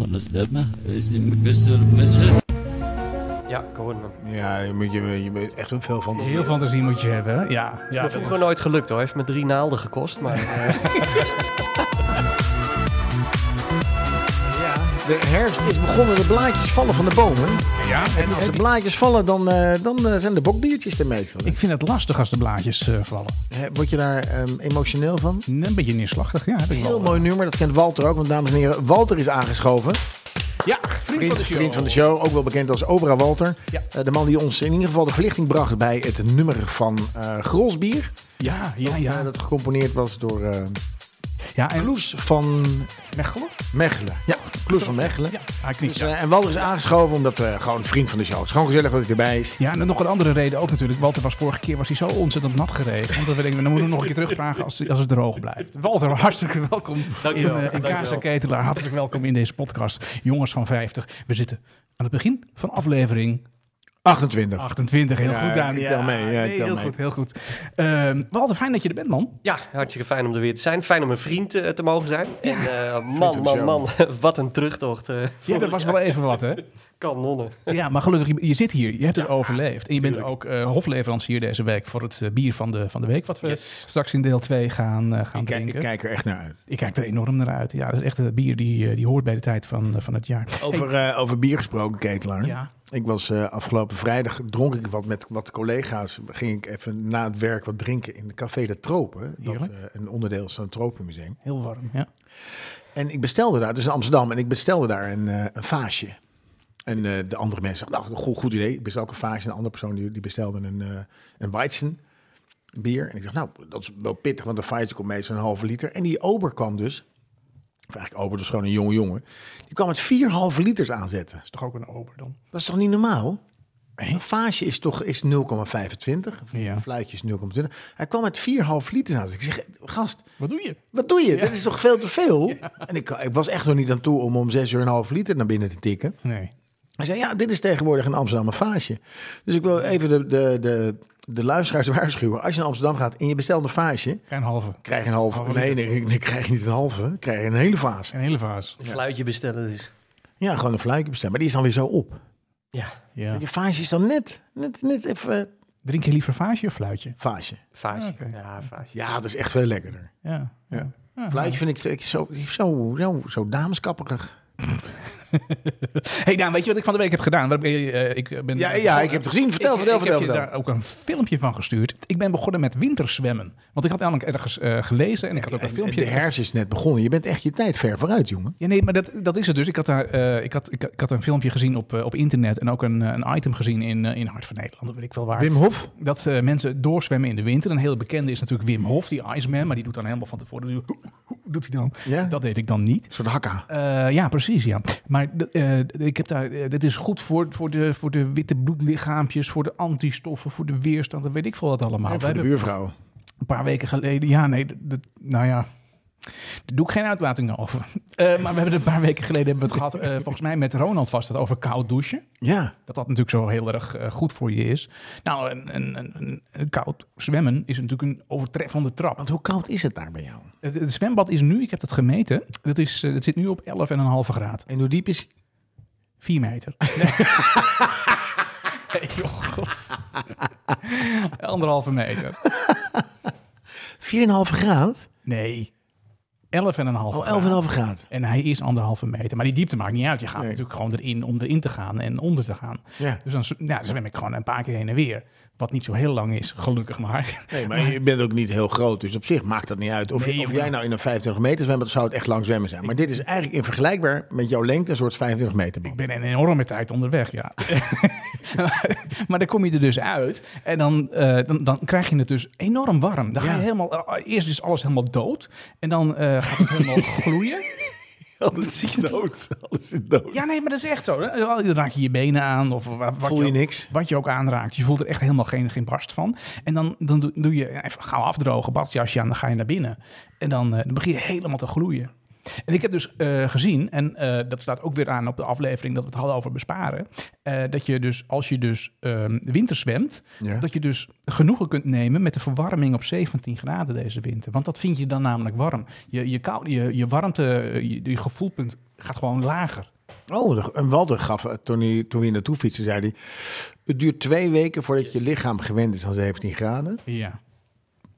Anders laat maar. Is die best wel mensen. Ja, Cohen. Ja, je moet, je, je moet echt wel veel van. Heel fantasie moet je hebben. hè? Ja, ja Maar dat vroeger nooit gelukt hoor. Heeft me drie naalden gekost. Maar eh, De herfst is begonnen, de blaadjes vallen van de bomen. Ja, en Als de blaadjes vallen, dan, eh, dan eh, zijn de bokbiertjes de meestal. ik vind het lastig als de blaadjes eh, vallen. Hè, Word je daar ehm, emotioneel van? Een beetje neerslachtig, ja. Heb ik wel. Heel mooi nummer, dat kent Walter ook. Want dames en heren, Walter is aangeschoven. Ja, vriend van Vriend, de show. vriend van de show, ook wel bekend als Obra Walter. Ja. Eh, de man die ons in ieder geval de verlichting bracht bij het nummer van eh Grolsbier. Ja, ja, Eh, Ah, ja. dat gecomponeerd was door eh Ja, en Kloes van Mechelen? Mechelen. Ja, Kloes van Mechelen. Ja, hij knikt, Dus, ja. eh, en Walter is aangeschoven omdat we gewoon vriend van de show. Het is gewoon gezellig dat hij erbij is. Ja, en dan nog een andere reden ook natuurlijk. Walter was vorige keer was hij zo ontzettend nat geregen. Want we denken, dan moeten we nog een keer terugvragen als, als het droog blijft. Walter, hartstikke welkom in, Dankjewel, eh, in dankjewel. Casa Ketelaar. Hartelijk welkom in deze podcast. Jongens van 50, we zitten aan het begin van aflevering 28. 28. Heel Ja, goed, Daan. ik tel mee, ja, ik nee, tel heel mee. goed, heel goed. Ehm, Walter, fijn dat je er bent, man. ja, hartstikke fijn om er weer te zijn. Fijn om een vriend eh, te mogen zijn. En eh, man, van man, de man. Wat een terugtocht. eh Ja, dat was wel even wat, hè? kanonnen. Ja, maar gelukkig, je, je zit hier. Je hebt het overleefd. En je bent ook eh, hofleverancier deze week voor het eh, bier van de, van de week. Wat we straks in deel 2 gaan, eh, gaan Ik kijk, drinken. ik kijk er echt naar uit. Ik kijk er enorm naar uit. Ja, dat is echt een bier die, eh, die hoort bij de tijd van, eh, van het jaar. Over, eh, over bier gesproken, Ketelaar. Ja. Ik was eh, afgelopen vrijdag, dronk ik wat met wat collega's. Ging ik even na het werk wat drinken in de Café de Tropen. Dat Heerlijk. eh, een onderdeel is van het Tropenmuseum. Heel warm, ja. En ik bestelde daar, dus in Amsterdam, en ik bestelde daar een, eh, een vaasje. En eh, de andere mensen dachten, nou, goed, goed idee. Ik bestel ook een vaasje. En een andere persoon die, die bestelde een, eh een Weizen bier. En ik dacht, nou, dat is wel pittig, want een vaasje komt meestal een halve liter. En die ober kwam dus, of eigenlijk ober, dat is gewoon een jonge jongen. Die kwam met vier halve liters aanzetten. Is toch ook een ober dan? Dat is toch niet normaal? Een vaasje is toch is 0,25. Ja. Een fluitje is 0,20. Hij kwam met 4,5 liter aan. Dus ik zeg, gast, Wat doe je? wat doe je? Dit is toch veel te veel? En ik, ik was echt nog niet aan toe om om 6 uur een half liter naar binnen te tikken. Nee. Hij zei, ja, dit is tegenwoordig een Amsterdam vaasje. Dus ik wil even de, de, de, de luisteraars waarschuwen. Als je naar Amsterdam gaat en je bestelt een vaasje... Geen halve. Krijg je een halve? Halve nee, nee, nee, krijg je niet een halve. Krijg je een hele vaas. Geen hele vaas. Een fluitje bestellen dus. Ja, gewoon een fluitje bestellen. Maar die is dan weer zo op. Ja, Ja. Je vaasje is dan net, net, net even... eh, Drink je liever vaasje of fluitje? vaasje. vaasje. Oké. Ja, vaasje. Ja, dat is echt veel lekkerder. Ja. Ja. Ja. Fluitje vind ik- ik zo, zo, zo, zo dameskapperig. hey Daan, weet je wat ik van de week heb gedaan? Waar ben je, eh, Ik ben Ja, ja, ik heb het gezien. Vertel, Ik- vertel, ik vertel. heb je vertel. daar ook een filmpje van gestuurd. Ik ben begonnen met winterzwemmen. Want ik had namelijk ergens eh, gelezen en ik had ook een En- en filmpje. De herfst is net begonnen. Je bent echt je tijd ver vooruit, jongen. Ja, nee, maar dat, dat is het dus. Ik had, daar, eh, ik had, ik, ik had een filmpje gezien op, eh, op internet en ook een, eh, een item gezien in, eh, in Hart van Nederland, dat weet ik wel waar. Wim Hof. Dat eh, mensen doorzwemmen in de winter. Een hele bekende is natuurlijk Wim Hof, die Iceman, maar die doet dan helemaal van tevoren. die doet- doet hij dan? Ja? Dat deed ik dan niet. Een soort hakka. Eh, ja, precies, ja. Maar d- eh, d- ik heb daar, eh, dit is goed voor, voor, de, voor de witte bloedlichaampjes, voor de antistoffen, voor de weerstand, dat weet ik veel wat allemaal. En We voor de hebben- buurvrouw. een paar weken geleden. Ja, nee, dat, dat- nou ja. Daar doe ik geen uitlating over. Eh, maar we hebben het een paar weken geleden hebben we het gehad. eh, volgens mij met Ronald was dat over koud douchen. Ja. Dat dat natuurlijk zo heel erg eh, goed voor je is. Nou, een, een, een- een, een koud zwemmen is natuurlijk een overtreffende trap. Want hoe koud is het daar bij jou? Het, het zwembad is nu, ik heb dat gemeten, dat, is, eh, dat zit nu op 11,5 graad. En hoe diep is hij? 4 meter. Nee, joh, god. Anderhalve meter. 4,5 graad? Nee. 11,5 Oh, 11,5 graad. En hij is anderhalve meter. Maar die diepte maakt niet uit. Je gaat Nee. natuurlijk gewoon erin om erin te gaan en onder te gaan. Ja. Dus dan z- nou, zwem ik gewoon een paar keer heen en weer. Wat niet zo heel lang is, gelukkig maar. Nee, maar je bent ook niet heel groot, dus op zich maakt dat niet uit. Of, je- Nee, of joh. jij nou in een 25 meter zwembad zou het echt lang zwemmen zijn. Maar dit is eigenlijk in vergelijkbaar met jouw lengte een soort 25 meter Ik band. ben een enorme tijd onderweg, ja. maar, maar dan kom je er dus uit. En dan, eh, dan, dan krijg je het dus enorm warm. Dan ga je Ja. helemaal... eh, eerst is alles helemaal dood. En dan eh, gaat het helemaal gloeien. Alles is dood. Alles is dood. Ja, nee, maar dat is echt zo. Dan raak je je benen aan. Of wa- wat Voel je ook- niks? Wat je ook aanraakt. Je voelt er echt helemaal geen, geen barst van. En dan, dan doe, doe je even gauw afdrogen, badjasje aan, dan ga je naar binnen. En dan, eh, dan begin je helemaal te gloeien. En ik heb dus eh, gezien, en eh, dat staat ook weer aan op de aflevering dat we het hadden over besparen. eh, dat je dus, als je dus ehm winter zwemt, Ja. dat je dus genoegen kunt nemen met de verwarming op 17 graden deze winter. Want dat vind je dan namelijk warm. Je, je, kou, je, je warmte, eh, je, je gevoelpunt gaat gewoon lager. Oh, de- en Walter gaf, eh, toen hij, toen we hier naartoe fietsen, zei hij... Het duurt twee weken voordat je lichaam gewend is aan 17 graden. Ja.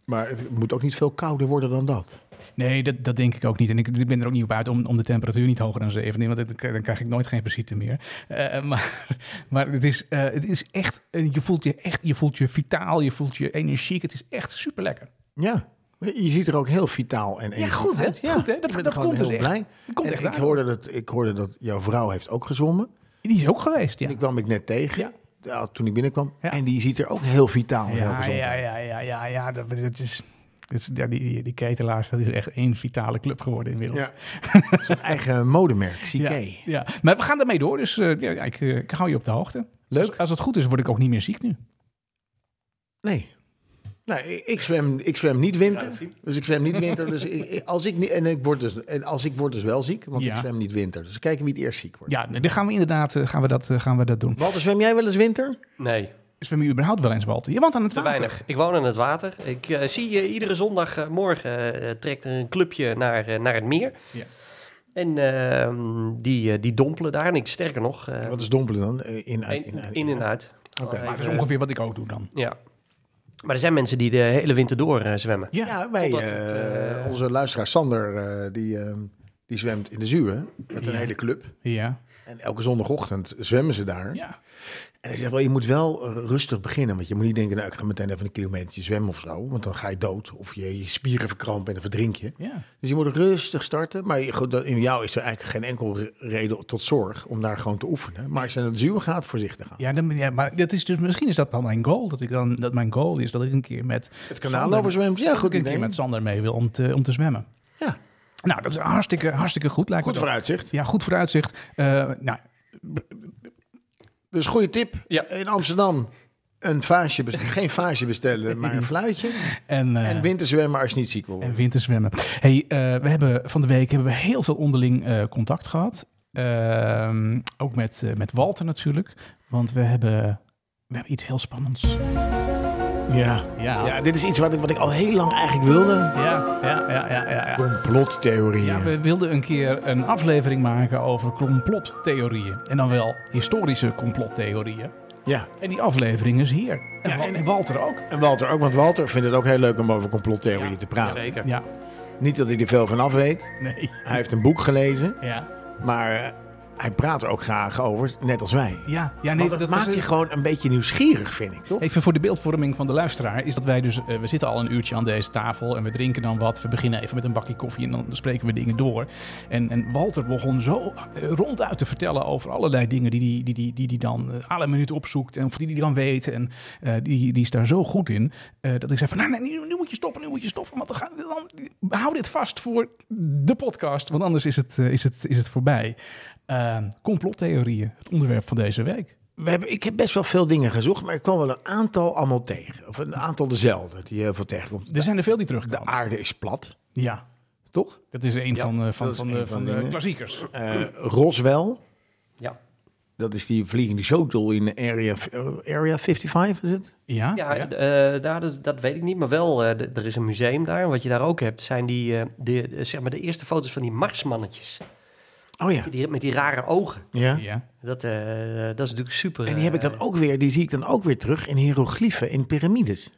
Maar het moet ook niet veel kouder worden dan dat. Nee, dat, dat denk ik ook niet. En ik, ik ben er ook niet op uit om, om de temperatuur niet hoger dan 17, want dit- dan krijg ik nooit geen visite meer. Eh, maar maar het, is, eh, het is echt, eh, je voelt je echt, je voelt je vitaal, je voelt je energiek. Het is echt super lekker. Ja, je ziet er ook heel vitaal en energiek goed, hè? uit. Goed, hè? Dat- ik ben dat gewoon komt dus heel echt. blij. Dat komt En echt ik, uit. hoorde dat, ik hoorde dat jouw vrouw heeft ook gezongen. Die is ook geweest, ja. Die kwam ik net tegen Ja. ja, toen ik binnenkwam. Ja. En die ziet er ook heel vitaal en heel Ja, gezond ja, uit. ja, ja, ja, ja. Dat, dat is, dat is- ja, die, die, die ketelaars, dat is echt één vitale club geworden inmiddels. Ja. Zijn eigen modemerk, CK. Ja, ja. maar we gaan daarmee door, dus eh, ja, ik, eh, ik hou je op de hoogte. Leuk. Als, als het goed is, word ik ook niet meer ziek nu. Nee. Nou, ik ik zwem, ik zwem niet Ja, dat winter. zie dus ik zwem niet winter. Dus ik, ik- als ik niet, en, ik word dus, en als ik word dus wel ziek, want Ja. ik zwem niet winter. Dus kijken wie het eerst ziek wordt. Ja, nee, dan gaan we inderdaad eh, gaan we dat, eh, gaan we dat doen. Walter, zwem jij wel eens winter? Nee, Zwem je überhaupt wel eens, Walter? Je woont aan het te water. weinig. Ik woon aan het water. Ik eh, zie je iedere zondagmorgen eh, trekt er een clubje naar, eh, naar het meer. Ja. En ehm, die, eh, die dompelen daar. En ik, sterker nog, eh, Wat is dompelen dan? Eh, In, uit, in, in en uit. Al Oké. Maar dat is even- ongeveer wat ik ook doe dan. Ja. Maar er zijn mensen die de hele winter door eh, zwemmen. Ja, Ja, wij, Totdat het, eh, eh, onze luisteraar Sander, eh, die, eh, die zwemt in de Zuwe met een Ja. hele club. ja, En elke zondagochtend zwemmen ze daar. ja. En hij zegt wel, je moet wel eh, rustig beginnen. Want je moet niet denken, nou, ik ga meteen even een kilometertje zwemmen of zo. Want dan ga je dood. Of je, je spieren verkrampen en dan verdrink je. ja. Dus je moet rustig starten. Maar je- goed, dat- in jou is er eigenlijk geen enkel re- reden tot zorg om daar gewoon te oefenen. Maar als je naar de Zuwe gaat, voorzichtig aan. Ja, dan, ja, maar dat is dus, misschien is dat wel mijn goal. Dat, ik dan, dat mijn goal is dat ik een keer met Het kanaal Sander- overzwemt. Ja, dat ik goed een keer idee. met Sander mee wil om te, om te zwemmen. Ja, Nou, dat is hartstikke, hartstikke goed. Lijkt me goed dat. vooruitzicht. Ja, goed vooruitzicht. Eh nou, Dus goede tip. Ja. In Amsterdam een vaasje, bes- geen vaasje bestellen, maar een fluitje. en, eh, En winterzwemmen als je niet ziek wil En worden. winterzwemmen. Hey, eh, we hebben van de week hebben we heel veel onderling eh, contact gehad. Ehm, ook met, eh, met Walter natuurlijk. Want we hebben, we hebben iets heel spannends. Ja. Ja. ja, dit is iets wat ik, wat ik al heel lang eigenlijk wilde. Ja, ja, ja, ja, ja. ja. Complottheorieën. Ja, we wilden een keer een aflevering maken over complottheorieën. En dan wel historische complottheorieën. ja. En die aflevering is hier. En, Ja, Wa- en- en Walter ook. En Walter ook, want Walter vindt het ook heel leuk om over complottheorieën Ja, te praten. Zeker. Ja, Niet dat hij er veel van af weet. nee. Hij heeft een boek gelezen, Ja, maar eh, hij praat er ook graag over, net als wij. ja, ja nee, Want dat, maakt was- je gewoon een beetje nieuwsgierig, vind ik, toch? Even voor de beeldvorming van de luisteraar is dat wij dus, eh, we zitten al een uurtje aan deze tafel en we drinken dan wat. We beginnen even met een bakje koffie en dan spreken we dingen door. En, en Walter begon zo eh, ronduit te vertellen over allerlei dingen die hij die, die, die, die dan eh, alle minuut opzoekt en of die hij dan weet. En eh, die, die is daar zo goed in eh, dat ik zei van nou, nee, nu, nu moet je stoppen, nu moet je stoppen. Want dan gaan we dan, hou dit vast voor de podcast, want anders is het, eh, is het, is het voorbij. Eh, complottheorieën, het onderwerp van deze week. We hebben, ik heb best wel veel dingen gezocht, maar ik kwam wel een aantal allemaal tegen. Of een aantal dezelfde die je heel veel tegenkomt. Er De, zijn er veel die de terugkomen. aarde is plat, Ja. toch? Dat is een van, eh, van, dat is van, een de, van van de de dingen. klassiekers. Eh, Roswell, Ja. dat is die vliegende shuttle in Area, eh, area 55, is het? Ja, Ja, ja, eh, daar, dat, dat weet ik niet. Maar wel, eh, d- er is een museum daar. En wat je daar ook hebt, zijn die, eh, de, eh, zeg maar de eerste foto's van die Marsmannetjes. Oh ja. Die, met die rare ogen. ja. ja. Dat, eh, dat is natuurlijk super. En die heb ik eh, dan ook weer, die zie ik dan ook weer terug in hieroglyphen, in piramides.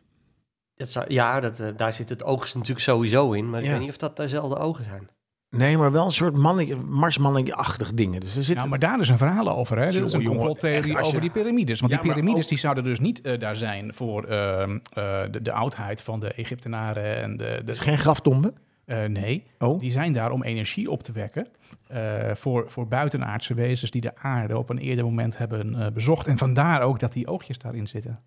dat zou- ja, dat, eh, daar zit het oogst natuurlijk sowieso in. Maar Ja. ik weet niet of dat dezelfde ogen zijn. Nee, maar wel een soort mannetje, marsmannetje-achtig dingen. Dus er zit Nou, maar daar is een verhaal over. Hè? Er is Jongen, een jongen, complottheorie echt, als je- over die piramides. Want Ja, die maar piramides ook- die zouden dus niet eh, daar zijn voor ehm, eh, de, de oudheid van de Egyptenaren. En de, de, is geen graftombe. eh, nee, Oh. die zijn daar om energie op te wekken. eh, voor, voor buitenaardse wezens die de aarde op een eerder moment hebben eh, bezocht. En vandaar ook dat die oogjes daarin zitten.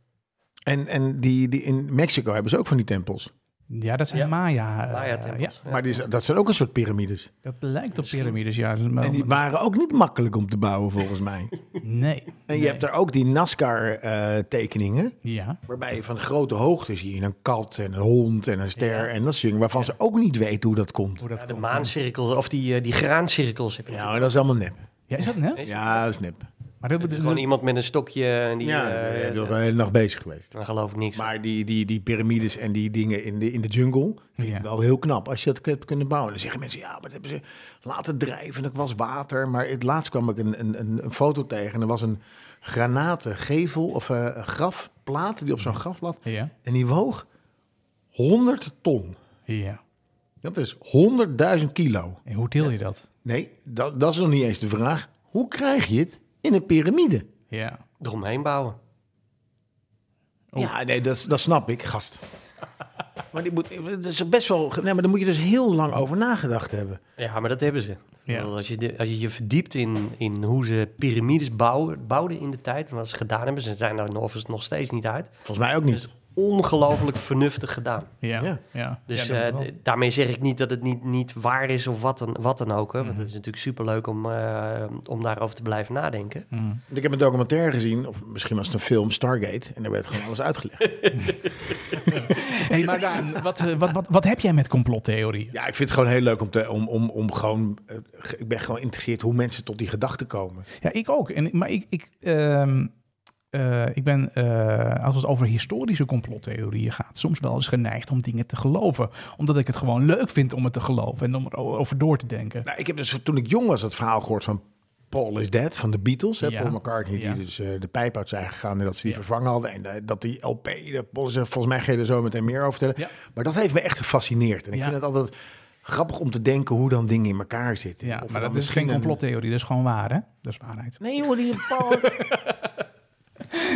En, en die, die in Mexico hebben ze ook van die tempels. Ja, dat zijn Ja. Maya. eh, ja, Maya-tempels. Maar die, is- dat zijn ook een soort piramides. dat lijkt op piramides, ja. Maar, En die waren ook niet makkelijk om te bouwen, volgens mij. nee. En je hebt daar ook die NASCAR-tekeningen. Ja. waarbij je van grote hoogte zie je een kat en een hond en een ster Ja. en dat soort dingen. Waarvan ze ook niet weten hoe dat komt. Hoe dat Ja, de komt. maancirkel of die, eh, die graancirkels. Heb je Ja, maar dat is allemaal nep. Ja, is dat net? Is Ja, dat is nep. Maar dat Het is bedoelt gewoon iemand met een stokje en die... ja, eh, ik ben de hele nacht bezig geweest. dan geloof ik niks. Maar die, die, die piramides en die dingen in de, in de jungle, vind ik Ja. wel heel knap. Als je dat hebt kunnen bouwen, dan zeggen mensen, ja, maar dat hebben ze laten drijven. Dat was water. Maar het laatst kwam ik een, een, een, een foto tegen en er was een granatengevel of eh, een grafplaat die op zo'n graf lag. Ja, En die woog 100 ton. ja. Dat is 100.000 kilo. En hoe deel je dat? Nee, dat, dat is nog niet eens de vraag. Hoe krijg je het in een piramide? Ja. Eromheen bouwen. Oh. Ja, nee, dat, dat snap ik, gast. maar dit moet, dat is best wel. Nee, maar daar moet je dus heel lang over nagedacht hebben. Ja, maar dat hebben ze. Ja. Ik bedoel, Als, je de- als je je verdiept in, in hoe ze piramides bouwen, bouwden in de tijd en wat ze gedaan hebben, ze zijn daar overigens nog steeds niet uit. Volgens mij ook niet. Ongelooflijk vernuftig gedaan. Ja. Ja. ja. Dus Ja, dat eh, wel. d- daarmee zeg ik niet dat het niet, niet waar is of wat dan, wat dan ook. Hè? Mhm. Want het is natuurlijk superleuk om, eh, om daarover te blijven nadenken. Mhm. Ik heb een documentaire gezien, of misschien was het een film, Stargate, en daar werd gewoon alles uitgelegd. Hey, maar Daan, wat, eh, wat, wat, wat heb jij met complottheorieën? Ja, ik vind het gewoon heel leuk om, te, om, om, om gewoon. eh, ge- Ik ben gewoon geïnteresseerd hoe mensen tot die gedachten komen. Ja, ik ook. En, maar ik, ik, ehm, eh, ik ben, eh, als het over historische complottheorieën gaat, soms wel eens geneigd om dingen te geloven. Omdat ik het gewoon leuk vind om het te geloven en om erover door te denken. Nou, ik heb dus toen ik jong was het verhaal gehoord van Paul is Dead van de Beatles. Hè? Ja. Paul McCartney, Ja. die dus eh, de pijp uit zijn gegaan en dat ze die Ja. vervangen hadden. En eh, dat die LP, de Paul is Dead, volgens mij ga je er zo meteen meer over vertellen. Ja. Maar dat heeft me echt gefascineerd. En ik Ja. vind het altijd grappig om te denken hoe dan dingen in elkaar zitten. Ja, Nou, Of maar dan dat is geen misschien een- complottheorie, dat is gewoon waar, hè? Dat is waarheid. Nee joh, die Paul...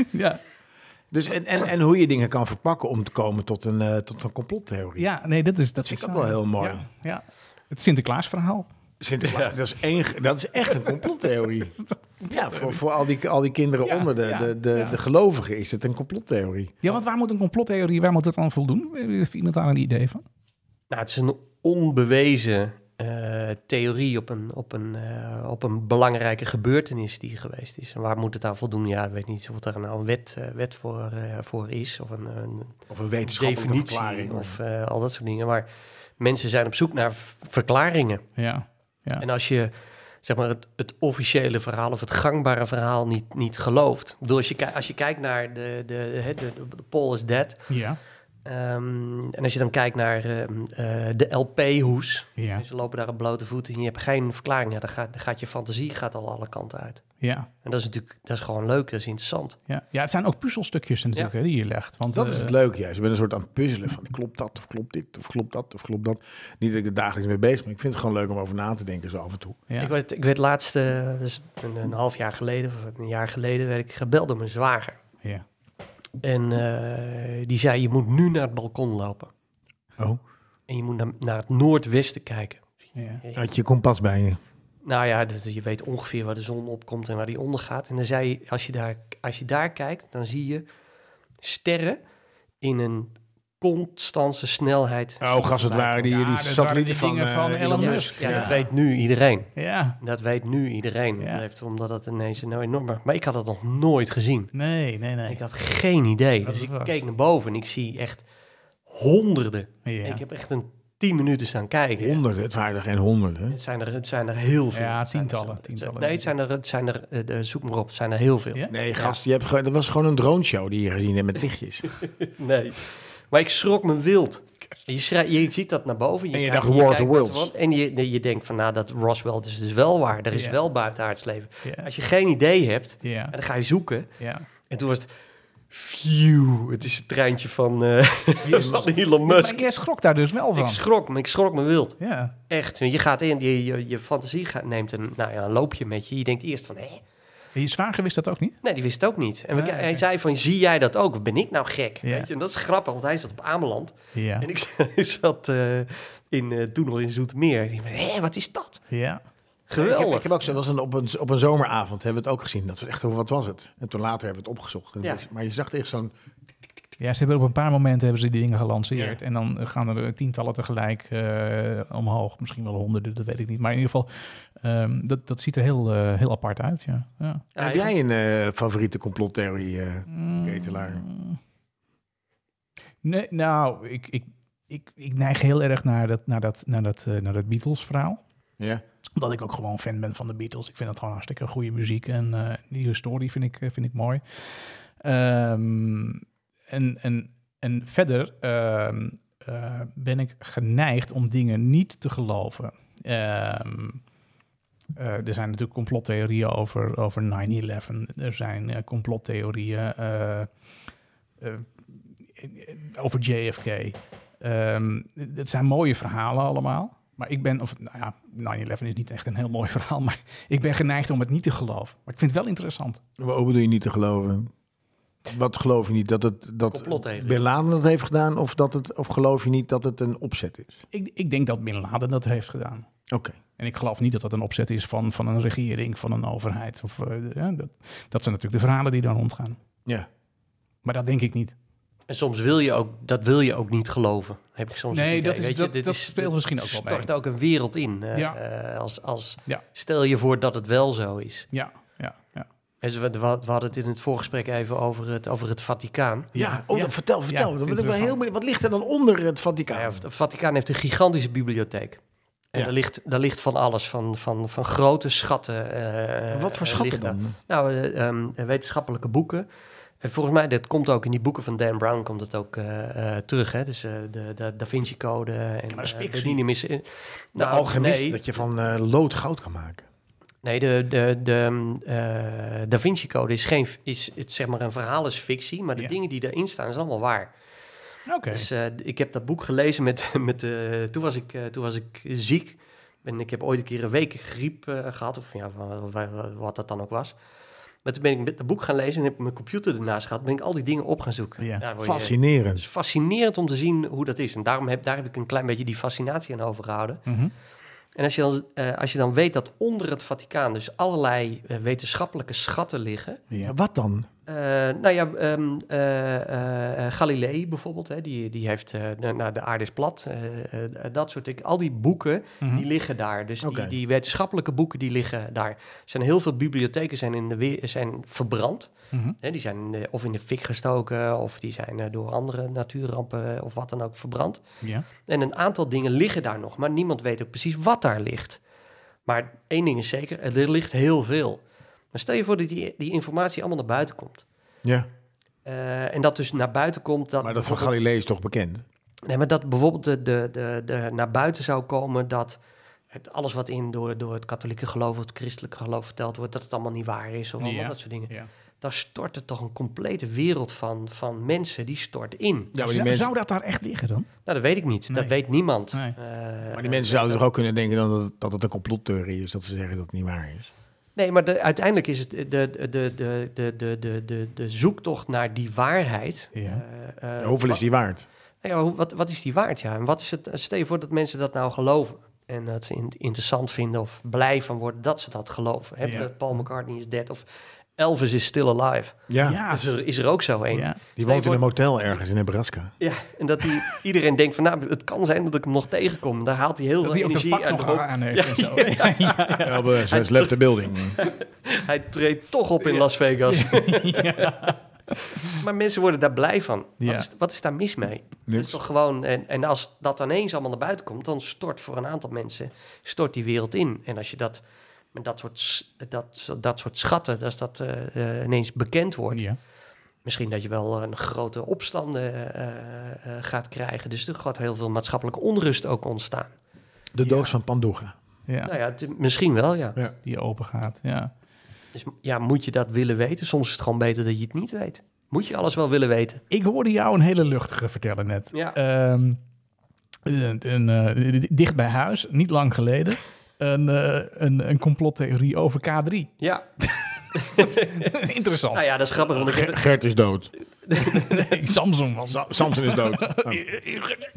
Ja, dus en, en, en hoe je dingen kan verpakken om te komen tot een, eh, tot een complottheorie. ja nee, dat is... Dat vind is ik ook wel waar. heel mooi. Ja, ja. het Sinterklaas-verhaal. Sinterklaas, dat, is één, ge- dat is echt een complottheorie. ja, voor, voor al, die, al die kinderen Ja, onder de, ja, de, de, ja. de gelovigen is het een complottheorie. Ja, want waar moet een complottheorie, waar moet dat dan voldoen? Heeft iemand daar een idee van? Nou, het is een onbewezen eh, theorie op een, op, een, eh, op een belangrijke gebeurtenis die geweest is. En waar moet het aan voldoen? Ja, ik weet niet of er nou een wet, eh, wet voor, eh, voor is of een, een Of een wetenschappelijke definitie verklaring. of eh, al dat soort dingen. Maar mensen zijn op zoek naar v- verklaringen. Ja, ja. En als je zeg maar, het, het officiële verhaal of het gangbare verhaal niet, niet gelooft. Ik bedoel, als je, ki- als je kijkt naar de, de, hè, de, de, de Paul is Dead... Ja, Ehm, en als je dan kijkt naar ehm, eh, de LP-hoes. ja, Dus ze lopen daar op blote voeten en je hebt geen verklaring. Ja, dan gaat, dan gaat je fantasie gaat al alle kanten uit. ja. En dat is natuurlijk dat is gewoon leuk, dat is interessant. Ja, ja het zijn ook puzzelstukjes natuurlijk hè, die je legt. Want, Dat is eh, het leuke juist. Je bent een soort aan het puzzelen van klopt dat of klopt dit of klopt dat of klopt dat. Niet dat ik er dagelijks mee bezig ben, maar ik vind het gewoon leuk om over na te denken zo af en toe. ja. Ik, werd, ik werd laatst, eh, dus een, een half jaar geleden of een jaar geleden, werd ik gebeld door mijn zwager. ja. En eh, die zei, je moet nu naar het balkon lopen. Oh, En je moet naar, naar het noordwesten kijken. Ja. had je je kompas bij je? Nou ja, dus je weet ongeveer waar de zon opkomt en waar die ondergaat. En dan zei je, als je daar, als je daar kijkt, dan zie je sterren in een constante snelheid. Oh, gast, het waren die, Ja, die dat waren satellieten die van, dingen eh, van Elon Ja, Musk. Ja, Ja. dat weet nu iedereen. Ja. Dat weet nu iedereen. Ja. Dat heeft, omdat het ineens een enorme... Maar ik had dat nog nooit gezien. Nee, nee, nee. Ik had geen idee. Dat dus is ik waar. keek naar boven en ik zie echt honderden. ja. Ik heb echt een tien minuten staan kijken. Honderden, het waren er geen honderden. Het zijn er, het zijn er heel veel. Ja, Het zijn er- tientallen, het zijn- tientallen. Nee, het zijn er, het zijn er eh, de- zoek maar op, het zijn er heel veel. Ja? Nee, gast, je hebt, ge- dat was gewoon een droneshow die je gezien hebt met lichtjes. Nee. Maar ik schrok me wild. Je, schrij- je ziet dat naar boven. En je kijkt- dacht, War of the kijkt naar Worlds. de wand En je, nee, je denkt van, nou, dat Roswell dus is wel waar. Er is Ja. wel buitenaards leven. Ja. Als je geen idee hebt, Ja, en dan ga je zoeken. ja. En toen was het... Phew, het is het treintje van, eh, van Elon Maar Musk. jij schrok daar dus wel Ik van. schrok me, ik schrok me wild. Ja, Echt. Je gaat in, je, je, je fantasie gaat, neemt een, nou ja, een loopje met je. Je denkt eerst van, hé? je zwager wist dat ook niet. Nee, die wist het ook niet. En we- Ah, oké. hij zei van, zie jij dat ook? Of ben ik nou gek? Ja. Weet je? En dat is grappig, want hij zat op Ameland. Ja, En ik, zat eh, in, eh, toen nog in Zoetermeer. Ik dacht, hé, wat is dat? ja, Ik heb, Geweldig. ik heb ook zo, was een, op, een, op een zomeravond hebben we het ook gezien. Dat was echt, wat was het? En toen later hebben we het opgezocht. En Ja. dus- Maar je zag echt zo'n... ja. Ze hebben op een paar momenten hebben ze die dingen gelanceerd. En dan gaan er tientallen tegelijk eh, omhoog. Misschien wel honderden, dat weet ik niet. Maar in ieder geval, ehm, dat, dat ziet er heel, eh, heel apart uit. Ja. Ja. Ja, heb ik- jij een eh, favoriete complottheorie, eh, Ketelaar? Mm. Nee, nou, ik, ik, ik, ik neig heel erg naar dat, naar dat, naar dat, eh, naar dat Beatles-verhaal. Ja. Omdat ik ook gewoon fan ben van de Beatles. Ik vind dat gewoon hartstikke goede muziek. En eh, die historie vind ik, eh, vind ik mooi. Ehm, en, en, en verder ehm, eh, ben ik geneigd om dingen niet te geloven. Ehm, eh, er zijn natuurlijk complottheorieën over, over 9-11. Er zijn eh, complottheorieën eh, eh, over JFK. Ehm, het zijn mooie verhalen allemaal. Maar ik ben, of nou ja, 9-11 is niet echt een heel mooi verhaal, maar ik ben geneigd om het niet te geloven. Maar ik vind het wel interessant. Wat bedoel je niet te geloven? Wat geloof je niet? Dat het dat Complottheorie. Bin Laden dat heeft gedaan? Of, dat het, of geloof je niet dat het een opzet is? Ik, ik denk dat Bin Laden dat heeft gedaan. Oké. En ik geloof niet dat dat een opzet is van, van een regering, van een overheid. Of, eh, ja, dat, dat zijn natuurlijk de verhalen die daar rondgaan. Ja. Maar dat denk ik niet. En soms wil je ook, dat wil je ook niet geloven. Heb ik soms het Nee, idee. dat is- Weet je, dat- dit dat speelt dit misschien ook wel mee. stort ook een wereld in. eh, Ja. eh, als, als, Ja. Stel je voor dat het wel zo is. Ja, ja, ja. En ze- we, we hadden het in het voorgesprek even over het, over het Vaticaan. Ja, oh, ja. dan vertel, Ja, vertel. dat Dan is ben ik wel heel interessant. benieuwd. Wat ligt er dan onder het Nou Vaticaan? ja, het Vaticaan heeft een gigantische bibliotheek. En Ja. daar, ligt, daar ligt van alles, van, van, van grote schatten. eh, wat voor eh, schatten ligt daar. dan? Nou, eh, ehm, wetenschappelijke boeken. En volgens mij, dat komt ook in die boeken van Dan Brown, komt dat ook eh, eh, terug. Hè? Dus eh, de, de Da Vinci Code en dat is eh, fictie. de Dynamis. Nou, De alchemist, Nee, dat je van eh, lood goud kan maken. nee de, de, de ehm, eh, Da Vinci Code is, geen, is het, zeg maar een verhaal is fictie, maar de Ja. dingen die daarin staan, is allemaal waar. Oké. Dus eh, ik heb dat boek gelezen met... met eh, toen, was ik, eh, toen was ik ziek. En ik heb ooit een keer een week griep eh, gehad. Of ja, wa- wa- wa- wat dat dan ook was. Maar toen ben ik met dat boek gaan lezen en heb ik mijn computer ernaast gehad. Ben ik al die dingen op gaan zoeken. Ja. Daar word je- Het Fascinerend. is fascinerend om te zien hoe dat is. En daarom heb, daar heb ik een klein beetje die fascinatie aan overgehouden. Mhm. En als je dan, eh, als je dan weet dat onder het Vaticaan dus allerlei eh, wetenschappelijke schatten liggen. Ja. Wat dan? Eh, nou ja, ehm, eh, eh, Galilei bijvoorbeeld, hè, die, die heeft eh, de, nou, de aarde is plat, eh, eh, dat soort dingen. Al die boeken, Mhm. die liggen daar. Dus Oké. die, die wetenschappelijke boeken, die liggen daar. Er zijn heel veel bibliotheken zijn in de weer, zijn verbrand. Mhm. Hè, die zijn eh, of in de fik gestoken, of die zijn eh, door andere natuurrampen eh, of wat dan ook verbrand. Ja. En een aantal dingen liggen daar nog, maar niemand weet ook precies wat daar ligt. Maar één ding is zeker, er ligt heel veel. Maar stel je voor dat die, die informatie allemaal naar buiten komt. Ja. Eh, en dat dus naar buiten komt. Dat Maar dat van bijvoorbeeld- Galilee is toch bekend? Nee, maar dat bijvoorbeeld de, de, de, de naar buiten zou komen dat het, alles wat in door, door het katholieke geloof of het christelijke geloof verteld wordt, dat het allemaal niet waar is. Of allemaal Ja. dat soort dingen. Oh, Ja. Daar stort er toch een complete wereld van, van mensen die stort in. Ja, Zou- Zou dat daar echt liggen dan? Nou, dat weet ik niet. Nee. Dat weet niemand. Nee. Eh, Maar die mensen zouden toch ook kunnen denken dat het, dat het een complottheorie is, dat ze zeggen dat het niet waar is. Nee, maar de, uiteindelijk is het de, de, de, de, de, de, de, de zoektocht naar die waarheid. Ja. eh, eh, Hoeveel is die waard? Nou ja, hoe- wat, wat is die waard? Ja? En wat is het, eh, stel je voor dat mensen dat nou geloven en dat ze in- interessant vinden of blij van worden dat ze dat geloven. Hè? Ja. Paul McCartney is dead of Elvis is still alive. Ja, Ja. Is, er, is er ook zo een. Ah. Ja. die Stel je woont in voor- een motel ergens in Nebraska. Ja, en dat die, iedereen denkt van nou, het kan zijn dat ik hem nog tegenkom. Daar haalt hij heel Dat veel hij ook dat energie pak uit. nog de aan heeft en zo. Elvis has left the eh, building. Hij treedt toch op in Las Vegas. maar mensen worden daar blij van. Ja. Wat, is, wat is daar mis mee? Niks. Dus toch gewoon, en, en als dat ineens allemaal naar buiten komt, dan stort voor een aantal mensen stort die wereld in. En als je dat met dat soort, s- dat, dat soort schatten, als dat eh, eh, ineens bekend wordt, Ja. misschien dat je wel eh, een grote opstanden eh, eh, gaat krijgen. Dus er gaat heel veel maatschappelijke onrust ook ontstaan. De doos van Pandora. Ja. Nou ja, het- misschien wel, ja. Ja. Die open gaat. Ja. Dus ja, moet je dat willen weten? Soms is het gewoon beter dat je het niet weet. Moet je alles wel willen weten? Ik hoorde jou een hele luchtige vertellen net. Ja. Ehm, een, een, eh, dicht bij huis, niet lang geleden. Een, eh, een, een complottheorie over K3. Ja. Interessant. Nou ja, dat is grappig. Want ik heb, Gert is dood. Nee, Samsung was Sa- Samson is dood. Oh. Hey,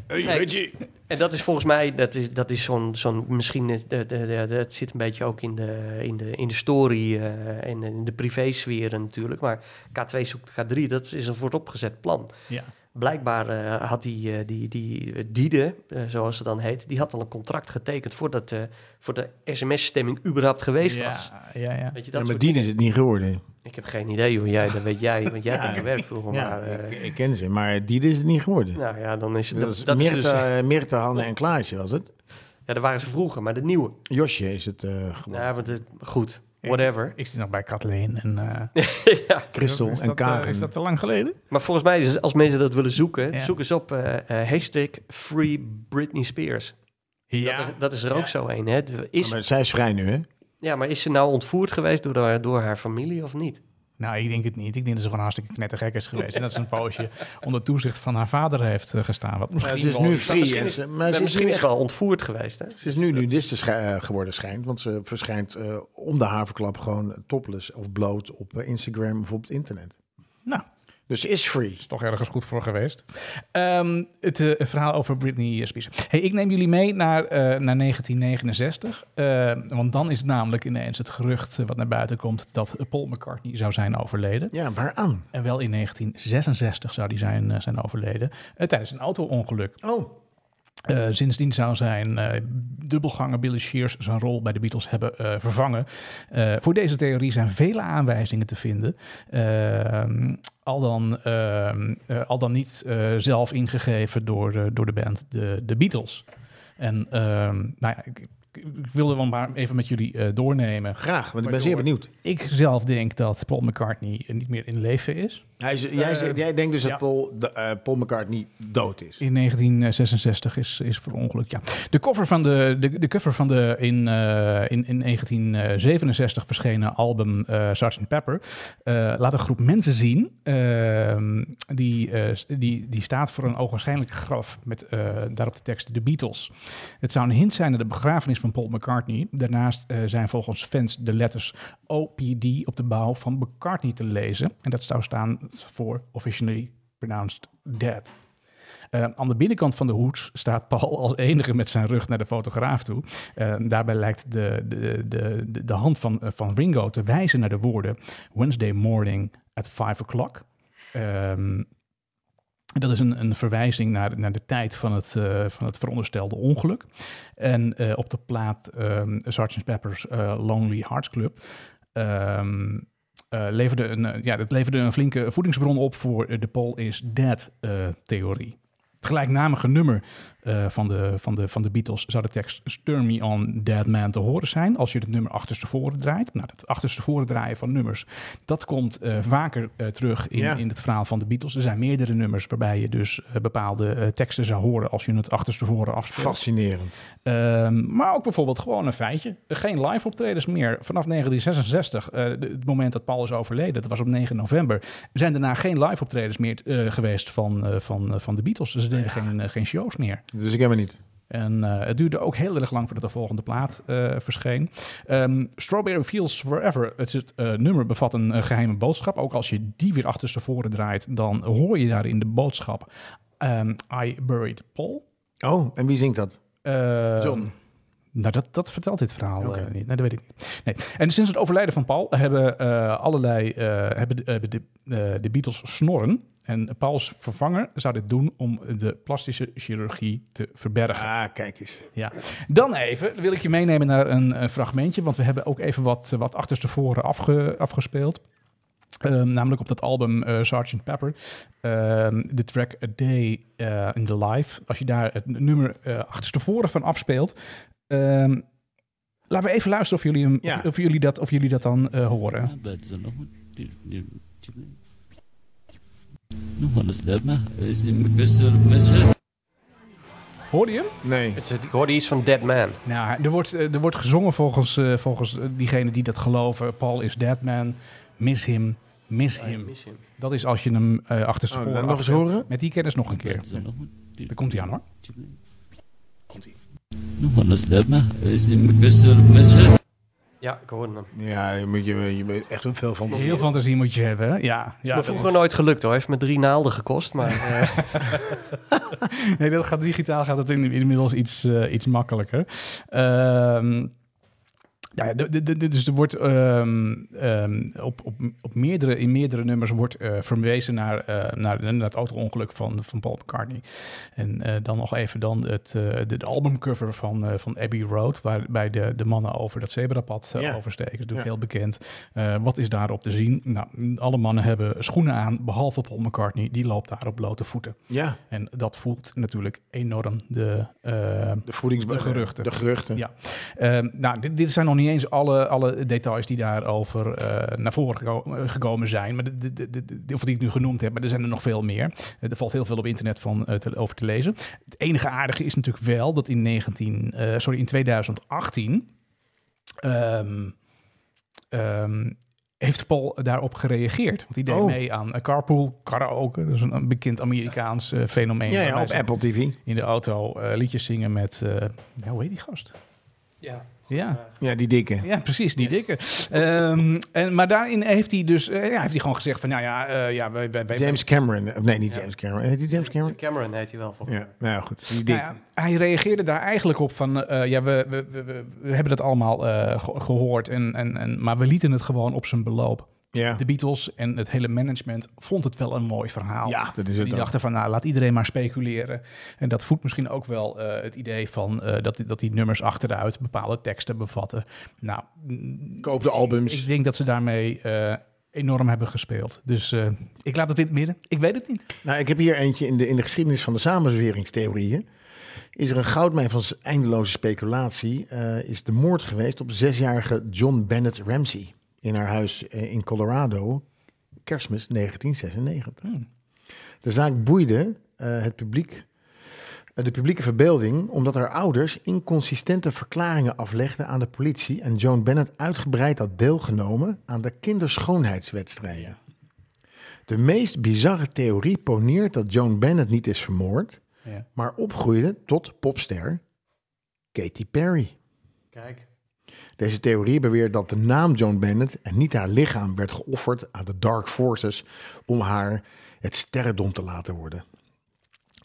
Nee. Reggie. en dat is volgens mij, dat is, dat is zo'n, zo'n misschien, is- de- de- de- de- het zit een beetje ook in de, in de, in de story eh, en in de privésfeer natuurlijk. Maar K2 zoekt K3, dat is een vooropgezet plan. Ja. Blijkbaar eh, had die, eh, die, die eh, Diede, eh, zoals ze dan heet, die had al een contract getekend voordat eh voor de sms-stemming überhaupt geweest was. Ja, ja, ja. Weet je, dat Ja, maar soort die dingen. is het niet geworden. Ik heb geen idee hoe jij, dat weet jij, want jij Ja, hebt gewerkt vroeger. Ja, maar, eh, ik, ik ken ze, maar die is het niet geworden. nou ja, dan is dat, dat, is dat is Mirte, dus... Mirte, Hanne en Klaasje was het. Ja, daar waren ze vroeger, maar de nieuwe. Josje is het eh geworden. Ja, want het, goed, whatever. Ik zit nog bij Kathleen en... eh, ja. Christel is dat, en eh, Karen. is dat te lang geleden? Maar volgens mij, is- als mensen dat willen zoeken, Ja. zoek eens op eh, eh, hashtag Free Britney Spears. Dat, er- dat is er ook Ja. zo een. Hè? De- Is, Maar zij is vrij nu, hè? Ja, maar is ze nou ontvoerd geweest door haar, door haar familie of niet? Nou, ik denk het niet. Ik denk dat ze gewoon hartstikke knettergek is geweest. En dat ze een poosje onder toezicht van haar vader heeft eh, gestaan. Wat misschien Ja, ze is wel- nu free. misschien en is- ze- Maar Maar ze is misschien nu is echt ze wel ontvoerd geweest, hè? Ze is nu nudiste scha- eh, geworden schijnt, want ze verschijnt eh, om de haverklap gewoon topless of bloot op eh, Instagram of op het internet. Nou, Dus ze is free. is toch ergens goed voor geweest. Ehm, het eh, verhaal over Britney Spears. Hey, ik neem jullie mee naar, eh, naar 1969. Eh, want dan is namelijk ineens het gerucht eh, wat naar buiten komt... dat eh, Paul McCartney zou zijn overleden. Ja, waaraan? En wel in 1966 zou die zijn, eh, zijn overleden. eh, tijdens een auto-ongeluk. Oh, Eh, sindsdien zou zijn eh dubbelganger Billy Shears zijn rol bij de Beatles hebben eh, vervangen. Eh, voor deze theorie zijn vele aanwijzingen te vinden. Ehm, al, dan, ehm, eh, al dan niet eh, zelf ingegeven door, eh, door de band de, de Beatles. En ehm, nou ja, ik, ik- ik wilde wel maar even met jullie eh, doornemen. graag, want ik Maar ben zeer door. benieuwd. Ik zelf denk dat Paul McCartney eh, niet meer in leven is. Hij is- jij, zegt- jij denkt dus Eh, ja. dat Paul, de, eh, Paul McCartney dood is. In 1966 is, is verongelukt, ja. De cover van de, de, de, cover van de in, eh, in, in 1967 verschenen album eh Sgt. Pepper eh, laat een groep mensen zien. eh, die, eh, s- die, die staat voor een ogenschijnlijk graf met eh, daarop de tekst de Beatles. Het zou een hint zijn naar de begrafenis van Paul McCartney. Daarnaast eh, zijn volgens fans de letters OPD op de bouw van McCartney te lezen. En dat zou staan voor Officially Pronounced Dead. Eh, aan de binnenkant van de hoed staat Paul als enige met zijn rug naar de fotograaf toe. Eh, daarbij lijkt de, de, de, de, de hand van, eh, van Ringo te wijzen naar de woorden Wednesday morning at 5 o'clock. Ehm, dat is een, een verwijzing naar, naar de tijd van het, eh, van het veronderstelde ongeluk. En eh, op de plaat ehm Sgt. Pepper's eh, Lonely Hearts Club ehm, eh, leverde, een, eh, ja, dat leverde een flinke voedingsbron op voor eh, de Paul is Dead eh, theorie. Het gelijknamige nummer eh, van, de, van, de, van de Beatles zou de tekst Stir Me On Dead Man te horen zijn als je het nummer achterstevoren draait. Nou, dat achterstevoren draaien van nummers, dat komt eh, vaker eh, terug in, Ja. in het verhaal van de Beatles. Er zijn meerdere nummers waarbij je dus eh, bepaalde eh, teksten zou horen als je het achterstevoren afspeelt. Fascinerend. Ehm, maar ook bijvoorbeeld gewoon een feitje. Geen live optredens meer. Vanaf 1966, eh, de- het moment dat Paul is overleden, dat was op 9 november, zijn daarna geen live optredens meer eh, geweest van, eh, van, eh, van de Beatles. Dus ze deden geen, eh, geen shows meer. Dus ik heb hem niet. En eh, het duurde ook heel erg lang voordat de volgende plaat eh, verscheen. Ehm, Strawberry Fields Forever, het, is het eh, nummer bevat een eh, geheime boodschap. Ook als je die weer achterstevoren draait, dan hoor je daarin de boodschap ehm, I buried Paul. Oh, en wie zingt dat? Eh, John. Nou, dat, dat vertelt dit verhaal Oké. eh, niet. Nee, dat weet ik niet. Nee. En sinds het overlijden van Paul hebben eh, allerlei eh, hebben, de- hebben de, eh, de Beatles snorren. En Pauls vervanger zou dit doen om de plastische chirurgie te verbergen. Ah, kijk eens. Ja. Dan even wil ik je meenemen naar een, eh, fragmentje, want we hebben ook even wat, eh, wat achterstevoren afge, afgespeeld. Ehm, namelijk op dat album eh Sgt. Pepper, ehm, de track A Day eh, in the Life. Als je daar het nummer eh, achterstevoren van afspeelt, ehm, laten we even luisteren of jullie, hem, Ja. of, of jullie, dat, of jullie dat dan eh, horen. Ja, blijft er nog een- die- die- die- Nog wel eens dat maar. Is die best wel mislukt? Hoor je hem? Nee. Het, is- ik hoorde iets van Dead Man. Nou, hij- er wordt, eh, er wordt gezongen volgens, eh, volgens eh, diegene die dat geloven. Paul is dead man, miss him, miss him. Dat is als je hem eh Oh, achterstevoren laat nog eens afspeelt. horen. Met die kennis nog een keer. Blijft er nog een- die- Daar komt hij aan hoor. die- Nog wel eens dat maar. Is die best wel mislukt? Ja, ik hoorde hem. Ja, je moet, je, je moet echt een veel van. Heel fantasie moet je hebben. hè? Ja, Ja, ja me dat, vroeger nooit gelukt hoor. Heeft me drie naalden gekost. Maar eh, is- nee, dat gaat digitaal gaat het in- inmiddels iets, eh, iets makkelijker. Ehm, Nou ja, de- de- de- de- dus er wordt ehm, ehm, op, op, op meerdere, in meerdere nummers wordt eh, verwezen naar, eh naar, naar het auto-ongeluk van, van Paul McCartney. En eh, dan nog even dan het, eh, de, de albumcover van, eh, van Abbey Road, waarbij de, de mannen over dat zebrapad eh, Ja. oversteken. Dat is Ja. natuurlijk heel bekend. Eh, wat is daarop te zien? Nou, alle mannen hebben schoenen aan, behalve Paul McCartney. Die loopt daar op blote voeten. Ja, En dat voelt natuurlijk enorm de... eh, de voedings... De geruchten. De geruchten. ja. Ehm, nou, dit, dit zijn nog niet eens alle, alle details die daarover eh, naar voren geko- eh, gekomen zijn. Maar de, de, de, de- of die ik nu genoemd heb, maar er zijn er nog veel meer. Eh, er valt heel veel op internet van, eh, te- over te lezen. Het enige aardige is natuurlijk wel dat in, 19, eh, sorry, in 2018 ehm, ehm, heeft Paul daarop gereageerd. Want die deed Oh. mee aan eh, carpool karaoke. Dat is een, een bekend Amerikaans eh, fenomeen. Ja, ja, waarbij op ze Apple TV. In de auto eh, liedjes zingen met, eh, ja, hoe heet die gast? Ja. Ja. Ja, die dikke. Ja, precies, die dikke. Ehm, en, maar daarin heeft hij dus eh, ja, heeft hij gewoon gezegd van, nou ja, eh, ja wij, wij, wij- James Cameron. Of nee, niet Ja. James Cameron. Heet die James Cameron? Cameron heet hij wel volgens Ja, nou ja, goed. Die Nou dikke. ja, hij reageerde daar eigenlijk op van, eh, ja, we, we, we, we- we hebben dat allemaal eh, ge- gehoord, en, en, en, maar we lieten het gewoon op zijn beloop. Ja. De Beatles en het hele management vond het wel een mooi verhaal. Ja, dat is het Die ook. dachten van, nou, laat iedereen maar speculeren. En dat voedt misschien ook wel eh, het idee van eh, dat, die- dat die nummers achteruit bepaalde teksten bevatten. Nou, Koop de albums. Ik denk dat ze daarmee eh, enorm hebben gespeeld. Dus eh, ik laat het in het midden. Ik weet het niet. Nou, ik heb hier eentje in de, in de geschiedenis van de samenzweringstheorieën. Is er een goudmijn van s- eindeloze speculatie? eh, is de moord geweest op zesjarige John Bennett Ramsey in haar huis eh, in Colorado, kerstmis 1996. De zaak boeide eh, het publiek, eh, de publieke verbeelding, omdat haar ouders inconsistente verklaringen aflegden aan de politie en Joan Bennett uitgebreid had deelgenomen aan de kinderschoonheidswedstrijden. De meest bizarre theorie poneert dat Joan Bennett niet is vermoord, Ja. maar opgroeide tot popster Katy Perry. mij. Kijk. Deze theorie beweert dat de naam Joan Bennett en niet haar lichaam werd geofferd aan de Dark Forces om haar het sterrendom te laten worden.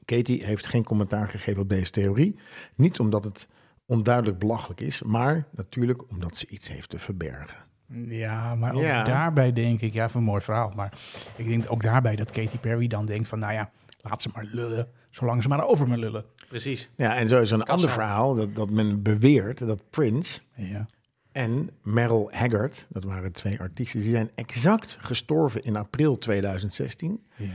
Katie heeft geen commentaar gegeven op deze theorie. Niet omdat het onduidelijk belachelijk is, maar natuurlijk omdat ze iets heeft te verbergen. Ja, maar ook Ja. daarbij denk ik, ja, van een mooi verhaal. Maar ik denk ook daarbij dat Katy Perry dan denkt van, nou ja, laat ze maar lullen. Zolang ze maar over me lullen. Precies. Ja, en zo is er een ander verhaal dat, dat men beweert dat Prince Ja. en Merrill Haggard, dat waren twee artiesten, die zijn exact gestorven in april 2016. Ja.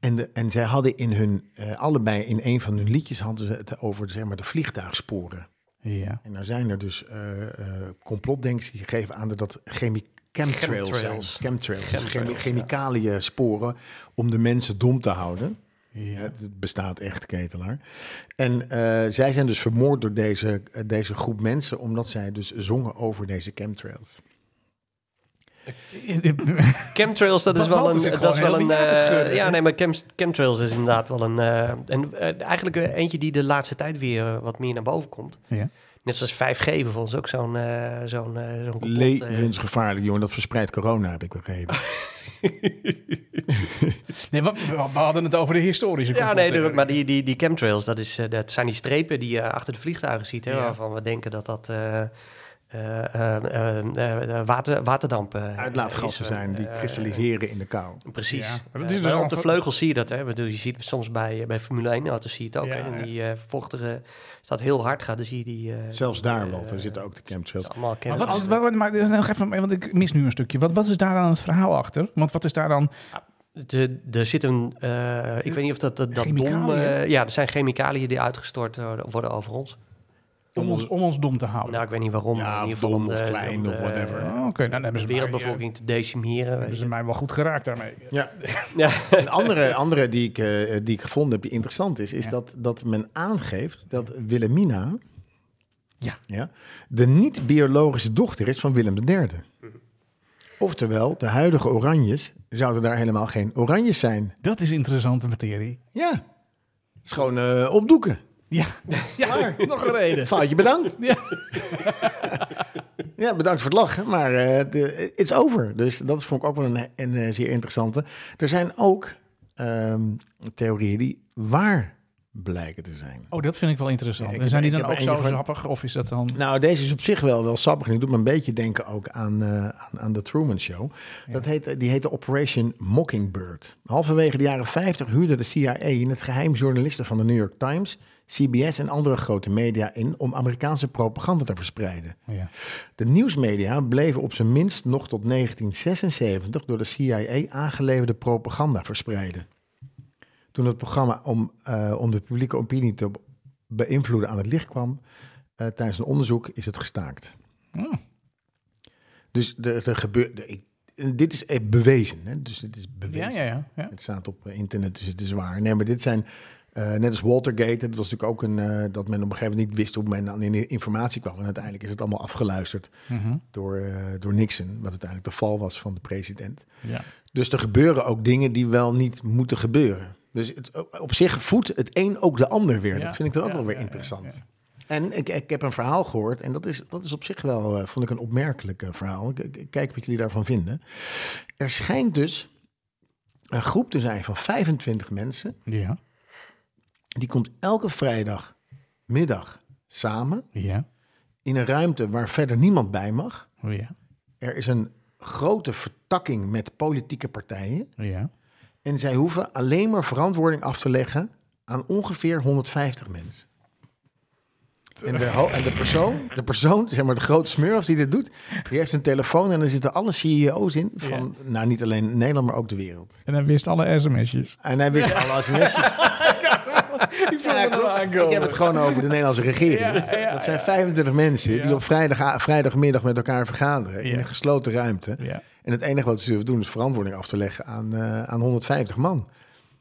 En, de, en zij hadden in hun, eh, allebei in een van hun liedjes hadden ze het over zeg maar, de vliegtuigsporen. ja. En nou zijn er dus eh eh, complotdenkers die geven aan dat dat chemie chemtrails, Chemtrails. zijn. Chemtrails, dus Chemtrails, chemi- chemicaliën sporen om de mensen dom te houden. Ja. Het, het bestaat echt, ketelaar. En eh, zij zijn dus vermoord door deze, eh, deze groep mensen... omdat zij dus zongen over deze chemtrails. Chemtrails, dat is Wat- wel wat een... is het dat is gewoon wel een helemaal niet aan te eh, scheuren, ja, hè? nee, maar chem, chemtrails is inderdaad wel een... eh, en eh, eigenlijk eh, eentje die de laatste tijd weer eh, wat meer naar boven komt. Ja. Net zoals 5G bijvoorbeeld, is ook zo'n eh, zo'n eh, zo'n complot. eh. Levensgevaarlijk, jongen. Dat verspreidt corona, heb ik begrepen. Nee, we, we- we hadden het over de historische ja, nee, complottheorie. de- maar die, die, die chemtrails, dat, is, eh, dat zijn die strepen die je achter de vliegtuigen ziet. Hè, Ja. Waarvan we denken dat dat... eh, eh, eh, eh, eh, water, waterdampen eh, Uitlaatgassen is, eh, zijn die eh, kristalliseren in de kou. Precies. Ja, maar dat Eh, is dus maar al op de voor- vleugels zie je dat. Hè? Ik bedoel, Je ziet het soms bij, eh, bij Formule 1 auto's zie je het ook. Ja, hè? En ja. die eh vochtige, als dat heel hard gaat, dan zie je die... eh, Zelfs daar, eh, Walter, zitten ook de het chemtrails. is allemaal Maar, kennis. wat is, maar, maar, nog even, want ik mis nu een stukje. Wat, wat is daar dan het verhaal achter? Want wat is daar dan... De- Er zit een... eh, ik weet niet of dat, dat, dat dom... Chemicaliën? eh, ja, er zijn chemicaliën die uitgestort eh, worden over ons. Om ons, om ons dom te houden. Dus Nou, ik weet niet waarom. maar Ja, in of ieder geval dom om of de- klein om de- of whatever. Oh, Oké, nou, dan hebben De ze mij, eh, wereldbevolking te decimeren. weet hebben je. ze mij wel goed geraakt daarmee. Ja. Ja. Een andere, andere die, ik, eh, die ik gevonden heb die interessant is, is Ja. dat, dat men aangeeft dat Wilhelmina Ja. Ja, de niet-biologische dochter is van Willem III. Oftewel, de huidige Oranjes zouden daar helemaal geen Oranjes zijn. Dat is interessante materie. Ja, het is gewoon eh, opdoeken. Ja, ja nog een reden. Foutje bedankt. Ja. Ja, bedankt voor het lachen, maar eh, de- it's over. Dus dat vond ik ook wel een, een eh, zeer interessante. Er zijn ook ehm, theorieën die waar blijken te zijn. Oh, dat vind ik wel interessant. Ja, ik en heb zijn die er- dan ik ook heb er zo eentje van- sappig? Of is dat dan... Nou, deze is op zich wel, wel sappig. En die doet me een beetje denken ook aan, eh, aan, aan de Truman Show. Dat heet, eh, die heette Operation Mockingbird. Halverwege de jaren 50 huurde de CIA in het geheim journalisten van de New York Times, CBS en andere grote media in om Amerikaanse propaganda te verspreiden. Ja. De nieuwsmedia bleven op zijn minst nog tot 1976 door de CIA aangeleverde propaganda verspreiden. Toen het programma om, eh, om de publieke opinie te beïnvloeden aan het licht kwam, eh, tijdens een onderzoek is het gestaakt. Oh. Dus er, er gebeurt. er- ik- dit is eh, bewezen. Hè? Dus dit is Ja, bewezen. ja, ja. ja. Het staat op eh, internet, dus het is waar. Nee, maar dit zijn. eh, net als Watergate, dat was natuurlijk ook een. eh, dat men op een gegeven moment niet wist hoe men aan die informatie kwam. En uiteindelijk is het allemaal afgeluisterd Mhm. door, eh, door Nixon, wat uiteindelijk de val was van de president. ja. Dus er gebeuren ook dingen die wel niet moeten gebeuren. Dus het, op zich voedt het een ook de ander weer. Ja, Dat vind ik dan ook ja, wel weer ja, ja, interessant. ja. En ik, ik heb een verhaal gehoord en dat is, dat is op zich wel, eh, vond ik een opmerkelijk eh, verhaal. Ik, ik- ik kijk wat jullie daarvan vinden. Er schijnt dus een groep te zijn van 25 mensen. Ja, Die komt elke vrijdagmiddag samen ja, in een ruimte waar verder niemand bij mag. ja, Er is een grote vertakking met politieke partijen. ja. En zij hoeven alleen maar verantwoording af te leggen aan ongeveer 150 mensen. En de, ho- en de persoon, de persoon, zeg maar de grote smurf die dit doet, die heeft een telefoon en er zitten alle CEO's in van, nou niet alleen Nederland, maar ook de wereld. En hij wist alle sms'jes. En hij wist alle sms'jes. Ik Ja, klopt. ik heb het gewoon over de Nederlandse regering. Ja, ja, dat zijn 25 mensen Ja. die op vrijdag, vrijdagmiddag met elkaar vergaderen Ja. in een gesloten ruimte. Ja. En het enige wat ze hoeven doen is verantwoording af te leggen aan, eh, aan 150 man.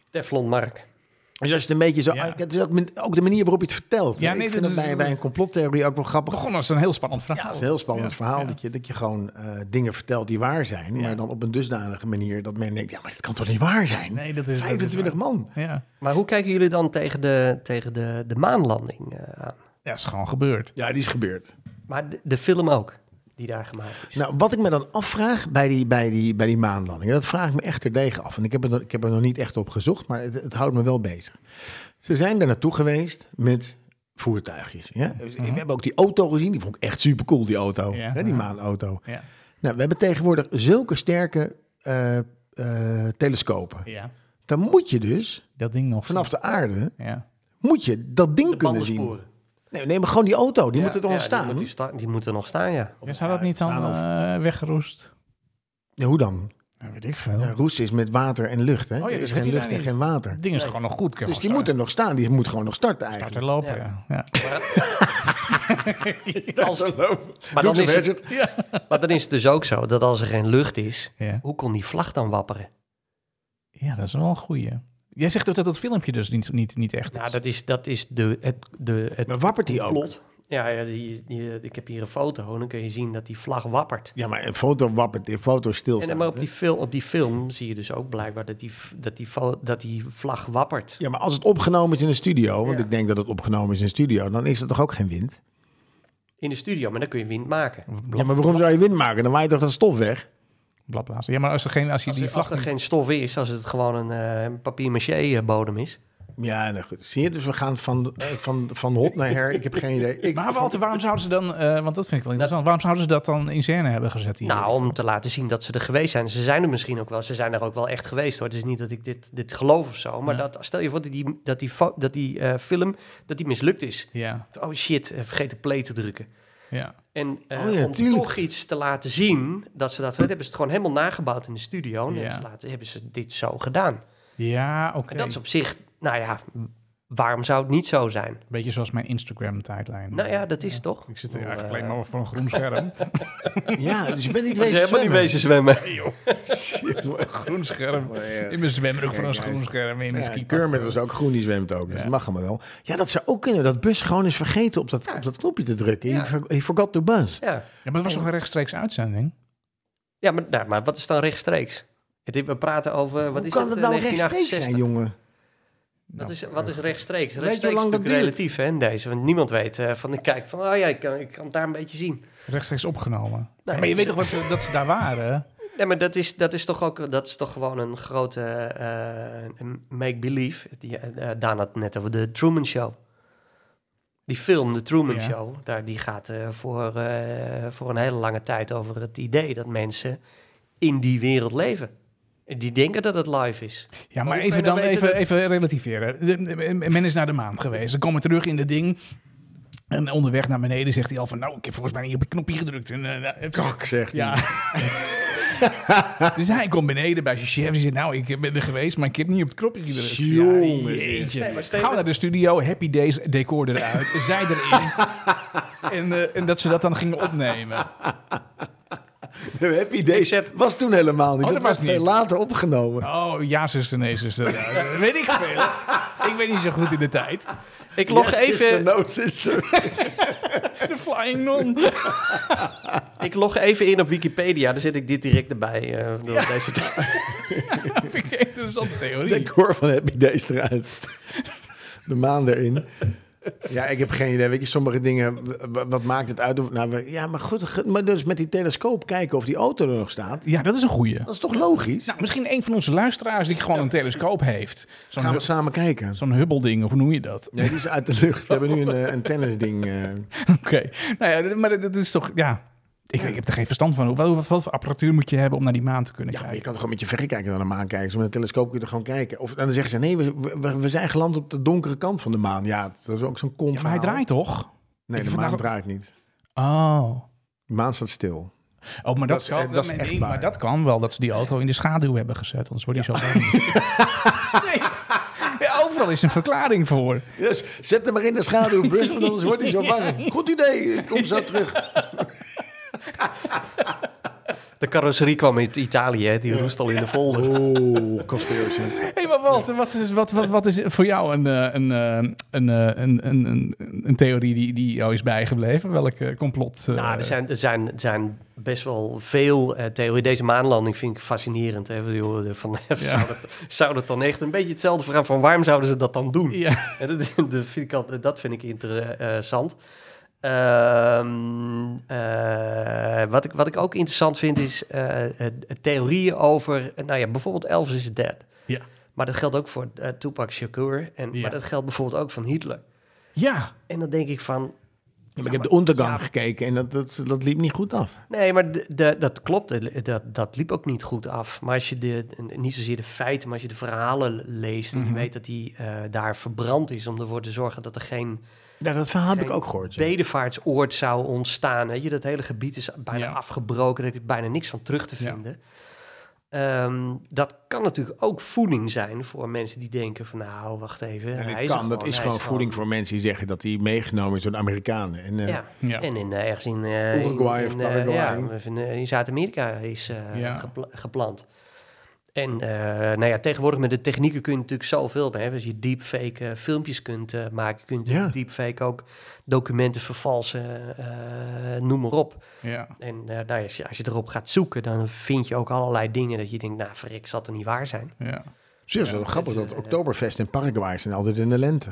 Teflon Mark. Dus als je het een beetje zo. Ja. Het is ook, min- ook de manier waarop je het vertelt. Ja, Ja, nee, ik vind dat het is- bij, bij een complottheorie ook wel grappig. begon als een heel spannend verhaal. Ja, het is een heel spannend Ja, verhaal. ja. Dat, je, dat je gewoon eh, dingen vertelt die waar zijn. Ja. Maar dan op een dusdanige manier dat men denkt: ja, maar dat kan toch niet waar zijn? Nee, dat is- dat is 25 waar. man. Ja. Maar hoe kijken jullie dan tegen de, tegen de, de maanlanding eh, aan? ja, is gewoon gebeurd. Ja, die is gebeurd. Maar de, de film ook, die daar gemaakt is. Nou, wat ik me dan afvraag bij die, bij die, bij die maanlanding, dat vraag ik me echt terdege af. En ik heb, er, ik heb er nog niet echt op gezocht, maar het, het houdt me wel bezig. Ze zijn daar naartoe geweest met voertuigjes. Ja? Mhm. Dus We hebben ook die auto gezien, die vond ik echt super cool, die auto. Ja, hè, die ja. maanauto. Ja. Nou, we hebben tegenwoordig zulke sterke eh, eh, telescopen. ja, Dan moet je dus dat ding nog. vanaf de aarde, Ja. moet je dat ding de kunnen zien. bandensporen. Nee, nee, maar gewoon die auto, die Ja, moet er toch ja, nog staan? Die moet, die sta- die moet er nog staan, ja. ja, zou dat niet dan staan of- eh, weggeroest? Ja, hoe dan? Ja, weet ik veel. Ja, roest is met water en lucht. Oh Hè? ja, er dat is heb geen je lucht daar en niet. geen water. Het ding is gewoon nog goed. Dus die moet er nog staan. Die moet gewoon nog starten Laten eigenlijk. lopen, ja. ja. Als- maar, Doe dan het, is Richard. het, maar dan is het dus ook zo dat als er geen lucht is, Ja. hoe kon die vlag dan wapperen? Ja, dat is wel een goeie. Jij zegt ook dat dat filmpje dus niet, niet, niet echt is. Nou, dat is, dat is de, het, de, het Maar wappert die ook? plot. Ja, ja die, die- eh, ik heb hier een foto en dan kun je zien dat die vlag wappert. Ja, maar een foto wappert, een foto En stilstaat. dan maar op hè? die, film, op die film zie je dus ook blijkbaar dat die, v- dat die, vo- dat die vlag wappert. Ja, maar als het opgenomen is in een studio, want Ja. ik denk dat het opgenomen is in een studio, dan is er toch ook geen wind? In de studio, maar dan kun je wind maken. Ja, maar waarom zou je wind maken? Dan waait toch dat stof weg? Bladblazen. Ja, maar als er geen, als je Als die er, vlag als er geen stof is, als het gewoon een eh papier-maché-bodem is. Ja, nou goed. Zie je, dus we gaan van, eh, van, van hot naar her. Ik heb geen idee. Ik, Maar Walter, waarom zouden ze dan, eh, want dat vind ik wel interessant, waarom zouden ze dat dan in scène hebben gezet hier? Nou, om te laten zien dat ze er geweest zijn. Ze zijn er misschien ook wel. Ze zijn er ook wel echt geweest hoor. Het is niet dat ik dit, dit geloof of zo. Maar Ja. dat, stel je voor dat die, dat die, fo- dat die eh, film dat die mislukt is. Ja, Oh shit, eh, vergeet de play te drukken. ja. En eh, Oh ja, om tuurlijk. toch iets te laten zien dat ze dat dat hebben ze het gewoon helemaal nagebouwd in de studio. En Ja. hebben, ze laten, hebben ze dit zo gedaan. Ja, oké. En dat is op zich, nou ja, waarom zou het niet zo zijn? Beetje zoals mijn Instagram-tijdlijn. Nou ja, dat is het toch? Ik zit er Ik bedoel, eigenlijk eh, alleen maar voor een groen scherm. ja, dus je bent niet Ik was wezen helemaal niet bezig zwemmen. groen scherm. bezig. In mijn zwemrok voor een Kijk, groen scherm. In mijn Ja, skipak. Kermit was ook groen, die zwemt ook. Dus eh, Ja. dat mag allemaal wel. Ja, dat zou ook kunnen. Dat bus gewoon is vergeten op dat, op dat knopje te drukken. Ja. He, for- he forgot to bus. Ja, Ja, maar het was toch een rechtstreeks uitzending? ja maar, nou, maar wat is dan rechtstreeks? Het, we praten over, wat Hoe is kan het, dat nou eh, rechtstreeks 1968? zijn, jongen? Nou, Dat is, wat is rechtstreeks? je hoe Rechtstreeks is lang dat natuurlijk relatief hè, in deze. Want niemand weet eh, van, ik kijk van, oh ja, ik kan, ik kan het daar een beetje zien. Rechtstreeks opgenomen. Ja, maar ja, je weet ze- toch wat, ze- dat ze daar waren? Nee, maar dat is, dat is toch ook dat is toch gewoon een grote eh, make-believe. Die, eh, Daan had het net over de Truman Show. Die film, de Truman Ja. Show, daar, die gaat eh, voor, eh, voor een hele lange tijd over het idee dat mensen in die wereld leven. En Die denken dat het live is. Ja, Maar maar hoe kan even, je dan nou weten even, dat- even relativeren. De- de- Men is naar de maan geweest. Ze komen terug in de ding. En onderweg naar beneden zegt hij al van... Nou, ik heb volgens mij niet op het knopje gedrukt. En, eh, eh, Kak, zegt hij. ja. dus hij komt beneden bij zijn chef. Die zegt, nou, ik ben er geweest, maar ik heb niet op het knopje gedrukt. Jongen, Ja, jeetje. Nee, maar Steven- Gaan we naar de studio, Happy Days, decor eruit, zij erin. en, eh, en dat ze dat dan gingen opnemen. Happy Days zet- was toen helemaal niet. dat Oh, dat was was veel niet. later opgenomen. Oh, ja zuster, nee zuster. Ja, dat weet ik veel. ik ben niet zo goed in de tijd. Ik log Yes, even. Sister, nou. no sister. De flying non. Ik log even in op Wikipedia, dan zit ik dit direct erbij. eh, door deze Dat vind ik een interessante theorie. Decor van Happy Days eruit. De maan erin. Ja, ik heb geen idee. Weet je, sommige dingen, w- w- wat maakt het uit? of- Nou, we- ja, maar goed, ge- maar dus met die telescoop kijken of die auto er nog staat. Ja, dat is een goeie. Dat is toch logisch? Nou, misschien een van onze luisteraars die gewoon een telescoop heeft. Zo'n Gaan we hub- samen kijken. zo'n Hubble-ding, of hoe noem je dat? Nee, die is uit de lucht. We hebben nu een, eh, een tennisding. eh. Oké. Nou ja, maar dat- dat is toch... Ja, ik, ik heb er geen verstand van. Hoe- Wat, wat, wat voor apparatuur moet je hebben om naar die maan te kunnen Ja, maar je kijken? kan toch gewoon met je verrekijker naar de maan kijken. Zo met een telescoop kun je er gewoon kijken. Of en dan zeggen ze, nee, we, we, we zijn geland op de donkere kant van de maan. Ja, dat is ook zo'n kont Ja, maar hij verhaal. draait toch? Nee, Ik de heb maan vandaag- draait niet. Oh. De maan staat stil. Oh, maar dat, Dat is- zou- eh, dat is maar echt nee, waar. Maar dat kan wel, dat ze die auto in de schaduw hebben gezet. Anders wordt hij zo warm. nee. Ja, overal is een verklaring voor. Dus zet hem maar in de schaduw, Bus, want anders wordt hij zo warm. Goed idee, ik kom zo terug. de carrosserie kwam uit Italië, hè, die roest al in de folder. Oeh, Oh, conspiracy. hey, maar Walter, wat is, wat, wat, wat is voor jou een, eh, een, eh, een, eh, een, een, een, een theorie die, die jou is bijgebleven? Welk eh, complot? eh, Nou, er zijn, er, zijn, er zijn best wel veel eh, theorieën. Deze maanlanding vind ik fascinerend. Hè? Joh, de- Van, zou, dat, zou dat dan echt een beetje hetzelfde vraag van waarom zouden ze dat dan doen? Ja, Ja, dat, dat vind ik, altijd- dat vind ik eh, interessant. Ehm, eh, wat, ik, wat ik ook interessant vind is eh, eh, theorieën over, eh, nou ja, bijvoorbeeld Elvis is dead. Ja. Maar dat geldt ook voor eh, Tupac Shakur en Ja. maar dat geldt bijvoorbeeld ook van Hitler. ja. En dan denk ik van, ik heb de ondergang gekeken en dat, dat, dat liep niet goed af. Nee, maar de, de- dat klopt. De- Dat, dat liep ook niet goed af. Maar als je de, en niet zozeer de feiten, maar als je de verhalen leest... Mhm. en je weet dat hij eh, daar verbrand is... om ervoor te zorgen dat er geen Ja, dat verhaal heb ik Geen ook gehoord. ja. bedevaartsoord zou ontstaan. Weet je, dat hele gebied is bijna Ja. afgebroken. Er is bijna niks van terug te Ja. vinden. Ehm, dat kan natuurlijk ook voeding zijn voor mensen die denken van... nou, wacht even, En hij dit is er kan, dat is hij gewoon voeding gewoon- voor mensen die zeggen dat hij meegenomen is door de Amerikanen. En, eh, Ja. Ja. En in, eh, ergens in... eh, in- Uruguay in, of eh, Paraguay. ja, of in, eh, in Zuid-Amerika is eh, Ja. gepla- geplant. En eh, nou ja, tegenwoordig met de technieken kun je natuurlijk zoveel mee. hè. Als je deepfake eh, filmpjes kunt eh, maken, kun je natuurlijk Ja. deepfake ook documenten vervalsen, eh, noem maar op. ja. En eh, nou ja, als, je, als je erop gaat zoeken, dan vind je ook allerlei dingen dat je denkt, nou verrek, zal het niet waar zijn? ja. Zie je, het is wel grappig dat Oktoberfest in Paraguay zijn altijd in de lente.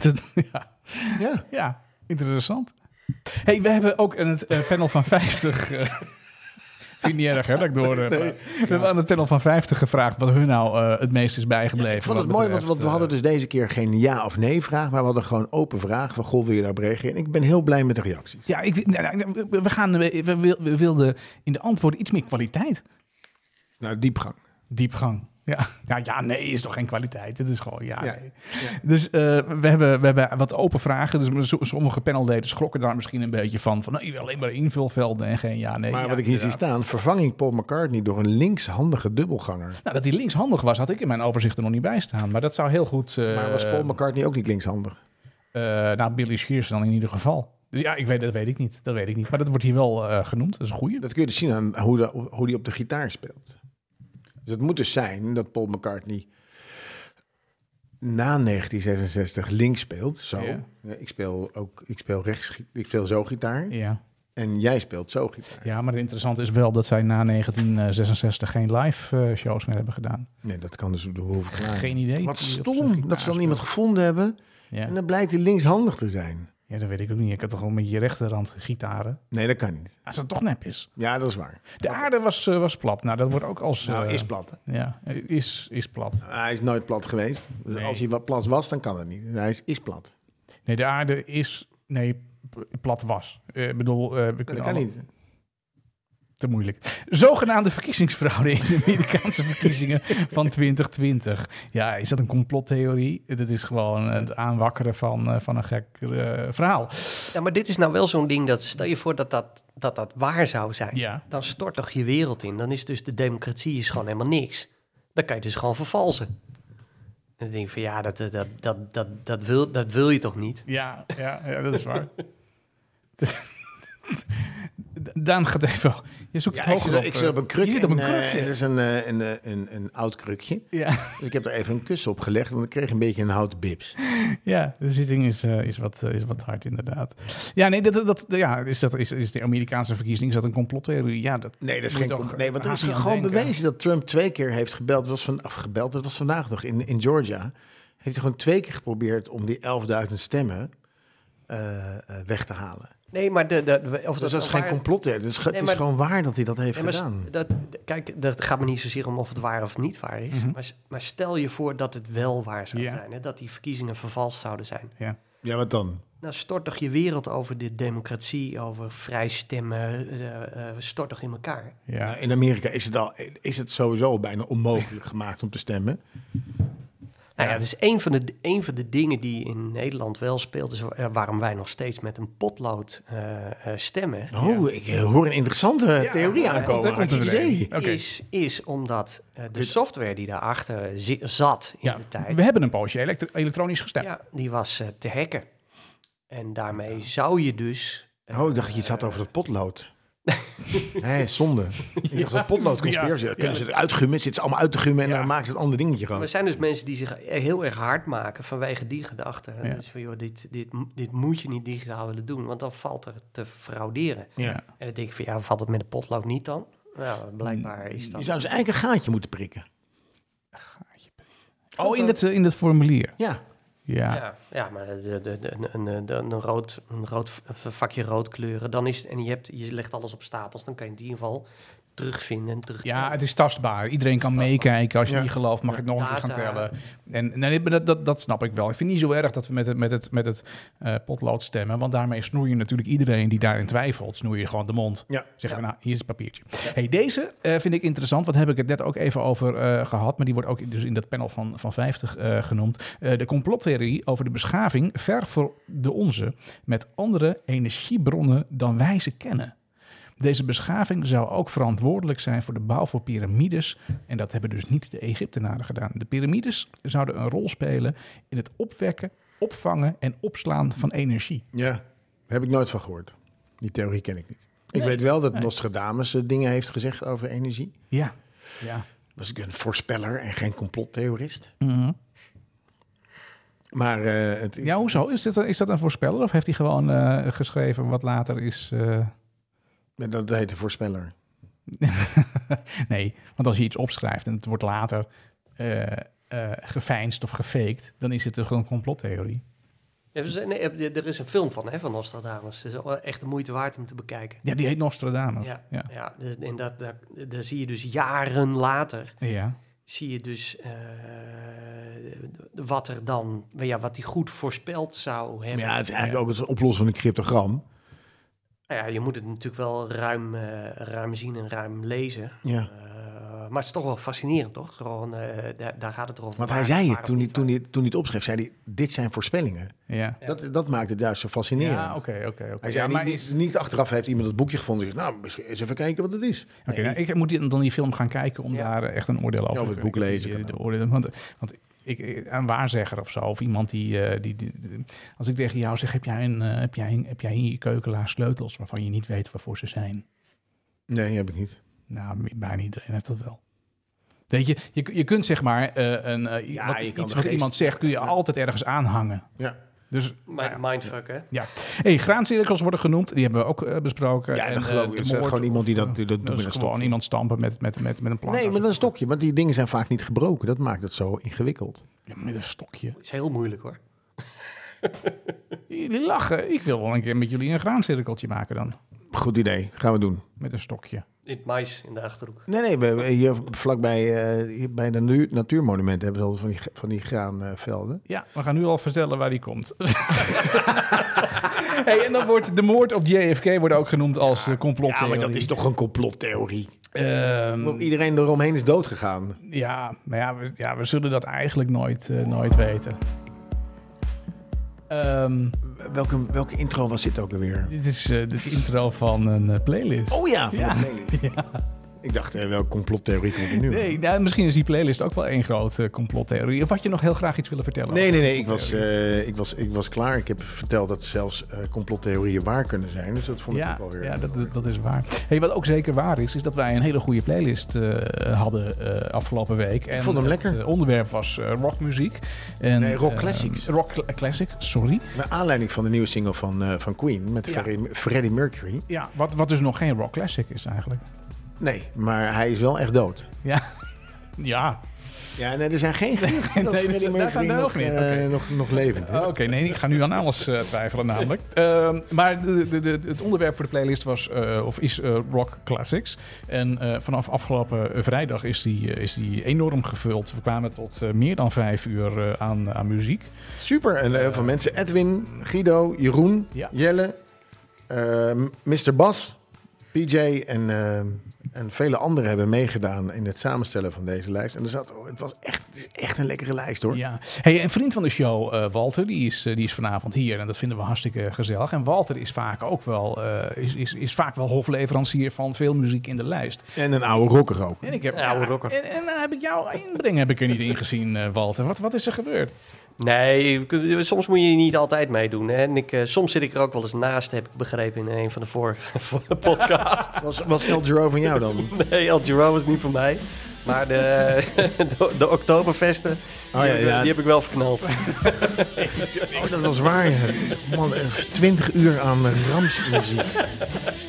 Dat, ja. Ja, Ja, interessant. hey, we hebben ook een het eh, panel van 50. eh, Vind je niet erg, hè, dat ik door... eh, praat. We hebben aan het panel van 50 gevraagd wat hun nou eh, het meest is bijgebleven. ik vond het wat mooi, want betreft, want we eh, hadden dus deze keer geen ja of nee vraag, maar we hadden gewoon open vraag van, goh, wil je daarop reageren? En ik ben heel blij met de reacties. Ja, ik, nou, nou, we, we gaan, we, we wil- we wilden in de antwoorden iets meer kwaliteit. Nou, diepgang. Diepgang. Ja, ja, ja nee, is toch geen kwaliteit. Het is gewoon ja. Ja, nee. Dus eh, we, hebben, we hebben wat open vragen. Dus so- sommige panelleden schrokken daar misschien een beetje van. Van nee, alleen maar invulvelden en geen ja, nee. Maar ja, wat ik hier zie inderdaad. staan, vervanging Paul McCartney door een linkshandige dubbelganger. Nou, dat hij linkshandig was, had ik in mijn overzicht er nog niet bij staan. Maar dat zou heel goed... eh, Maar was Paul McCartney ook niet linkshandig? eh, nou, Billy Shears dan in ieder geval. Dus Ja, ik weet, dat weet ik niet. Dat weet ik niet. Maar dat wordt hier wel eh, genoemd. Dat is een goeie. Dat kun je dus zien aan hoe, de- hoe die op de gitaar speelt. Dus het moet dus zijn dat Paul McCartney na 1966 links speelt, zo. Ja. Ja, Ik speel ook, ik speel rechts, gi- ik speel zo gitaar Ja. en jij speelt zo gitaar. ja, maar het interessante is wel dat zij na 1966 geen live eh, shows meer hebben gedaan. Nee, dat kan dus op de hoeven klaar. Geen idee. Wat Die op zijn stom gitaar dat ze dan speelt. iemand gevonden hebben Ja. en dan blijkt hij linkshandig te zijn. Ja, dat weet ik ook niet. Ik had toch wel met je rechterhand gitaren. Nee, dat kan niet. Als dat toch nep is. Ja, dat is waar. De aarde was, eh, was plat. Nou, dat wordt ook als... Nou, eh, is plat. hè? Ja, is, is plat. Hij is nooit plat geweest. Dus Nee. Als hij wat plat was, dan kan het niet. Hij is, is plat. Nee, de aarde is... Nee, p- plat was. Eh, Ik bedoel... eh, we Dat kunnen kan alle- niet. Te moeilijk. Zogenaamde verkiezingsfraude in de Amerikaanse verkiezingen van 2020. Ja, is dat een complottheorie? Dat is gewoon eh, het aanwakkeren van, eh, van een gek eh, verhaal. Ja, maar dit is nou wel zo'n ding dat stel je voor dat dat, dat, dat waar zou zijn. Ja. Dan stort toch je wereld in. Dan is dus de democratie is gewoon helemaal niks. Dan kan je dus gewoon vervalsen. En dan denk ik van ja, dat, dat, dat, dat, dat, wil, dat wil je toch niet? Ja, ja, ja dat is waar. Daan gaat even... Je zoekt Ja, het ik zit, hoger op. ik zit op een krukje. Je zit op een en, eh, krukje. en dat is een, eh, een, eh, een, een oud krukje. Ja, Dus ik heb er even een kus op gelegd, want ik kreeg een beetje een houten bips. ja, de zitting is, eh, is, wat, eh, is wat hard inderdaad. Ja, nee, dat, dat, ja, is, dat, is, is de Amerikaanse verkiezing is dat een complottheorie? Ja, dat Nee, dat is moet geen je toch eh, compliment. Nee, want er is haast niet gewoon aan denken. bewezen dat Trump twee keer heeft gebeld. Dat was van, of gebeld, dat was vandaag nog in, in Georgia. Heeft hij gewoon twee keer geprobeerd om die 11.000 stemmen eh, eh, weg te halen. Nee, maar de, de, of Dus dat is geen waar- complot. hè. Dat is, ge- Nee, het maar- is gewoon waar dat hij dat heeft Nee, maar gedaan. st- dat, kijk, dat gaat me niet zozeer om of het waar of niet waar is. Maar, s- maar stel je voor dat het wel waar zou Mhm. Ja. zijn. Hè? Dat die verkiezingen vervalst zouden zijn. Ja. Ja, wat dan? Nou, stort toch je wereld over de democratie, over vrij stemmen, eh, eh, stort toch in elkaar. Ja. Nou, In Amerika is het, al, is het sowieso bijna onmogelijk gemaakt om te stemmen. Nou ja, dat is een van, de, een van de dingen die in Nederland wel speelt, is wa- eh, waarom wij nog steeds met een potlood eh, eh, stemmen. Oh, ik eh, hoor een interessante eh, theorie ja, aankomen. daar komt er Hartstikke weer een. idee. Oké. Is, is omdat eh, de software die daarachter zi- zat in Ja, de tijd, we hebben een poosje elektro- elektronisch gestemd. ja, die was eh, te hacken. En daarmee zou je dus Oh, ik dacht dat je iets had over het potlood. Hé, zonde. Ik dacht dat potlood conspiratie. Ja. Kunnen ze het uitgummen? Zitten ze allemaal uit te gummen en Ja. dan maken ze het ander dingetje Maar gewoon. er zijn dus mensen die zich heel erg hard maken vanwege die gedachte. Ja. Dus van, joh, dit, dit, dit moet je niet digitaal willen doen, want dan valt er te frauderen. Ja. En dan denk ik van, ja, valt het met een potlood niet dan? Nou, blijkbaar is Je dat... zou zijn eigen gaatje moeten prikken. Oh, in het, eh, in het formulier. Ja. Ja. Ja, ja maar de, de, de, een- een, de- een, rood, een rood een vakje rood kleuren, dan is het, en je, hebt, je legt alles op stapels, dan kan je het in ieder geval terugvinden en terug. Ja, het is tastbaar. Iedereen kan tastbaar. meekijken. Als je Ja. niet gelooft, mag ik nog een keer gaan Data. tellen. En nee, maar dat, dat, dat snap ik wel. Ik vind het niet zo erg dat we met het, met het, met het eh, potlood stemmen. Want daarmee snoei je natuurlijk iedereen die daarin twijfelt. Snoei je gewoon de mond. Ja. Zeggen we, nou, hier is het papiertje. Hey, deze eh, vind ik interessant, want daar heb ik het net ook even over eh, gehad. Maar die wordt ook dus in dat panel van, van 50 eh, genoemd. Eh, de complottheorie over de beschaving ver voor de onze. Met andere energiebronnen dan wij ze kennen. Deze beschaving zou ook verantwoordelijk zijn voor de bouw van piramides. En dat hebben dus niet de Egyptenaren gedaan. De piramides zouden een rol spelen in het opwekken, opvangen en opslaan van energie. Ja. Daar heb ik nooit van gehoord. Die theorie ken ik niet. Ik weet wel dat Nostradamus eh, dingen heeft gezegd over energie. Ja. ja. Was ik een voorspeller en geen complottheorist. Mhm. Maar eh, het, Ja, hoezo? Is, dit, is dat een voorspeller of heeft hij gewoon eh, geschreven wat later is... eh, dat heet een voorspeller. nee, want als je iets opschrijft en het wordt later eh eh, geveinsd of gefaked, dan is het toch een complottheorie. Ja, dus, eh, nee, eh, er is een film van, hè, van Nostradamus. Het is wel echt de moeite waard om te bekijken. Ja, die heet Nostradamus. Ja, ja. ja. dus, en dat, daar, daar zie je dus jaren later ja. zie je dus eh, wat er dan, ja, wat hij goed voorspeld zou hebben. Ja, het is eigenlijk ook het oplossen van een cryptogram. Nou ja, je moet het natuurlijk wel ruim, eh, ruim zien en ruim lezen. Ja. Eh, maar het is toch wel fascinerend, toch? Gewoon, eh, daar, daar gaat het erover. Want Waar- hij zei waar het toen hij, niet toen, hij, toen hij het opschreef, zei hij, dit zijn voorspellingen. ja. Ja. Dat, dat maakt het juist zo fascinerend. Ja, oké, oké, oké. Hij zei Ja, niet- maar niet, niet achteraf heeft iemand het boekje gevonden. en zegt, nou, misschien eens even kijken wat het is. Oké, Nee, nou, ik moet die- dan die film gaan kijken om Ja. daar eh, echt een oordeel over of te het boek kunnen- lezen die- eh, kan de ook. oordeel- want want ik- ik, een waarzegger of zo, of iemand die, eh, die, die- die- Als ik tegen jou zeg, heb jij, een, eh, heb, jij, een- heb jij in je keukenlaar sleutels waarvan je niet weet waarvoor ze zijn? nee, heb ik niet. Nou, bijna iedereen heeft dat wel. Weet je, je, je kunt zeg maar eh, een, eh, Ja, wat, je kan iets de wat geest- iemand zegt, kun je altijd ergens aanhangen. Ja, Dus Maar mindfuck, hè? ja. Hey, graancirkels worden genoemd, die hebben we ook eh, besproken. ja En, dat geloof eh, ik. de Het is moord- gewoon iemand die dat, die dat doet dat met is een gewoon stokje. iemand stampen met, met, met, met een plank. Nee, met een stokje. Want die dingen zijn vaak niet gebroken. Dat maakt het zo ingewikkeld. Ja, met een stokje. Is heel moeilijk, hoor. Jullie lachen. Ik wil wel een keer met jullie een graancirkeltje maken dan. Goed idee, gaan we doen. Met een stokje. In het mais in de achterhoek. Nee, nee, we hebben hier vlakbij eh, hier bij de nu- natuurmonumenten hebben ze altijd van die, ge- van die graanvelden. Ja, we gaan nu al vertellen waar die komt. hey, en dan wordt de moord op JFK wordt ook genoemd als eh, Ja, complottheorie. maar dat is toch een complottheorie. Ehm, Iedereen eromheen is doodgegaan. ja, maar ja we, ja, we zullen dat eigenlijk nooit, eh, nooit weten. Ehm, Welke, welke intro was dit ook alweer? dit is eh de intro van een eh, playlist. Oh ja, van Ja. de playlist. Ik dacht, eh, welke complottheorie komt er nu? Nee, nou, misschien is die playlist ook wel één grote eh, complottheorie. Of had je nog heel graag iets willen vertellen? Nee, nee, nee. Ik was, eh, ik, was, ik was klaar. Ik heb verteld dat zelfs eh, complottheorieën waar kunnen zijn. Dus dat vond ik Ja, ook wel weer. ja dat, dat- dat is waar. Hey, wat ook zeker waar is, is dat wij een hele goede playlist eh, hadden eh, afgelopen week. En vond hem het lekker. eh, onderwerp was eh, rockmuziek. En, Nee, rock eh, classics. rock cla- classic, sorry. Naar aanleiding van de nieuwe single van, eh, van Queen met Ja. Freddie, Freddie Mercury. Ja, wat, wat dus nog geen rock classic is eigenlijk. Nee, maar hij is wel echt dood. Ja, ja. Ja, nee, dus er zijn geen geruchten dat nee, Freddie daar Mercury zijn er nog, ook niet. eh, Oké. nog, nog levend is. Oh, Oké, nee, ik ga nu aan alles eh, twijfelen namelijk. Ehm, maar de, de, de, het onderwerp voor de playlist was, eh, of is eh, rock classics. En eh, vanaf afgelopen vrijdag is die, eh, is die enorm gevuld. We kwamen tot eh, meer dan vijf uur eh, aan, aan muziek. Super. En eh, van mensen Edwin, Guido, Jeroen, Ja. Jelle, eh, Mr. Bas, PJ en, eh, en vele anderen hebben meegedaan in het samenstellen van deze lijst. En er zat, oh, het, was echt, het is echt een lekkere lijst hoor. Ja. Hey, een vriend van de show, eh, Walter, die is, eh, die is vanavond hier. En dat vinden we hartstikke gezellig. En Walter is vaak ook wel, eh, is, is, is vaak wel hofleverancier van veel muziek in de lijst. En een oude rocker ook. En ik heb, Ja, oude rocker. En, en dan heb ik jouw inbreng heb ik er niet in gezien, eh, Walter. Wat, wat is er gebeurd? Nee, ik- soms moet je niet altijd meedoen. Hè? En ik, eh, soms zit ik er ook wel eens naast, heb ik begrepen in een van de vorige podcasts. Was, was El Giro van jou dan? Nee, El Giro is niet voor mij. Maar de, de, de Oktoberfesten, Oh, ja, die, heb ik- ja. die heb ik wel verknald. Oh, dat was waar. ja. Man, eh, 20 uur aan ramsmuziek.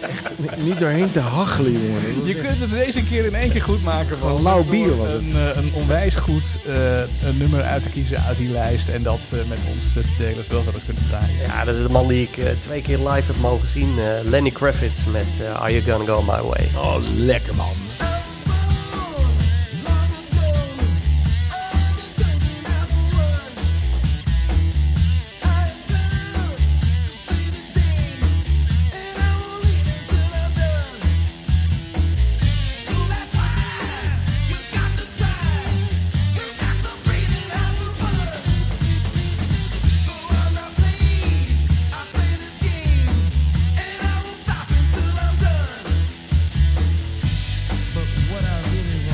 Echt ni- niet doorheen te hachelen, jongen. Dat was Je echt- kunt het deze keer in één keer goed maken. Van Een lauw bier was het. Een, eh, een onwijs goed eh, een nummer uit te kiezen uit die lijst. En dat eh, met ons eh, te delen, zodat we dat kunnen draaien. Ja, dat is de man die ik eh, twee keer live heb mogen zien. eh, Lenny Kravitz met eh, Are You Gonna Go My Way. Oh, lekker man. But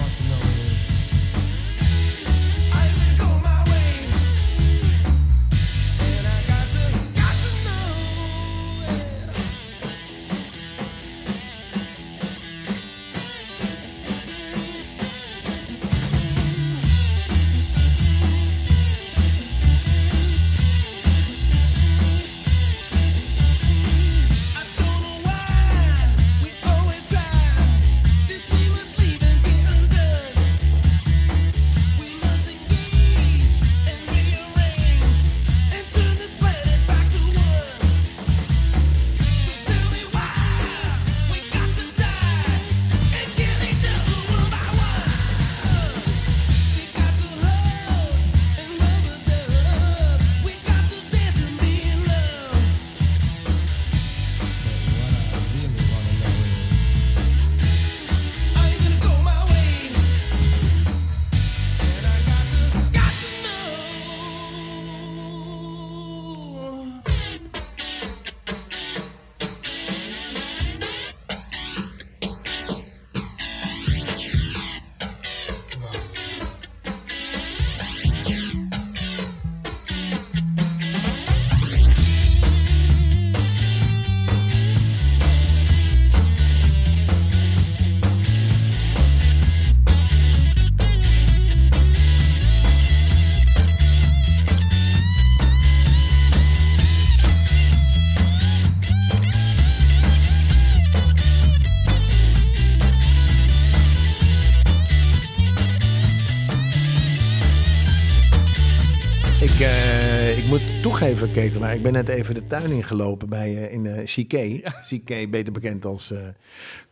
eh, moet toegeven, Ketelaar. Ik ben net even de tuin ingelopen bij, eh, in eh CK. CK, beter bekend als eh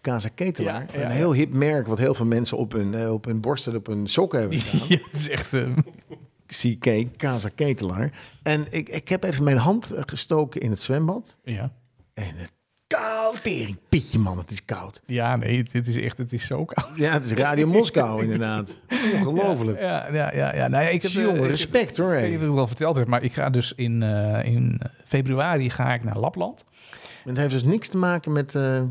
Casa Ketelaar. Ja, ja, een ja. heel hip merk wat heel veel mensen op hun, eh, op hun borst en op hun sokken hebben staan. Ja, het is echt... eh, CK, Casa Ketelaar. En ik, ik heb even mijn hand eh, gestoken in het zwembad. ja. En het koud. Tering, pietje man, het is koud. ja, nee, dit is echt... Het is zo koud. Ja, het is Radio Moskou inderdaad. Ongelooflijk. Ja, ja, ja. ja. Nou, ja, ik heb, eh, Jongen, ik- respect hoor. Ik hé. weet niet of ik het al verteld heb, maar ik ga dus in, eh, in februari ga ik naar Lapland. En het heeft dus niks te maken met... eh Uh-huh.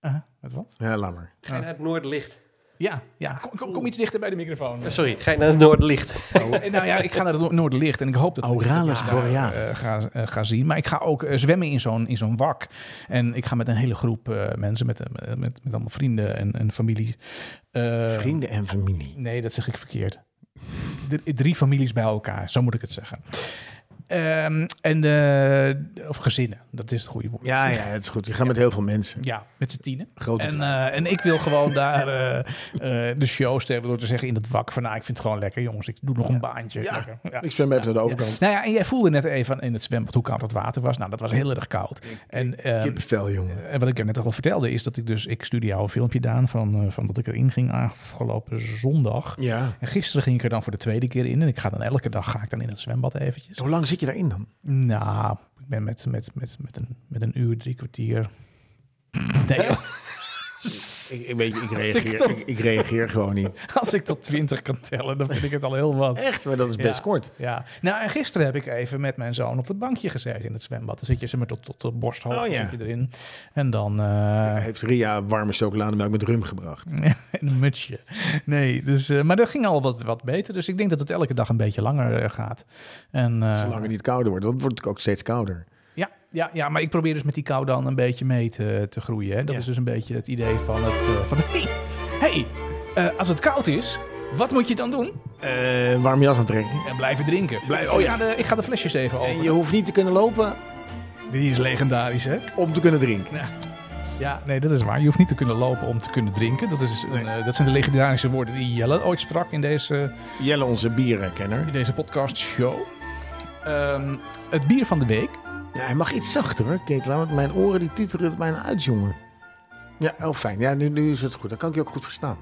Eh, met wat? ja, laat maar. Ga je naar het Noordlicht? Ja, ja. Kom, kom, kom iets dichter bij de microfoon. Eh, sorry, ga je naar het Noordlicht? Eh, nou ja, ik ga naar het Noor- Noorderlicht en ik hoop dat Oh. Auralis ik borealis. eh, ga, eh, ga zien. Maar ik ga ook eh, zwemmen in zo'n, in zo'n wak. En ik ga met een hele groep eh, mensen, met, eh, met, met allemaal vrienden en, en familie. eh, Vrienden en familie. Nee, dat zeg ik verkeerd. D- drie families bij elkaar, zo moet ik het zeggen. Ehm, en, eh, of gezinnen, dat is het goede woord. Ja, ja, het is goed. Je gaat met heel veel mensen. Ja, met z'n tienen. Grote En, kleine. eh, en ik wil gewoon daar eh, eh, de shows te hebben door te zeggen in het wak van... nou, ik vind het gewoon lekker, jongens. Ik doe nog een baantje. Ja, Lekker. Ja. Ik zwem even naar de overkant. Nou ja, en jij voelde net even in het zwembad hoe koud dat water was. Nou, dat was heel erg koud. En, ehm, Kippenvel, jongen. en wat ik er net al vertelde is dat ik dus... Ik stuurde jou een filmpje, Daan, van, eh, van dat ik erin ging afgelopen zondag. Ja. En gisteren ging ik er dan voor de tweede keer in. En ik ga dan elke dag ga ik dan in het zwembad eventjes. Hoe lang zit je daarin dan? Nou, ik ben met, met, met, met, een, met een uur, drie kwartier... Nee, joh. Ik, ik, weet, je, ik, ik reageer, dat- ik, ik reageer gewoon niet. Als ik tot 20 kan tellen, dan vind ik het al heel wat. Echt, maar dat is best Ja. kort. Ja. Nou, en gisteren heb ik even met mijn zoon op het bankje gezeten in het zwembad. Dan zit je ze maar tot, tot de borsthoogte Oh, ja. zit je erin. En dan eh, Heeft Ria warme chocolademelk met rum gebracht? en een mutsje. Nee, dus, eh, maar dat ging al wat, wat beter. Dus ik denk dat het elke dag een beetje langer eh, gaat. En, eh, Zolang het niet kouder wordt, want het wordt natuurlijk ook steeds kouder. ja, ja, ja, maar ik probeer dus met die kou dan een beetje mee te, te groeien. Hè. Dat Ja. is dus een beetje het idee van het... eh, van, hey, hey, eh, als het koud is, wat moet je dan doen? Eh warm jas aantrekken. En blijven drinken. Blijf- Dus oh ik, ja. ga de, ik ga de flesjes even openen. En Eh, je hoeft niet te kunnen lopen Die is legendarisch, hè? om te kunnen drinken. Ja, nee, dat is waar. Je hoeft niet te kunnen lopen om te kunnen drinken. Dat, is een, eh, dat zijn de legendarische woorden die Jelle ooit sprak in deze, Jelle, onze bierenkenner. in deze podcast-show. Ehm, het bier van de week. Ja, hij mag iets zachter hoor, Ketelaar, want mijn oren die titeren het bijna uit, jongen. Ja, heel fijn. Ja, nu, nu is het goed. Dan kan ik je ook goed verstaan.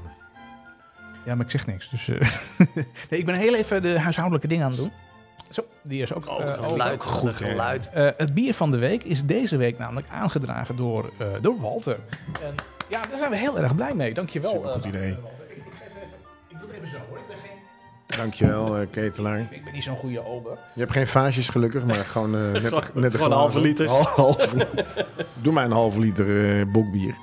Ja, maar ik zeg niks. Dus, eh, nee, ik ben heel even de huishoudelijke dingen aan het doen. Zo, die is ook Oh, eh, dat over. Oh, geluid, goed, dat hè. geluid. Eh, het bier van de week is deze week namelijk aangedragen door, eh, door Walter. En ja, daar zijn we heel erg blij mee. Dankjewel. Super eh, goed idee. Walter. Ik, ik, geef even- ik doe het even zo hoor. Ik ben, geen, Dankjewel, eh Ketelaar. ik ben niet zo'n goede ober. Je hebt geen vaasjes gelukkig, maar gewoon eh, net, net een glazen. halve liter. Hal- halve- Doe maar een halve liter eh bokbier.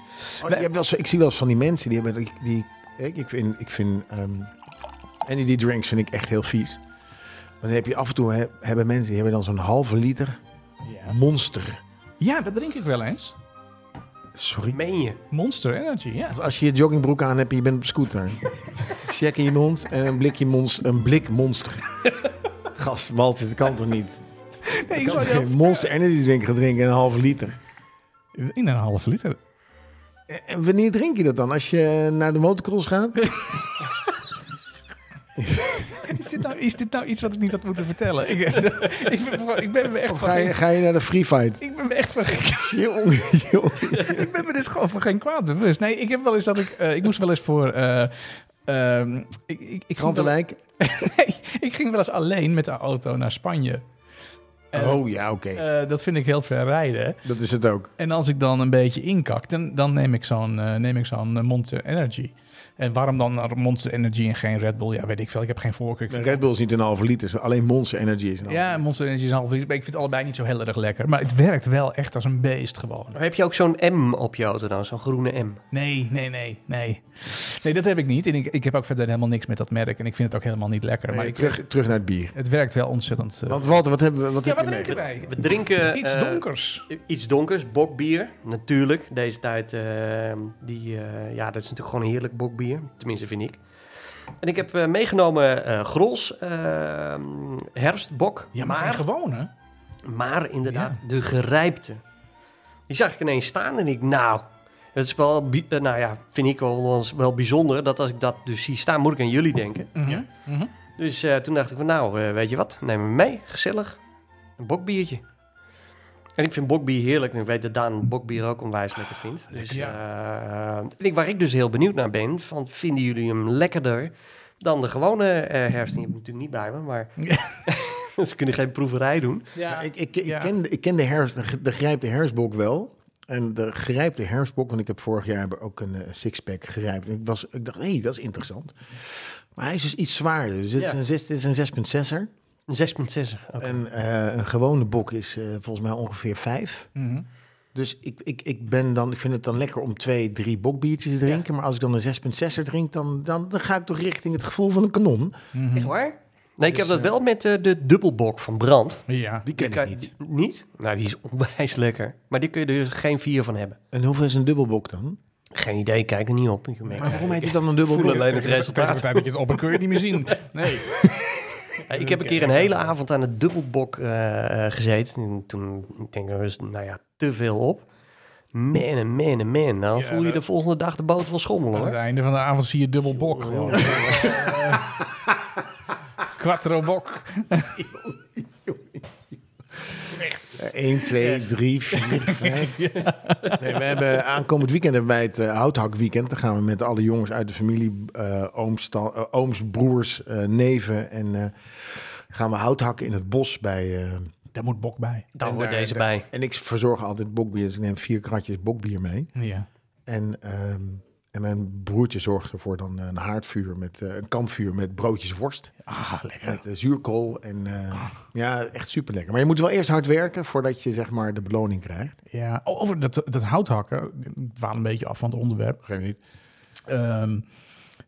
Oh, je hebt wel zo- ik zie wel eens van die mensen die hebben... Die, die, ik, ik vind... Ik vind ehm, energy drinks vind ik echt heel vies. Want dan heb je af en toe hè, hebben mensen die hebben dan zo'n halve liter Ja. monster. ja, dat drink ik wel eens. Sorry. Meen je? Monster Energy, ja. Als je je joggingbroek aan hebt en je bent op scooter. Check in je mond en een blikje monst, een blik monster. Gast, Walter, dat kan toch niet? Nee, Ik kan toch geen monster energy drink gaan drinken en een halve liter? In een half liter. En wanneer drink je dat dan? Als je naar de motocross gaat? Is dit, nou, is dit nou iets wat ik niet had moeten vertellen? Ik, ik, ben, van- ik ben me echt Of van... ga je, geen- ga je naar de free fight? Ik ben me echt van... geen- Jongen, jongen. Ik ben me dus gewoon van geen kwaad bewust. Nee, ik heb wel eens dat ik... eh, ik moest wel eens voor... eh, ehm, ik, ik, ik, ging wel, Krantenwijk? nee, ik ging wel eens alleen met de auto naar Spanje. En, Oh ja, oké. eh, dat vind ik heel ver rijden. Dat is het ook. En als ik dan een beetje inkak, dan, dan neem ik zo'n eh, neem ik zo'n eh, Monster Energy. En waarom dan een Monster Energy en geen Red Bull? Ja, weet ik veel. Ik heb geen voorkeur. Ik Een vind- Red Bull is niet een halve liter. is Alleen Monster Energy is een halve ja, Monster Energy is een half liter. maar Ik vind het allebei niet zo heel erg lekker. Maar het werkt wel echt als een beest gewoon. Maar heb je ook zo'n M op je auto dan? Zo'n groene M? Nee, nee, nee, nee. Nee, dat heb ik niet. En ik, ik heb ook verder helemaal niks met dat merk. En ik vind het ook helemaal niet lekker. liter. Maar Nee, ik, terug, terug naar het bier. het werkt wel ontzettend. eh. Want Walter, wat hebben we? Wat ja, heb wat je mee? drinken wij? We drinken... Iets eh, donkers. Iets donkers, bokbier, natuurlijk. Deze tijd, eh, die, eh, ja, dat is natuurlijk gewoon een heerlijk bokbier. Tenminste, vind ik. En ik heb eh, meegenomen eh Grols, eh, herfstbok. Ja, maar, geen gewone. Maar inderdaad, de gerijpte. Die zag ik ineens staan en ik, nou, dat is wel, bi- eh, nou ja, vind ik wel, wel eens wel bijzonder dat als ik dat dus zie staan, moet ik aan jullie denken. Mhm. Mhm. Dus eh, toen dacht ik van nou, eh, weet je wat, neem hem mee, gezellig. Een bokbiertje. En ik vind bokbier heerlijk en ik weet dat Daan bokbier ook onwijs lekker vindt. Dus, lekker. eh, en ik, waar ik dus heel benieuwd naar ben, van, vinden jullie hem lekkerder dan de gewone eh herfst? Die heb ik natuurlijk niet bij me, maar ze kunnen geen proeverij doen. Ja, ik, ik, ik, ja. ken, de- ik ken de, herfst, de grijpte herfstbok wel. En de grijpte herfstbok, want ik heb vorig jaar ook een eh, sixpack grijpt. En ik, was, ik dacht, hé, hey, dat is interessant. Maar hij is dus iets zwaarder. Dus dit Ja. is een zes- dit is een 6.6er. Een 6,6. Oké. En eh, een gewone bok is eh, volgens mij ongeveer 5. Mhm. Dus ik, ik, ik, ben dan, ik vind het dan lekker om twee, drie bokbiertjes te drinken. Maar als ik dan een 6.6er drink, dan, dan, dan ga ik toch richting het gevoel van een kanon. Echt waar? Hmm. Nee, ik heb dat wel met eh, de dubbelbok van Brand. ja. Die ken Die ik kan- niet. die- Niet? Nou, die is onwijs lekker. Maar die kun je er dus geen vier van hebben. En hoeveel is een dubbelbok dan? Geen idee, kijk er niet op. Ik merk- Maar waarom heet het dan een voel dubbelbok? alleen het resultaat. tijd dat je het op een kun je het niet meer zien. Nee. Eh, Ik heb een keer een hele avond aan het dubbelbok eh, eh, gezeten. En toen ik denk ik, er is, nou ja, te veel op. Man, en man, en man. Nou, Ja, voel je dat- de volgende dag de boot wel schommelen, Oh, Aan het hoor. Oh, einde van de avond zie je dubbel bok. gewoon. Eh, Quattro bok. 1, 2, 3, 4, 5. Nee, we hebben aankomend weekend hebben wij het eh, houthakweekend. Dan gaan we met alle jongens uit de familie, eh, ooms, ta- eh, ooms, broers, eh, neven. En eh, gaan we houthakken in het bos bij... eh, Daar moet bok Oh, bij. Daar en hoort daar- deze daar- bij. En ik verzorg altijd bokbier, dus ik neem vier kratjes bokbier mee. Ja. En, ehm, en mijn broertje zorgt ervoor dan eh, een haardvuur, met, eh, een kampvuur met broodjes worst. Ah, lekker. Met eh, zuurkool en eh, ja, echt super lekker. Maar je moet wel eerst hard werken voordat je zeg maar de beloning krijgt. Ja. Oh, over dat, dat houthakken. Ik dwaal een beetje af van het onderwerp. Geen niet. Ehm,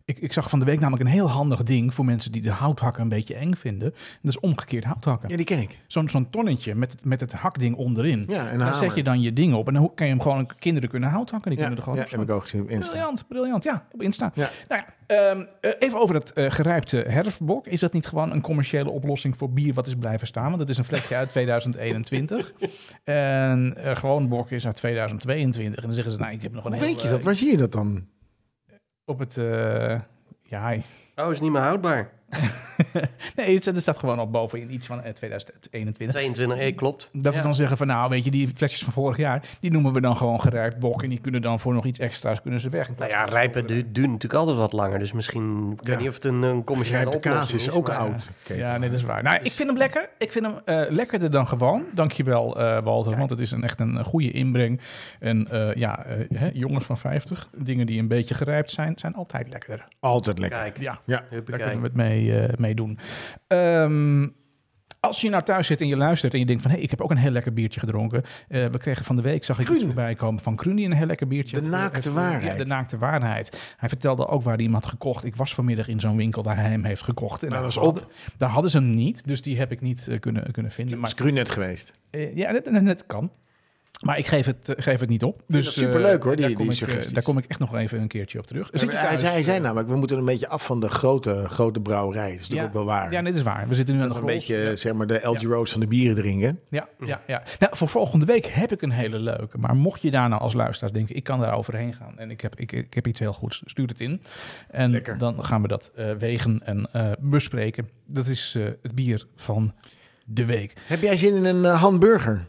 ik, ik zag van de week namelijk een heel handig ding voor mensen die de houthakken een beetje eng vinden. En dat is omgekeerd houthakken. Ja, die ken ik. Zo'n zo'n tonnetje met het, met het hakding onderin. Ja, en een Daar hamer. zet je dan je ding op. En dan hoe- kan je hem gewoon... Kinderen kunnen houthakken. Die Ja, kunnen er gewoon ja op heb ik ook gezien. op Insta. Briljant, briljant. Ja, op Insta. Ja. Nou ja, ehm, eh, even over dat eh, gerijpte herfstbok. Is dat niet gewoon een commerciële oplossing voor bier wat is blijven staan? Want dat is een vlekje uit 2021. en eh, gewoon bok is uit 2022. En dan zeggen ze, nou, ik heb nog een Hoe heel, weet je eh, dat? Waar zie je dat dan? Op het... eh, ja, Oh, is niet meer houdbaar. nee, het, staat- het staat gewoon al bovenin iets van eh, 2021. 22, eh, klopt. Dat ze dan zeggen van, nou, weet je, die flesjes van vorig jaar... die noemen we dan gewoon gerijpt bok... en die kunnen dan voor nog iets extra's kunnen ze weg. Nou ja, rijpen du- duurt natuurlijk altijd wat langer. Dus misschien, ik weet Ja. niet of het een, een commerciële Grijp oplossing kaas is. is ook maar- oud. Kees. Ja, nee, dat is waar. Nou, ik vind hem lekker. Ik vind hem eh, lekkerder dan gewoon. Dankjewel, eh Walter, want het is een, echt een eh, goede inbreng. En eh, ja, eh, hè, jongens van 50, dingen die een beetje gerijpt zijn, zijn altijd lekkerder. Altijd lekker. Kijk, Ja, Ja. daar huppakee. kunnen we het mee, eh, mee doen. Ehm, als je nou thuis zit en je luistert en je denkt van... hé, hey, ik heb ook een heel lekker biertje gedronken. Eh, we kregen van de week, zag ik iets Kruun. voorbij komen van Kruun... die een heel lekker biertje De heeft- eh, naakte heeft- waarheid. Ja, de naakte waarheid. Hij vertelde ook waar hij hem had gekocht. Ik was vanmiddag in zo'n winkel waar hij hem heeft gekocht. En Nou, daar dat is op. hadden- Daar hadden ze hem niet, dus die heb ik niet eh, kunnen, kunnen vinden. Maar Maar is Grunet geweest. eh, ja, dat, dat- dat kan. Maar ik geef het, eh, geef het niet op. Dus, dat superleuk, hoor, eh, die- daar kom die ik, eh, suggesties. daar kom ik echt nog even een keertje op terug. Zit je hij, thuis, zei, hij zei namelijk, we moeten een beetje af van de grote, grote brouwerij. Dat is natuurlijk ook wel waar. Ja, nee, dat is waar. We zitten nu aan dat de we een golf. beetje eh, zeg maar, de LG Roads van de bieren drinken. Ja, ja, ja. Nou, voor volgende week heb ik een hele leuke. Maar mocht je daar nou als luisteraar denken, ik kan daar overheen gaan en ik heb, ik, ik heb iets heel goeds, stuur het in. En Lekker. dan gaan we dat eh, wegen en eh, bespreken. Dat is eh, het bier van de week. Heb jij zin in een eh, hamburger?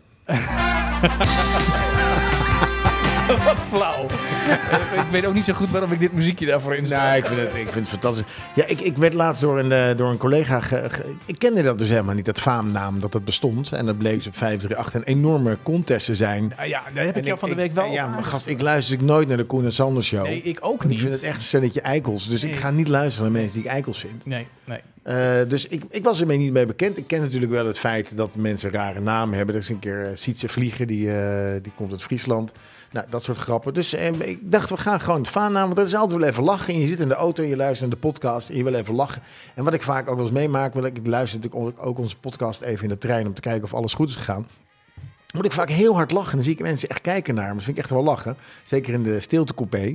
Wat flauw. Eh, ik weet ook niet zo goed waarom ik dit muziekje daarvoor in Nou, ik vind het, ik vind het fantastisch. Ja, ik, ik werd laatst door een, eh, door een collega... ge- ge- ik kende dat dus helemaal niet, dat faamnaam, dat dat bestond. En dat bleek op 538 een enorme contest te zijn. Ah ja, daar heb ik Nou, En jou van de week wel. Ja, op maar aange- gast, ik luister natuurlijk nooit naar de Koen en Sander show. Nee, ik ook Want niet. ik vind het echt een stelletje eikels. Dus ik Nee. ga niet luisteren naar mensen die ik eikels vind. Nee, nee. Eh, dus ik, ik was ermee niet mee bekend. Ik ken natuurlijk wel het feit dat mensen rare namen hebben. Er is een keer eh, Sietse Vliegen, die, eh, die komt uit Friesland. Nou, dat soort grappen. Dus eh, ik dacht, we gaan gewoon het faam namen. Want dat is altijd wel even lachen. En je zit in de auto en je luistert naar de podcast en je wil even lachen. En wat ik vaak ook wel eens meemaak, wil ik, ik luister natuurlijk on- ook onze podcast even in de trein om te kijken of alles goed is gegaan. Moet ik vaak heel hard lachen. Dan zie ik mensen echt kijken naar me. Dat vind ik echt wel lachen. Zeker in de stiltecoupé.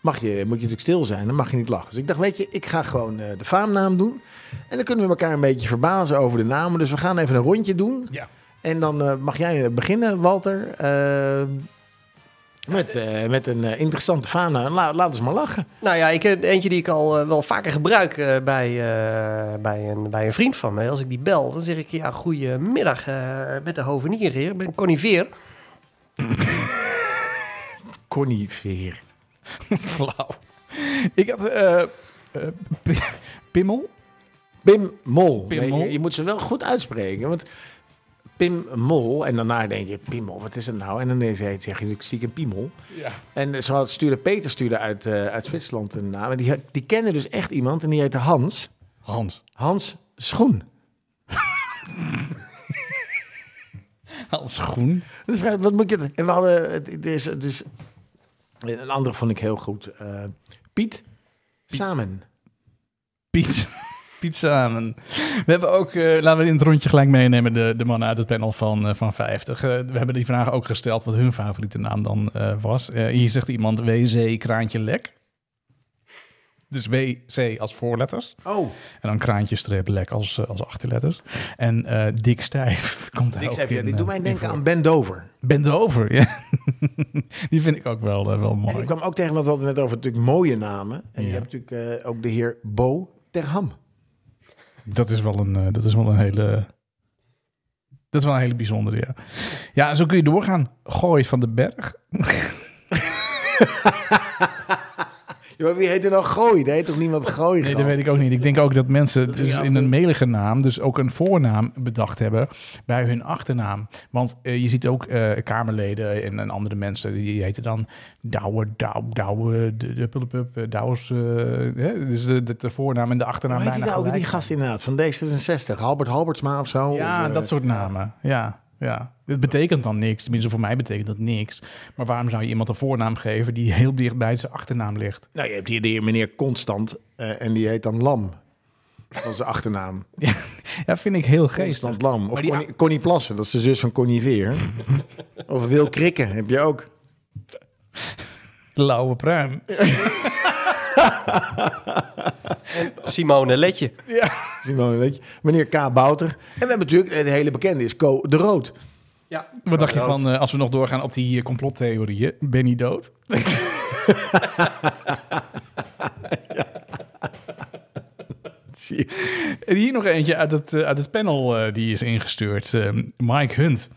Mag je, moet je natuurlijk stil zijn, dan mag je niet lachen. Dus ik dacht, weet je, ik ga gewoon eh, de faamnaam doen. En dan kunnen we elkaar een beetje verbazen over de namen. Dus we gaan even een rondje doen. Ja. En dan eh, mag jij eh, beginnen, Walter. Eh, Met, eh, met een eh, interessante fauna. La- laat eens maar lachen. Nou ja, ik, eh, eentje die ik al eh, wel vaker gebruik eh, bij, eh, bij, een, bij een vriend van mij. Als ik die bel, dan zeg ik, ja, goedemiddag eh, met de hovenier hier. Ik ben Connie Veer. Connie Veer. Flauw. Ik had eh, eh, p- Pimmel. Pim Mol. Pim Nee, Mol. Je, je moet ze wel goed uitspreken. Want Pim Mol. En daarna denk je, Pim Mol, wat is dat nou? En dan is- zeg je natuurlijk stiekem Piemol. Ja. En zo had stuurde Peter stuurde uit, eh, uit Zwitserland een naam. En die, had- die kende dus echt iemand en die heette Hans. Hans. Hans Schoen. Hans Groen. Dus vraag ik, wat moet je... En we hadden... het- het is dus, een andere vond ik heel goed. Eh, Piet, Samen. Piet. Piet Samen. We hebben ook, eh, laten we in het rondje gelijk meenemen, de, de mannen uit het panel van, eh, van 50. Eh, we hebben die vraag ook gesteld wat hun favoriete naam dan eh, was. Eh, hier zegt iemand WC Kraantje Lek. Dus WC als voorletters. Oh, En dan Kraantje streep Lek als, eh, als achterletters. En eh Dick Stijf komt daar ik ook zei, ja, in, die eh, doet mij in denken voor. aan Ben Dover. Bendover, ja. die vind ik ook wel, eh, wel En mooi. ik kwam ook tegen, want we hadden het net over natuurlijk mooie namen. En je Ja. hebt natuurlijk eh, ook de heer Bo Terham. Dat is wel een, eh, dat is wel een hele. Dat is wel een hele bijzondere, ja. Ja, zo kun je doorgaan. Gooi van de Berg. Ja, maar wie heette nou Gooi? Daar heet toch niemand Gooi, Nee, gast? dat weet ik ook niet. Ik denk ook dat mensen Dat dus vind ik in af een en melige naam dus ook een voornaam bedacht hebben bij hun achternaam. Want eh, je ziet ook eh, Kamerleden en, en andere mensen, die heten dan Douwe, Douwe, Douwe, de- de Pullepup, eh, Douwes. eh, hè? Dus de, de, de voornaam en de achternaam Hoe heet die bijna nou ook, gelijk. die gast inderdaad? Van D66. Halbert Halbertsma of zo? Ja, of, eh, dat soort namen. Ja, ja. Het betekent dan niks. Tenminste, voor mij betekent dat niks. Maar waarom zou je iemand een voornaam geven die heel dicht bij zijn achternaam ligt? Nou, je hebt hier de heer meneer Constant eh, en die heet dan Lam. Dat is zijn achternaam. Ja, ja vind ik heel geestig. Constant Lam. Of Maar die- Connie, Connie Plassen, dat is de zus van Connie Veer. of Wil Krikken heb je ook. Lauwe pruim. Simone Letje. Simone, weet je. Meneer K. Bouter. En we hebben natuurlijk, eh, de hele bekende is Co de Rood. Ja. Wat dacht je van, eh, als we nog doorgaan op die eh, complottheorieën, Benny dood? Zie je. En hier nog eentje uit het, eh, uit het panel eh, die is ingestuurd. Ehm, Mike Hunt.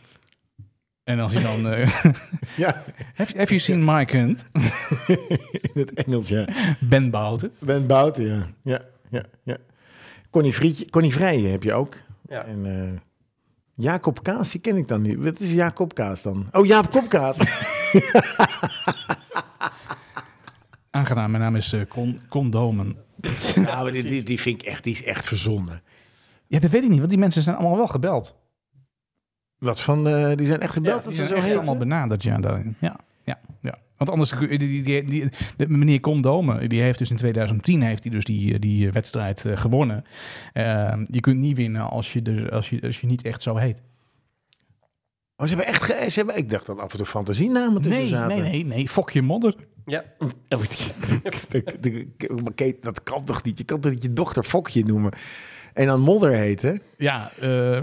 En als je dan... eh, Ja, have, have you seen Mike Hunt? in het Engels, ja. Ben Bouten. Ben Bouter, ja. Ja, ja, ja. Connie, Vrietje, Connie Vrijen heb je ook. Ja. En eh, Jacob Kaas, die ken ik dan niet. Wat is Jacob Kaas dan? Oh, Jaap Kopkaas. Aangenaam, mijn naam is eh Con Condomen. nou, die, die, die vind ik echt, die is echt verzonnen. Ja, dat weet ik niet, want die mensen zijn allemaal wel gebeld. Wat van, eh, die zijn echt gebeld dat Die ze zijn zo echt heten? allemaal benaderd, ja, daarin. Ja, ja, ja. Want anders, die, die, die, die- de meneer Condome, die heeft dus in 2010 heeft hij dus die, die wedstrijd eh, gewonnen. Eh, je kunt niet winnen als je, er, als, je, als je niet echt zo heet. Oh, ze hebben echt, ge- ze hebben, ik dacht dat af en toe fantasienamen tussen Nee, zaten. nee, nee, nee, fok je modder. Ja. Oh, die- die- die- maar Kate, dat kan toch niet? Je kan toch niet je dochter Fokje noemen en dan Modder heten? Ja, eh,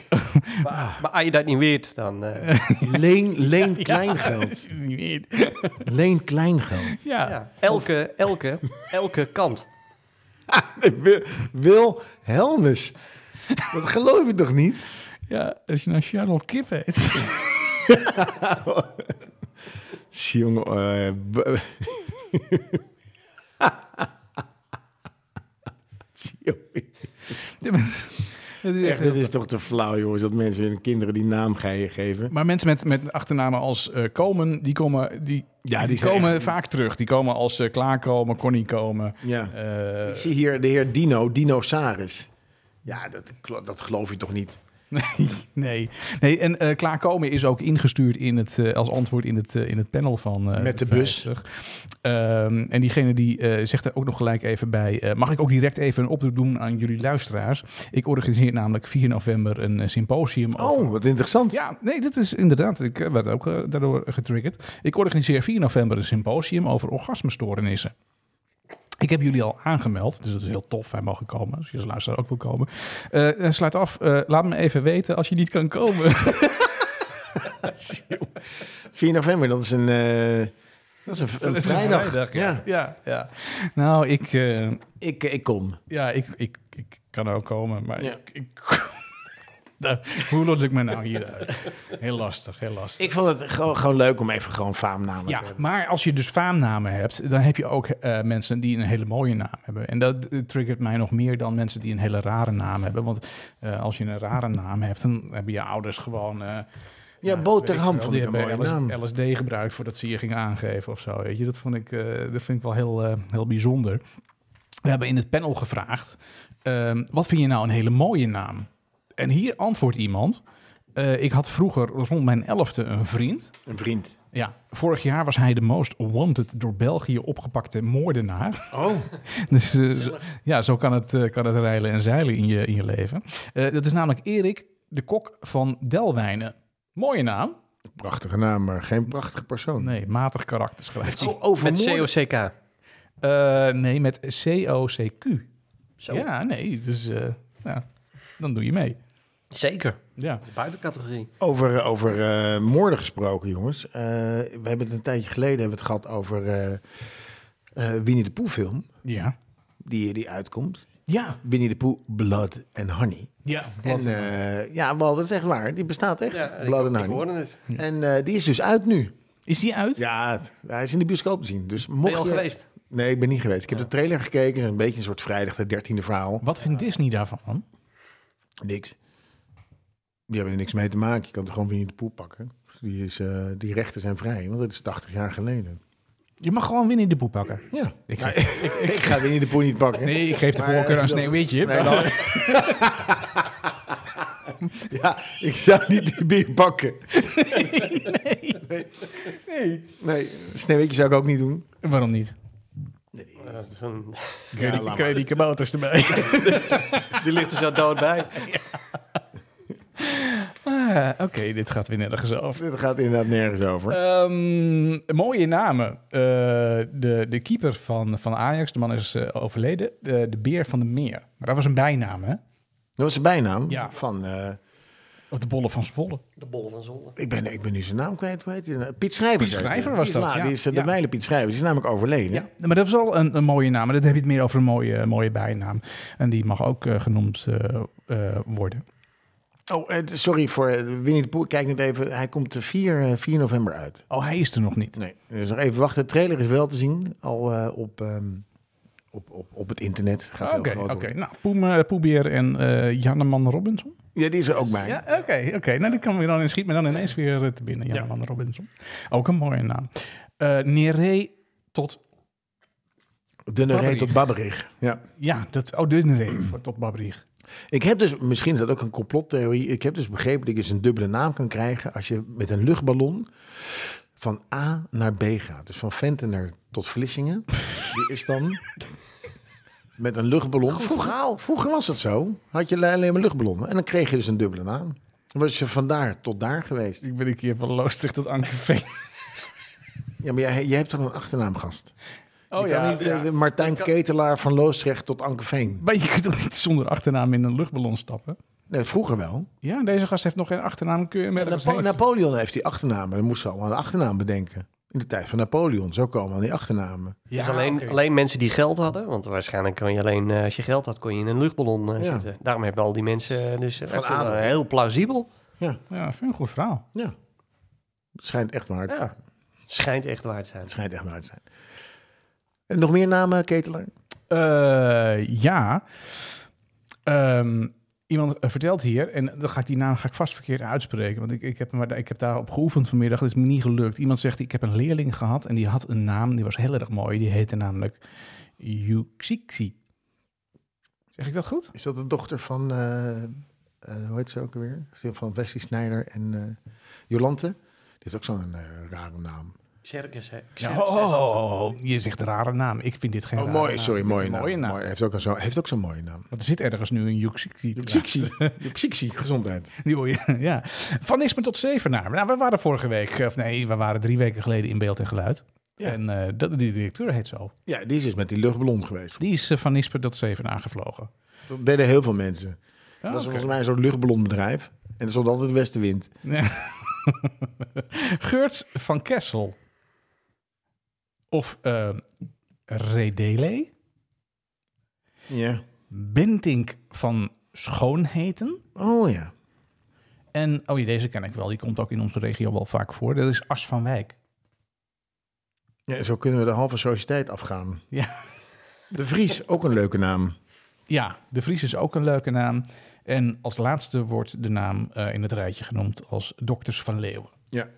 Maar, maar als je dat niet weet, dan... eh, Leen, leen Kleingeld. Leen Kleingeld. ja. ja. Elke, elke, elke kant. Nee, Wil, Wil Helmes. Dat geloof je toch niet? ja, als je nou Charlotte Kip heet. Jongen, eh, b- Jongen. dat is Echt, echt dit is toch te flauw, jongens, dat mensen hun kinderen die naam ga je geven. Maar mensen met, met achternamen als eh, Komen, die komen, die, Ja, die die zijn komen echt- vaak terug. Die komen als eh, Klaarkomen, Connie Komen. Ja. eh, Ik zie hier de heer Dino, Dinosaurus. Ja, dat, klo- dat geloof je toch niet? nee, nee, nee. En eh Klaarkomen is ook ingestuurd in het, eh, als antwoord in het, eh, in het panel van... eh, Met de bus. 50. Ehm, en diegene die eh, zegt er ook nog gelijk even bij... eh, mag ik ook direct even een oproep doen aan jullie luisteraars? Ik organiseer namelijk 4 november een eh, symposium over Oh, wat interessant. Ja, nee, dat is inderdaad. Ik eh, werd ook eh, daardoor getriggerd. Ik organiseer 4 november een symposium over orgasmestoornissen. Ik heb jullie al aangemeld, dus dat is heel tof. Wij mogen komen, als je als luisteraar ook wil komen. Eh, eh, sluit af, eh, laat me even weten als je niet kan komen. 4 november, dat is een, eh, dat is een, een Dat is een vrijdag. ja. ja. Ja, ja. Nou, ik, eh, Ik, ik kom. ja, ik, ik, ik kan ook komen, maar Ja. ik... ik Nou, hoe lol ik me nou hieruit? Heel lastig, heel lastig. Ik vond het gewoon, gewoon leuk om even gewoon faamnamen Ja, te hebben. maar als je dus faamnamen hebt, dan heb je ook eh, mensen die een hele mooie naam hebben. En dat eh, triggert mij nog meer dan mensen die een hele rare naam hebben. Want eh, als je een rare naam hebt, dan hebben je ouders gewoon... eh, Ja, nou, Boterham weet vond ik een wel, die mooie hebben naam. LS LSD gebruikt voordat ze je ging aangeven of zo. Weet je? Dat, vond ik, eh, dat vind ik wel heel, eh, heel bijzonder. We hebben in het panel gevraagd, ehm, wat vind je nou een hele mooie naam? En hier antwoordt iemand, eh, ik had vroeger rond mijn elfde een vriend... Een vriend. Ja, vorig jaar was hij de most wanted door België opgepakte moordenaar. Oh, Dus eh, zo- ja, zo kan het, eh, kan het reilen en zeilen in je, in je leven. Eh, dat is namelijk Erik, de kok van Delwijnen. Mooie naam. prachtige naam, maar geen prachtige persoon. Nee, matig karakter schrijft hij. Oh, over Met moorden. COCK. Oh. Eh, nee, met C-O-C-Q. Zo. Ja, nee, dus eh, ja, dan doe je mee. Zeker. Ja. Buitencategorie. Over, over eh, moorden gesproken, jongens. Eh, we hebben het een tijdje geleden hebben we het gehad over eh, eh, Winnie de Pooh film. Ja. Die, die uitkomt. Ja. Winnie de Pooh, Blood and Honey. Ja. En, eh, ja, wel, dat is echt waar. Die bestaat echt. Ja, ik, Blood and ik Honey. hoorde het. En eh, die is dus uit nu. Is die uit? Ja, het- hij is in de bioscoop te zien. Dus mocht Ben je al geweest? Nee, ik ben niet geweest. Ik heb de trailer gekeken. Een beetje een soort vrijdag de dertiende verhaal. Wat vindt Disney daarvan? Niks. Die hebben er niks mee te maken. Je kan er gewoon weer in de poel pakken. Die, is, eh, die rechten zijn vrij, want dat is 80 jaar geleden. Je mag gewoon Winnie de Poe pakken. Ja. Ik- Ik, ik, ga weer in de poel niet pakken. Nee, ik geef de voorkeur aan eh, Sneeuwwitje. Nee, nou- ja, ik zou niet die bier pakken. Nee. Nee, Sneeuwwitje zou ik ook niet doen. Waarom niet? Ja, dat is een- Ja, laat maar. die kabouters erbij. die ligt er zo dood bij. Ah, Oké, dit gaat weer nergens over. Dit gaat inderdaad nergens over. Ehm, mooie namen. Eh, de, de keeper van, van Ajax, de man is eh, overleden. Eh, de beer van de meer. Maar dat was een bijnaam, hè? Dat was de bijnaam Ja. van... eh, Of de bolle van Zwolle. De bollen van zonde. ik, ben, ik ben nu zijn naam kwijt, hoe heet hij nou? Piet Schrijver. Piet heet hij. Schrijver was Die is dat, laat, ja. Die is eh, Ja. de mijle Piet Schrijver. Die is namelijk overleden. Ja, maar dat was al een, een mooie naam. Maar dan heb je het meer over een mooie, mooie bijnaam. En die mag ook eh, genoemd eh, eh, worden. Oh, eh, sorry voor eh, Winnie de Poel. Ik Kijk net even. Hij komt eh, 4, eh, 4 november uit. Oh, hij is er nog niet. Nee, dus nog even wachten. De trailer is wel te zien al eh, op, ehm, op, op, op het internet. Gaat Oké, heel oké. groot worden. Nou, Poem, eh, Poebeer en eh Janneman Robinson. Ja, die is er ook bij. Ja, oké. oké. Nou, die kan me dan, in- schiet me dan ineens weer eh, te binnen. Jan van Robinson. Ook een mooie naam. Eh Nere tot... Dunne reet Babberich. tot Babberich. Ja. Ja, dat, oh, de Nere voor- tot Babrig. Ik heb dus, misschien is dat ook een complottheorie. Ik heb dus begrepen dat je dus een dubbele naam kan krijgen als je met een luchtballon van A naar B gaat. Dus van Ventener tot Vlissingen. Die is dan met een luchtballon. Vroeger, vroeger was dat zo. Had je alleen maar luchtballonnen. En dan kreeg je dus een dubbele naam. Dan was je van daar tot daar geweest. Ik ben een keer van Loosdrecht tot Ankerveen. Ja, maar jij, jij hebt dan een achternaam, gast. Oh je kan ja. niet, eh, Martijn Ketelaar van Loosdrecht tot Ankeveen. Maar je kunt toch niet zonder achternaam in een luchtballon stappen? Nee, vroeger wel. Ja, deze gast heeft nog geen achternaam. Kun je hem ergens Napo- heen- Napoleon heeft die achternamen. Dan moesten ze allemaal een achternaam bedenken. In de tijd van Napoleon. Zo komen al die achternamen. Ja, dus alleen, oké. alleen mensen die geld hadden. Want waarschijnlijk kon je alleen, eh, als je geld had, kon je in een luchtballon eh, Ja. zitten. Daarom hebben al die mensen eh, dus... eh, ik vond adem. dat heel plausibel. Ja, vind ik een goed verhaal. Ja. Het schijnt echt waar te zijn. Ja. Schijnt echt waar te zijn. Het schijnt echt waar te zijn. En nog meer namen, Ketelaar? Eh, ja. Ehm, iemand eh, vertelt hier, en dan ga ik die naam ga ik vast verkeerd uitspreken, want ik, ik, heb, hem maar, ik heb daarop geoefend vanmiddag, dat is me niet gelukt. Iemand zegt, ik heb een leerling gehad en die had een naam, die was heel erg mooi, die heette namelijk Yuxixi. Zeg ik dat goed? Is dat de dochter van, eh, eh, hoe heet ze ook alweer? Van Wesley Snijder en eh, Jolante. Die heeft ook zo'n eh, rare naam. Circus, hè. Ja, oh, oh, oh, oh, je zegt een rare naam. Ik vind dit geen Oh, rare mooi, naam. sorry, Dit is mooie een naam. mooie naam. Mooi. heeft ook een zo- heeft ook zo'n mooie naam. Want er zit ergens nu een Yuxixi. te Yuxixi. Yuxixi, gezondheid. Die hoor je, ja. Van Nispen tot Zevenaar. Nou, we waren vorige week, of nee, we waren drie weken geleden in beeld en geluid. Ja. En eh, dat, die directeur heet zo. Ja, die is dus met die luchtballon geweest. Die is eh, van Nispen tot Zevenaar gevlogen. Dat deden heel veel mensen. dat is Ja, Ah, oké. volgens mij zo'n luchtballonbedrijf. En er stond altijd westenwind. Ja. Geurts van Kessel. Of eh, Redele. Ja. Bentink van Schoonheten. Oh ja. En, oh ja, deze ken ik wel. Die komt ook in onze regio wel vaak voor. Dat is As van Wijk. ja. Zo kunnen we de halve sociëteit afgaan. Ja. De Vries, ook een leuke naam. Ja, de Vries is ook een leuke naam. En als laatste wordt de naam eh, in het rijtje genoemd als Dokters van Leeuwen. Ja. Oh,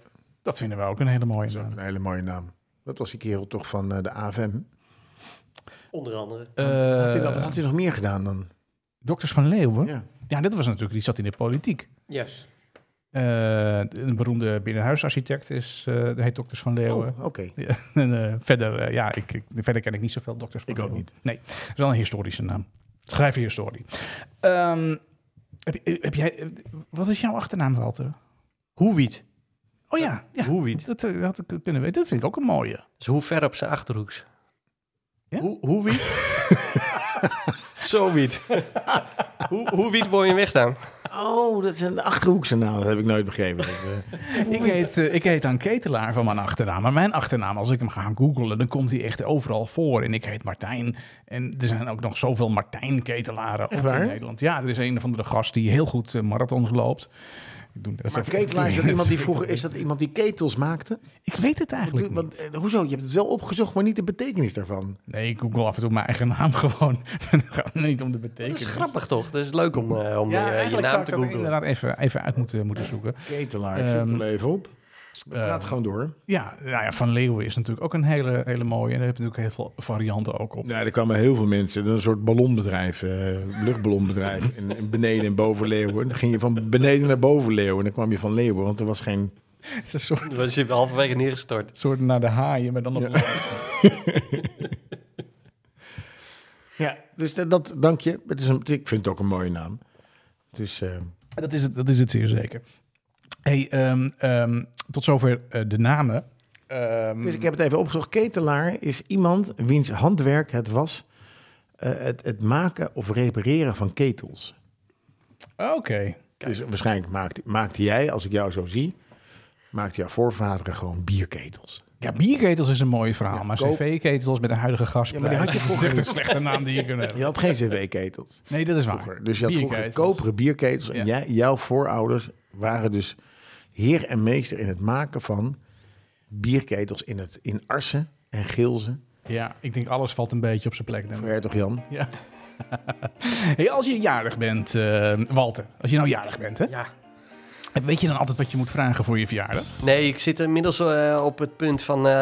Dat vinden we ook een hele mooie Dat is naam. ook een hele mooie naam. Dat was die kerel toch van eh, de AFM. Onder andere. Eh, had hij, dat- wat had hij nog meer gedaan dan? Dokters van Leeuwen? Ja. Ja. dit was natuurlijk, die zat in de politiek. Yes. Eh, een beroemde binnenhuisarchitect is, eh heet Dokters van Leeuwen. Oh, oké. Ja, en, eh, verder, eh, ja, ik, ik- verder ken ik niet zoveel dokters. Ik ook niet. Nee, het is wel een historische naam. Schrijf je historie. Ehm, heb, je- heb jij, eh, wat is jouw achternaam, Walter? Hoewiet. Oh ja, ja. Hoewiet. Dat eh, had ik kunnen weten. Dat vind ik ook een mooie. Dus hoe ver op zijn achterhoeks? Ja? Hoe, hoewiet? Zo wiet. hoe, hoewiet word je weg dan? Oh, dat is een Achterhoekse naam. Dat heb ik nooit begrepen. Dat, eh, Ik heet, eh, ik heet dan Ketelaar van mijn achternaam. Maar mijn achternaam, als ik hem ga gaan googlen, dan komt hij echt overal voor. En ik heet Martijn. En er zijn ook nog zoveel Martijn-ketelaren ook waar? in Nederland. Ja, er is een van de gast die heel goed eh, marathons loopt. Ik doe dat maar even- ketelaar, is dat iemand die vroeger... Is dat iemand die ketels maakte? Ik weet het eigenlijk niet. Want, eh, hoezo? Je hebt het wel opgezocht, maar niet de betekenis daarvan. Nee, ik google af en toe mijn eigen naam gewoon. Het gaat niet om de Dat betekenis. is grappig toch? Dat is leuk om, eh, om eh, je eigenlijk zou naam ik te dat googlen. inderdaad even, even uit moeten, moeten zoeken. Ketelaar, ik zoek Ehm, eh, het wel even op. Praat gewoon door. Ja, nou ja, Van Leeuwen is natuurlijk ook een hele, hele mooie. En daar heb je natuurlijk heel veel varianten ook op. Nou, er kwamen heel veel mensen. Dat is een soort ballonbedrijf, eh, luchtballonbedrijf. En, en beneden en boven Leeuwen. Dan ging je van beneden naar boven Leeuwen. En dan kwam je van Leeuwen, want er was geen... Het is een soort, Dan zit je halverwege neergestort. soort naar de haaien, maar dan op Ja, dus dat, dat- dank je. Het is een, ik vind het ook een mooie naam. Dus eh, Dat is het, dat is het zeer zeker. Hey, ehm, ehm, tot zover eh, de namen. Ehm, Dus ik heb het even opgezocht. Ketelaar is iemand wiens handwerk het was eh, het, het maken of repareren van ketels. oh, Oké. Dus waarschijnlijk maakte, maakte jij, als ik jou zo zie, maakte jouw voorvaderen gewoon bierketels. Ja, bierketels is een mooi verhaal, maar koop- cv-ketels met de huidige gasprijs. Ja, maar die had je dat is vroeger echt een slechte naam die je kunt hebben. Je had geen cv-ketels. Nee, dat is waar. vroeger. Dus je had vroeger Bierketels. koperen bierketels. En Ja. jij, jouw voorouders waren dus heer en meester in het maken van bierketels in, het, in Arsen en Gilzen. Ja, ik denk alles valt een beetje op zijn plek. Denk ik. Voor hertog Jan. Ja. hey, als je jarig bent, eh, Walter, als je nou jarig bent, hè? Ja. weet je dan altijd wat je moet vragen voor je verjaardag? Nee, ik zit inmiddels eh, op het punt van eh,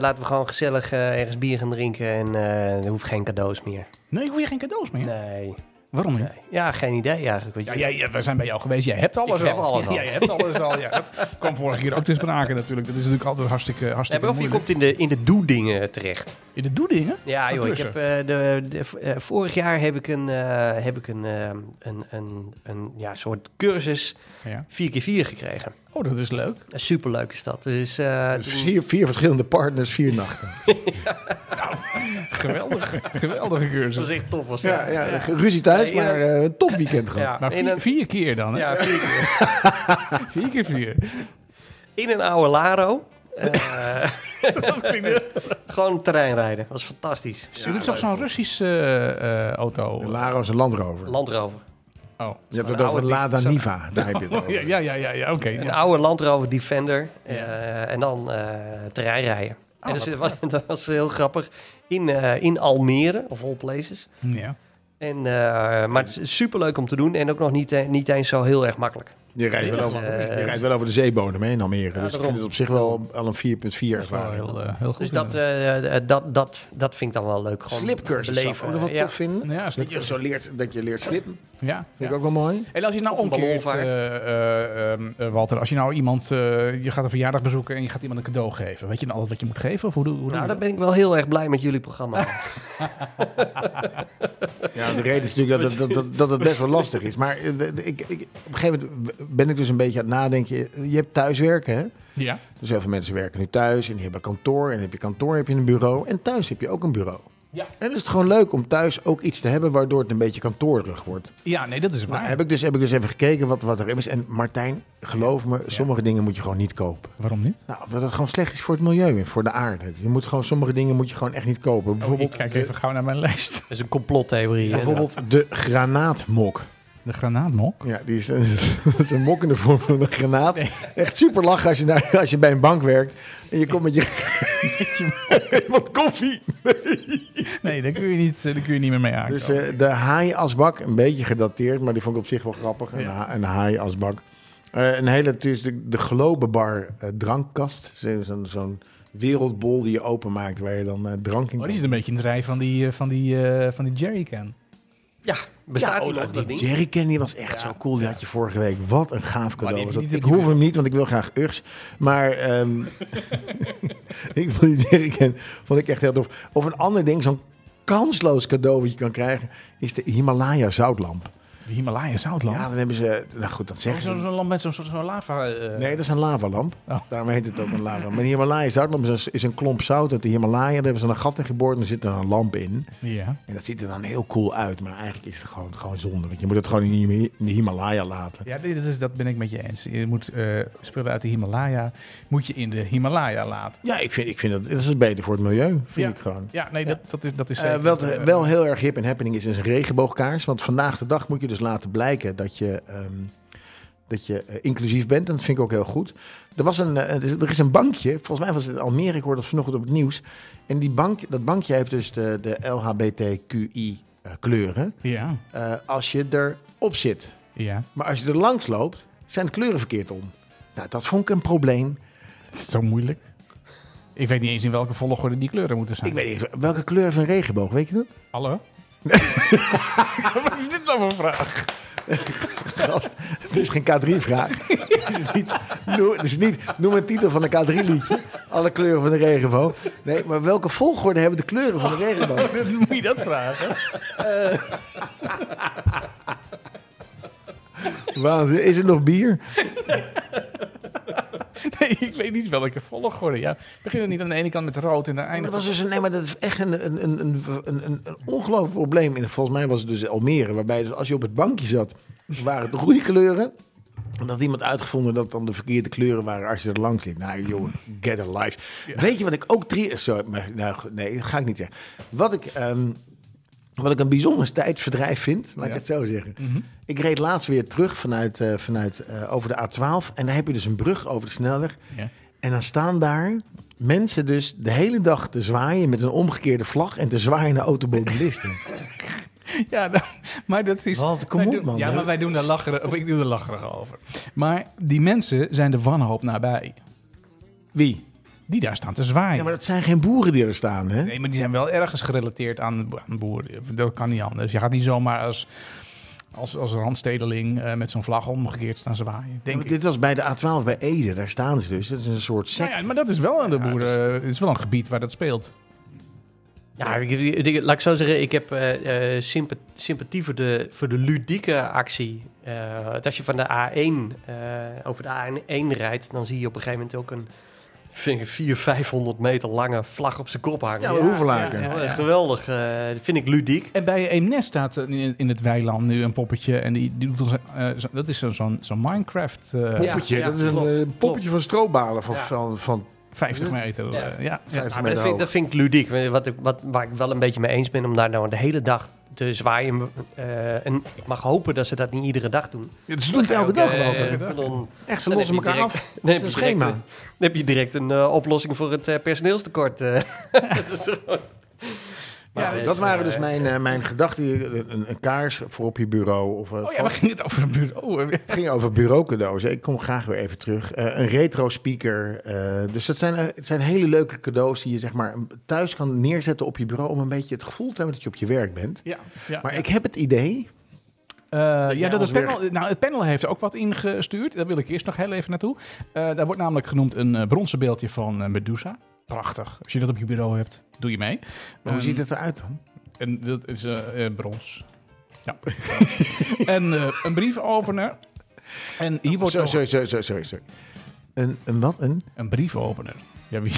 laten we gewoon gezellig eh, ergens bier gaan drinken en eh er hoeft geen cadeaus meer. Nee, ik wil je geen cadeaus meer. Nee. Waarom niet? nee. Ja, geen idee eigenlijk. Weet je. Ja, jij, ja, we zijn bij jou geweest. Jij hebt alles Ik al. heb alles ja, al. jij hebt alles al. Ja, dat kwam vorige keer ook te sprake natuurlijk. Dat is natuurlijk altijd hartstikke, Nee, hartstikke maar of je moeilijk. komt in de, in de doe-dingen terecht. In de doedingen? Ja, Wat joh, ik heb, klussen? eh, de, de, v- eh, vorig jaar heb ik een, eh, heb ik een, eh, een, een, een ja, soort cursus Ja. 4x4 gekregen. Oh, dat is leuk. Eh, Superleuk is dat. Dus, eh, Dus toen- vier, vier verschillende partners, vier nachten. Geweldige, geweldige dat cursus. was echt top. Was dat. Ja, ja, ruzie thuis, Nee, ja. maar eh, een top weekend gehad. Ja, Maar in vier, een, vier keer dan, hè? ja, vier keer. Vier keer vier. in een oude Laro. Eh, Dat klinkt... gewoon terreinrijden. Dat was fantastisch. dit is toch zo'n Russische eh, eh, auto? De Laro is een landrover. Landrover. Oh. Je hebt het Zo'n oude over een Lada ding, Niva, daar heb je het over. Ja, ja, ja, ja, ja, oké. Een ja. oude Land Rover Defender. eh, en dan eh terreinrijden. en dus, wat dat, was, dat was heel grappig. In, eh, in Almere, of all places. Ja. En, eh, maar het is superleuk om te doen. En ook nog niet, eh, niet eens zo heel erg makkelijk. Je, rijdt wel Ja, over, eh, je rijdt wel over de zeebodem heen in Almere. dus ik daarom. vind het op zich wel al een 4.4 Dat is wel ervaring. heel, eh, heel goed. Dus dat, inderdaad. eh, eh, dat, dat, dat vind ik dan wel leuk. Gewoon Slipcursus zou ik ook beleven. nog wat ja. tof vinden. Ja, dat je slipcursus. zo leert, dat je leert slippen. ja, Vind ja. ik ook wel mooi. En als je nou Of een omkeert, ballonvaart. eh, eh, ehm, eh, Walter, als je nou iemand, eh, je gaat een verjaardag bezoeken en je gaat iemand een cadeau geven. Weet je dan altijd wat je moet geven? Of hoe, doe- hoe doe Nou, je dan dat? ben ik wel heel erg blij met jullie programma. Ja, de reden is natuurlijk dat, dat, dat, dat het best wel lastig is. Maar eh, ik, ik, op een gegeven moment ben ik dus een beetje aan het nadenken. Je hebt thuiswerken, hè? Ja. Dus heel veel mensen werken nu thuis en die hebben kantoor. En heb je kantoor, heb je een bureau. En thuis heb je ook een bureau. Ja. En dan is het gewoon leuk om thuis ook iets te hebben waardoor het een beetje kantoorderig wordt. Ja, nee, dat is waar. Nou, heb, ik dus, heb ik dus even gekeken wat, wat er is. En Martijn, geloof me, sommige dingen moet je gewoon niet kopen. Waarom niet? Nou, omdat het gewoon slecht is voor het milieu en voor de aarde. Je moet gewoon, sommige dingen moet je gewoon echt niet kopen. Bijvoorbeeld, Oh, ik kijk de- even gauw naar mijn lijst. Dat is een complottheorie. bijvoorbeeld de granaatmok. De granaatmok. Ja, die is, dat is een mok in de vorm van een granaat. Echt super lachen als je, naar, als je bij een bank werkt. En je komt met je wat koffie. Nee, daar kun je niet, eh, daar kun je niet meer mee aankomen. Dus eh, de haaiasbak, een beetje gedateerd, maar die vond ik op zich wel grappig. Een, Ja. ha- een haaiasbak. Eh, een hele, dus de, de Globebar eh, drankkast. Zo- Zo'n zo'n wereldbol die je openmaakt waar je dan eh, drank in oh, kan. die is een beetje in het rij van die, eh, van die, eh, van die jerrycan. ja, bestaat Ja, die oh, nog, dat die ding? jerrycan die was echt zo cool. Die had je vorige week. Wat een gaaf die cadeau was heb ik dat. niet Ik in de hoef hem niet, want ik wil graag Urs. Maar ehm, ik vond die jerrycan vond ik echt heel tof. Of een ander ding, zo'n kansloos cadeau wat je kan krijgen, is de Himalaya zoutlamp. De Himalaya zoutlamp. Ja, dan hebben ze... Nou goed, dat Oh, zeggen zo- Zo'n ze. lamp met zo'n soort van lava. eh, Nee, dat is een lavalamp. Oh. Daarom heet het ook een lavalamp. Maar de Himalaya zoutlamp is een, is een klomp zout uit de Himalaya. Daar hebben ze een gat in geboord en er zit dan een lamp in. Ja. En dat ziet er dan heel cool uit, maar eigenlijk is het gewoon, gewoon zonde. Want je moet het gewoon in de Hima- in de Himalaya laten. Ja, dit is, dat ben ik met je eens. Je moet eh, spullen uit de Himalaya moet je in de Himalaya laten. Ja, ik vind, ik vind dat, dat is beter voor het milieu, vind Ja. ik gewoon. Ja, nee, Dat, dat is, dat is Eh, zeker. wel, eh, wel heel erg hip en happening is een regenboogkaars. Want vandaag de dag moet je dus laten blijken dat je, ehm, dat je eh, inclusief bent. En dat vind ik ook heel goed. Er, was een, eh, er is- er is een bankje, volgens mij was het in Almere, ik hoorde dat vanochtend op het nieuws. En die bank, dat bankje heeft dus de, de LHBTQI eh, kleuren. Ja, eh, als je erop zit. ja. Maar als je er langs loopt, zijn de kleuren verkeerd om. Nou, dat vond ik een probleem. Het is zo moeilijk. Ik weet niet eens in welke volgorde die kleuren moeten zijn. Ik weet niet, welke kleur heeft een regenboog, weet je dat? Hallo? Wat is dit nou voor vraag? Gast, het is geen K3-vraag. het, is niet, noem, het is niet, noem een titel van een K3-liedje. Alle kleuren van de regenboog. Nee, maar welke volgorde hebben de kleuren van de regenboog? Moet je dat vragen? Waanzin, is er nog bier? Nee, ik weet niet welke volgorde. Ja, begin het niet aan de ene kant met rood en dan En dat eindigt was dus, een- nee, maar dat is echt een, een, een, een, een, een ongelooflijk probleem. En volgens mij was het dus Almere, waarbij dus als je op het bankje zat, waren het de groeikleuren. En dat had iemand uitgevonden dat dan de verkeerde kleuren waren als je er langs liep. Nou jongen, get a life. Weet je wat ik ook... Tri- Sorry, maar, nou, goed, nee, dat ga ik niet zeggen. Wat ik, ehm, wat ik een bijzonder tijdsverdrijf vind, laat Ja. Mhm. ik het zo zeggen. Ik reed laatst weer terug vanuit, eh, vanuit eh, over de A12. En daar heb je dus een brug over de snelweg. Ja. En dan staan daar mensen dus de hele dag te zwaaien met een omgekeerde vlag en te zwaaien naar automobilisten. Ja, nou, maar dat is. Walter, kom wij op, doen- man. Ja, maar wij doen daar lacherig, of ik doe er lacherig over. Maar die mensen zijn de wanhoop nabij. Wie? Die daar staan te zwaaien. Ja, maar dat zijn geen boeren die er staan, hè? Nee, maar die zijn wel ergens gerelateerd aan, aan boeren. Dat kan niet anders. Je gaat niet zomaar als, als, als randstedeling eh, met zo'n vlag omgekeerd staan zwaaien. Denk ik. Dit was bij de A12 bij Ede, daar staan ze dus. Dat is een soort Nou sect. ja, dus- maar dat is wel aan de boeren. Het is wel een gebied waar dat speelt. Ja, ik- ik- ik- laat ik zo zeggen, ik heb eh, eh, sympa- sympathie voor de, voor de ludieke actie. Eh, want als je van de A1 eh, over de A1 rijdt, dan zie je op een gegeven moment ook een vind ik, 400, 500 meter lange vlag op zijn kop hangen. Ja, maar hoevenlaken. ja, ja. Eh, Geweldig, eh, dat vind ik ludiek. En bij Eemnes staat eh, in, in het weiland nu een poppetje. En die, die doet, eh, zo- dat is zo'n zo'n zo'n Minecraft eh, Ja. Poppetje, dat is een klopt, eh, klopt. poppetje van stroobalen van, Ja. van, van 50 Ja. meter. eh, ja. Ja, vijftig maar dat, meter vind, ik- hoog. dat vind ik ludiek. Wat, ik- wat, waar ik wel een beetje mee eens ben om daar nou de hele dag te zwaaien. eh, en ik mag hopen dat ze dat niet iedere dag doen. Ja, ze doen het elke dag, Walter. Eh, dan- Echt, ze dan lossen heb je elkaar direct- af. Dan Dat heb is een je direct, schema. een- dan heb je direct een eh, oplossing voor het eh, personeelstekort. eh. Dat is zo. Maar Ja, goed, Dat waren eh, dus mijn, eh, mijn gedachten. Een, een kaars voor op je bureau. Of, eh, Oh ja, we gingen het over een bureau. Het ging over bureaucadeaus. hè. Ik kom graag weer even terug. Eh, een retro speaker. eh, dus dat zijn, eh, het zijn hele leuke cadeaus die je zeg maar thuis kan neerzetten op je bureau. Om een beetje het gevoel te hebben dat je op je werk bent. Ja, ja. Maar ik heb het idee. Eh, ja, jij dat het, ons panel, nou, het panel heeft ook wat ingestuurd. Daar wil ik eerst nog heel even naartoe. Eh, daar wordt namelijk genoemd een eh, bronzen beeldje van eh, Medusa. Prachtig. Als je dat op je bureau hebt, doe je mee. Maar hoe Ehm, ziet het eruit dan? En dat is eh, eh, brons. Ja. en eh, een briefopener. En hier wordt Sorry, nog sorry, sorry, sorry, sorry. Een, een wat? Een? een briefopener. Ja, wie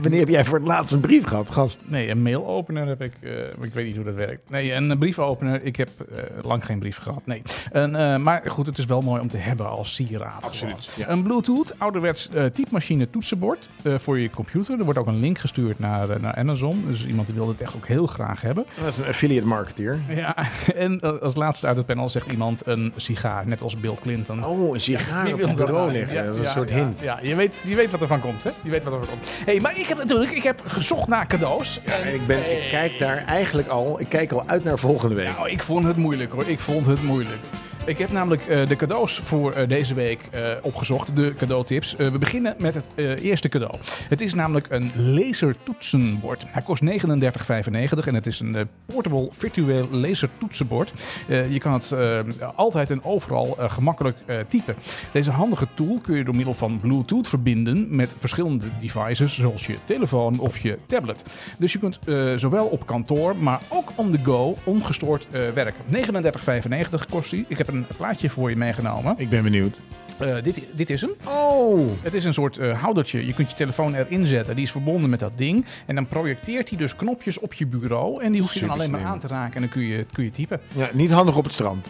Wanneer heb jij voor het laatst een brief gehad, gast? Nee, een mailopener heb ik. eh, maar ik weet niet hoe dat werkt. Nee, een briefopener. Ik heb eh, lang geen brief gehad. Nee. En, eh, maar goed, het is wel mooi om te hebben als sieraad. Absoluut. Een Bluetooth, ouderwets eh, typemachine toetsenbord eh, voor je computer. Er wordt ook een link gestuurd naar, eh, naar Amazon. Dus iemand die wil dit echt ook heel graag hebben. Dat is een affiliate marketeer. Ja, en eh, als laatste uit het panel zegt iemand een sigaar. Net als Bill Clinton. Oh, een sigaar Die op wil een dat bureau aan. liggen. Ja, dat is een ja, soort ja, hint. Ja, je weet, je weet wat er van komt, hè? Je weet wat er van komt. hey, maar ik heb natuurlijk ik heb gezocht naar cadeaus. En- En ik, ben, ik kijk daar eigenlijk al, ik kijk al uit naar volgende week. Nou, ik vond het moeilijk hoor. Ik vond het moeilijk. Ik heb namelijk eh, de cadeaus voor eh, deze week eh, opgezocht, de cadeautips. Eh, we beginnen met het eh, eerste cadeau. Het is namelijk een lasertoetsenbord. Hij kost 39,95 en het is een eh, portable virtueel lasertoetsenbord. Eh, je kan het eh, altijd en overal eh, gemakkelijk eh, typen. Deze handige tool kun je door middel van Bluetooth verbinden met verschillende devices, zoals je telefoon of je tablet. Dus je kunt eh, zowel op kantoor, maar ook on the go ongestoord eh, werken. 39,95 kost die. Ik heb een plaatje voor je meegenomen. Ik ben benieuwd. Eh, dit, dit is hem. Oh, Het is een soort eh, houdertje. Je kunt je telefoon erin zetten. Die is verbonden met dat ding. En dan projecteert hij dus knopjes op je bureau. En die hoef je dan Super alleen maar slim. aan te raken. En dan kun je, kun je typen. ja, niet handig op het strand.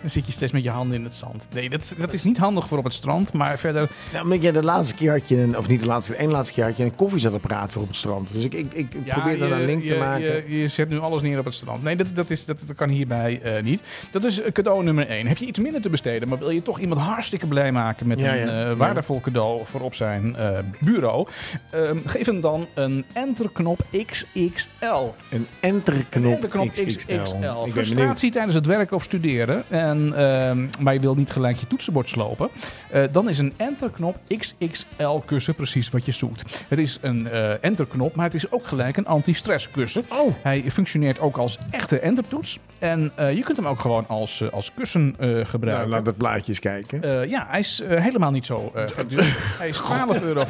Dan zit je steeds met je handen in het zand. Nee, dat, dat is niet handig voor op het strand. Maar verder Nou, omdat jij de laatste keer had je, een, of niet de laatste keer, één laatste keer had je een koffiezetapparaat voor op het strand. Dus ik, ik, ik Ja, probeer daar je- een link je- te maken. Je, je zet nu alles neer op het strand. Nee, dat, dat, is, dat, dat kan hierbij eh, niet. Dat is eh, cadeau nummer één. Heb je iets minder te besteden, maar wil je toch iemand hartstikke blij maken met Ja, een ja. eh, Ja. waardevol cadeau voor op zijn eh, bureau? Ehm, geef hem dan een enterknop XXL. Een enterknop, Enterknop XXL. Ik XXL. ben benieuwd. Nou, Frustratie tijdens het werken of studeren, en, ehm, maar je wil niet gelijk je toetsenbord slopen. eh, dan is een enterknop XXL kussen precies wat je zoekt. Het is een eh enterknop, maar het is ook gelijk een anti-stress kussen. Oh, Hij functioneert ook als echte entertoets. En eh, je kunt hem ook gewoon als, eh, als kussen eh, nou, gebruiken. laat dat plaatje eens kijken. Eh, ja, hij is eh, helemaal niet zo eh, duur. Hij is 12,95 euro.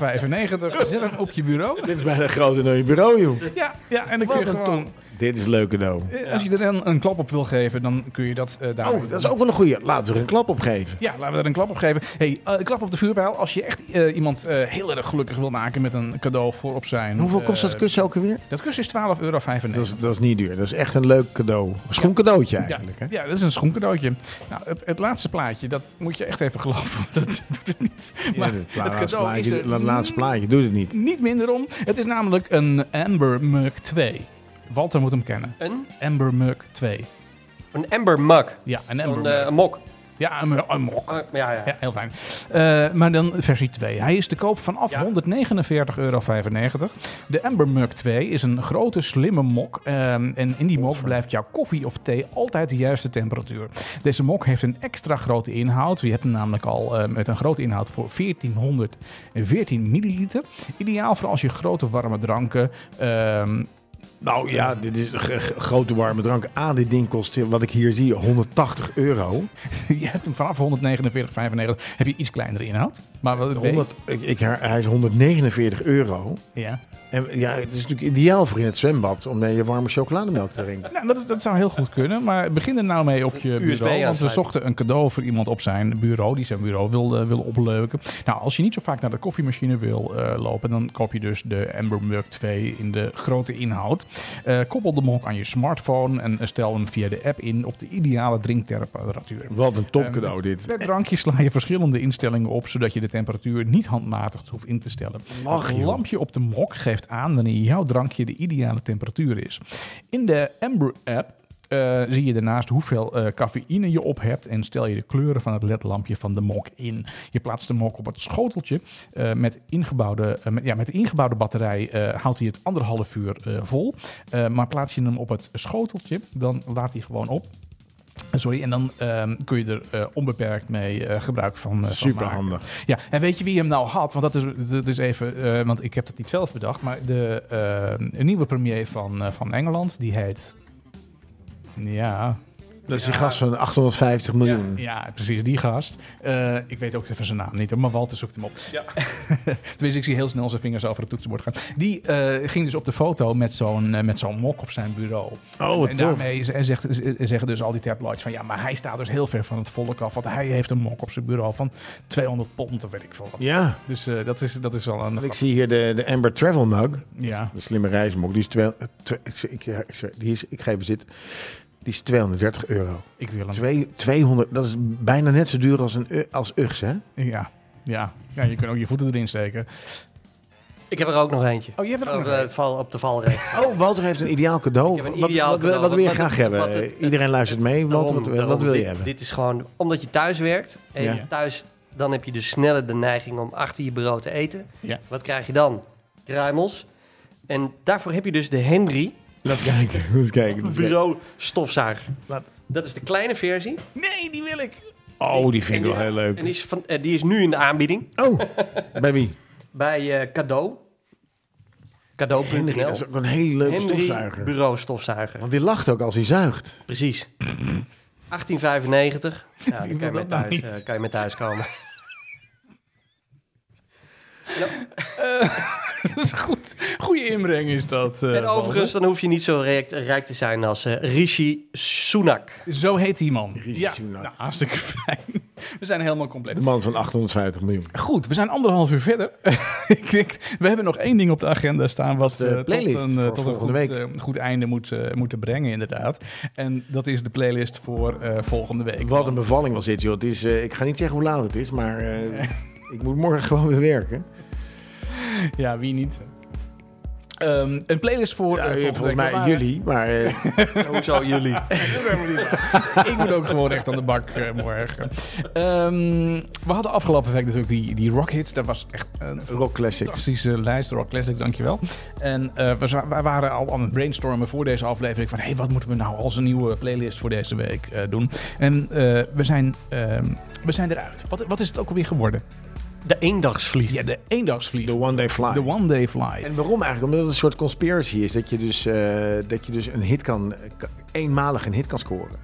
Zet hem op je bureau. Dit is bijna groter dan je bureau, joh. Ja, ja en dan kun je Wat een gewoon... Dit is leuk cadeau. eh, Als je er dan een klap op wil geven, dan kun je dat eh daar... Oh, dat is ook wel een goeie. Laten we er een klap op geven. Ja, laten we daar een klap op geven. hey, eh, klap op de vuurpijl. Als je echt eh, iemand eh, heel erg gelukkig wil maken met een cadeau voor op zijn... En hoeveel eh, kost dat kussen ook alweer? Dat kussen is 12,95 euro. Dat is, dat is niet duur. Dat is echt een leuk cadeau. Dat is gewoon een cadeautje eigenlijk. Ja, Hè? ja, dat is een schoencadeautje. Nou, het, het laatste plaatje, dat moet je echt even geloven. want Dat doet het niet. Maar Ja, het laatste cadeau is plaatje, er dat laatste plaatje doet het niet. niet minder om. Het is namelijk een Amber Mug 2. Walter moet hem kennen. Een, Amber Mug 2. een Amber Mug. Ja, een Amber Een, Mug. eh, een mok. ja, een, een mok. Ah, ja, ja. Ja, heel fijn. Eh, maar dan versie 2. Hij is te koop vanaf Ja. 149,95 euro. De Amber Mug 2 is een grote, slimme mok. ehm, en in die mok blijft jouw koffie of thee altijd de juiste temperatuur. Deze mok heeft een extra grote inhoud. Je hebt hem namelijk al eh, met een grote inhoud voor 1414 milliliter. Ideaal voor als je grote, warme dranken... ehm, Nou ja, dit is een g- g- grote warme drank. Aan dit ding kost, eh, wat ik hier zie, 180 euro. je hebt hem vanaf 149,95 heb je iets kleinere inhoud. Maar wat 100, ik, ik, hij is 149 euro. Ja. En ja, het is natuurlijk ideaal voor in het zwembad om eh, je warme chocolademelk te drinken. Nou, dat, is- dat zou heel goed kunnen, maar begin er nou mee op je bureau. Want we aansluiten. zochten een cadeau voor iemand op zijn bureau, die zijn bureau wil, eh, wil opleuken. Nou, als je niet zo vaak naar de koffiemachine wil eh, lopen, dan koop je dus de Amber Mug 2 in de grote inhoud. Eh, koppel de mok aan je smartphone en eh, stel hem via de app in op de ideale drinktemperatuur. Wat een topcadeau dit. Per drankje sla je verschillende instellingen op, zodat je de temperatuur niet handmatig hoeft in te stellen. Lach, het joh. lampje op de mok geeft aan wanneer jouw drankje de ideale temperatuur is. In de Amber app eh, zie je daarnaast hoeveel eh, cafeïne je op hebt en stel je de kleuren van het ledlampje van de mok in. Je plaatst de mok op het schoteltje. eh, met, ingebouwde, eh, met, ja, met de ingebouwde batterij eh, houdt hij het anderhalf uur eh, vol. Eh, maar plaats je hem op het schoteltje, dan laat hij gewoon op. Sorry, en dan ehm, kun je er eh, onbeperkt mee eh, gebruik van, eh, van Super maken. handig. Ja, en weet je wie hem nou had? Want dat is, dat is even, eh, want ik heb dat niet zelf bedacht, maar de ehm, eh, een nieuwe premier van, eh, van Engeland, die heet. Ja, Dat is die gast van 850 miljoen. Ja, ja, precies, die gast. Eh, ik weet ook even zijn naam niet, hoor, maar Walter zoekt hem op. Tenminste, ik zie heel snel zijn vingers over het toetsenbord gaan. Die eh, ging dus op de foto met zo'n eh, met zo'n mok op zijn bureau. Oh, wat en tof. daarmee z- zegt, z- zeggen dus al die tabloids van... ja, maar hij staat dus heel ver van het volk af... want hij heeft een mok op zijn bureau van 200 pond, of weet ik veel wat. Ja. Dus eh, dat, is, dat is wel een... Ik zie hier de, de Amber Travel Mug. Ja, De slimme reismok. Die is, twee, eh, twee- ik, ja, ik, zweer, die is ik ga even zitten. Die is 230 euro. ik wil hem. Twee, 200, dat is bijna net zo duur als, een, U- als UGS, hè? Ja, ja. ja, je kunt ook je voeten erin steken. Ik heb er ook nog eentje. Oh, je hebt er Zo, ook nog eh, een. val Op de valreep. Oh, Walter heeft een ideaal cadeau. Ik heb een Wat- ideaal wat, Wat, cadeau. wil je Wat- graag wat- hebben? wat het- het- Iedereen luistert mee. Daarom- Walter, wat, wat daarom, wil je dit- hebben? Dit is gewoon omdat je thuis werkt. En Ja. je thuis, dan heb je dus sneller de neiging om achter je bureau te eten. Ja. Wat krijg je dan? Kruimels. En daarvoor heb je dus de Henry Laten we kijken. Laten we kijken. Laten we kijken. bureau stofzuiger. Laat- Dat is de kleine versie. Nee, die wil ik! Oh, die vind ik En wel heel En die leuk. is, van, eh, die is nu in de aanbieding Oh, bij wie? bij eh, Cadeau. Henry, dat is Cadeau.nl. ook een hele leuke Henry stofzuiger. bureau stofzuiger. Want die lacht ook als hij zuigt. Precies. 1895. Ja, dan kan je, wil dat met nou thuis, niet. eh, kan je met thuis komen. dat is goed. Goede inbreng is dat. eh, En overigens, dan hoef je niet zo rijk, rijk te zijn als eh, Rishi Sunak. Walter. Zo heet die man. Rishi ja, Sunak. nou, hartstikke fijn. We zijn helemaal compleet. De man van 850 miljoen. Goed, we zijn anderhalf uur verder. ik denk, we hebben nog één ding op de agenda staan wat de eh, playlist tot een, eh, voor tot een goed, volgende eh, goed einde moet, eh, moeten brengen, inderdaad. En dat is de playlist voor eh, volgende week. Wat een bevalling was dit, joh. Het is, eh, ik ga niet zeggen hoe laat het is, maar eh, ik moet morgen gewoon weer werken. Ja, wie niet? Ehm, een playlist voor. Ja, eh, volgende volgens mij week. Maar, jullie, maar eh, Hoezo jullie? ik moet ook gewoon echt aan de bak eh, morgen. Ehm, we hadden afgelopen week natuurlijk die, die rock hits. Dat was echt een Rock Classics. fantastische lijst. Rock eh, Classic, dankjewel. En eh, we, za- wij waren al aan het brainstormen voor deze aflevering. Van, hey, wat moeten we nou als een nieuwe playlist voor deze week eh, doen? En eh, we, zijn, ehm, we zijn eruit. Wat, wat is het ook alweer geworden? De eendagsvlieg. Ja, de eendagsvlieg. The One Day Fly. De One Day Fly. En waarom eigenlijk? Omdat het een soort conspiracy is. Dat je dus, eh, dat je dus een hit kan, ka- eenmalig een hit kan scoren.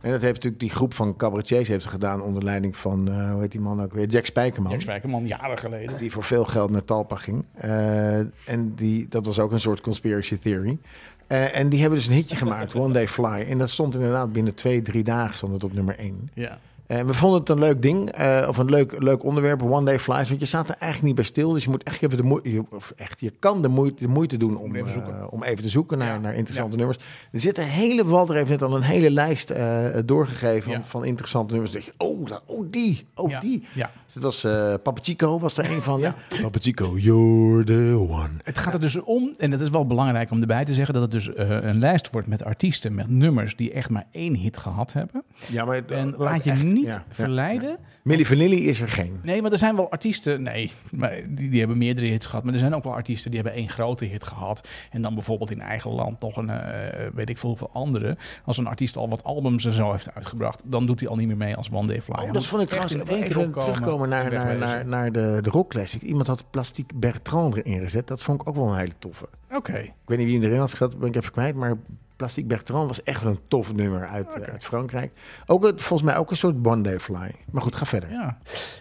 En dat heeft natuurlijk die groep van cabaretiers heeft het gedaan onder leiding van, eh, hoe heet die man ook weer? Jack Spijkerman. Jack Spijkerman, jaren geleden. Die voor veel geld naar Talpa ging. Eh, en die, dat was ook een soort conspiracy theory. Eh, en die hebben dus een hitje gemaakt, One Day Fly. En dat stond inderdaad binnen twee, drie dagen stond het op nummer één. Eh, Ja. En we vonden het een leuk ding, eh, of een leuk, leuk onderwerp, One Day Flies. Want je staat er eigenlijk niet bij stil. Dus je moet echt even de moeite, je, of echt, je kan de moeite, de moeite doen om, even eh, zoeken. om even te zoeken naar, Ja. naar interessante nummers. Er zit een hele, Walter heeft net al een hele lijst eh, doorgegeven Ja. van, van interessante nummers. Dan denk je, oh, daar- oh die, oh Ja. die. ja. Dus Het was eh Papa Chico, was er een van. hè? Papa Chico, you're the one. Het gaat er dus om, en dat is wel belangrijk om erbij te zeggen, dat het dus eh, een lijst wordt met artiesten, met nummers die echt maar één hit gehad hebben. Ja, maar het- En ook laat je echt, niet ja, ja. verleiden. Milli Vanilli is er geen. Nee, want er zijn wel artiesten, nee, maar die, die hebben meerdere hits gehad, maar er zijn ook wel artiesten die hebben één grote hit gehad. En dan bijvoorbeeld in eigen land nog een, eh, weet ik veel hoeveel andere. Als een artiest al wat albums en zo heeft uitgebracht, dan doet hij al niet meer mee als One Day Fly. Hij Oh, moet dat vond ik echt trouwens in één even, keer opkomen terugkomen en naar, naar, wegwezen. naar, naar de, de Rock Classic. Iemand had Plastic Bertrand erin gezet. Dat vond ik ook wel een hele toffe. Oké, Ik weet niet wie hem erin had gezet, ben ik even kwijt. Maar Plastic Bertrand was echt wel een tof nummer uit, eh, uit Frankrijk. Ook, het- volgens mij ook een soort One Day Fly. Maar goed, ga verder. Ja.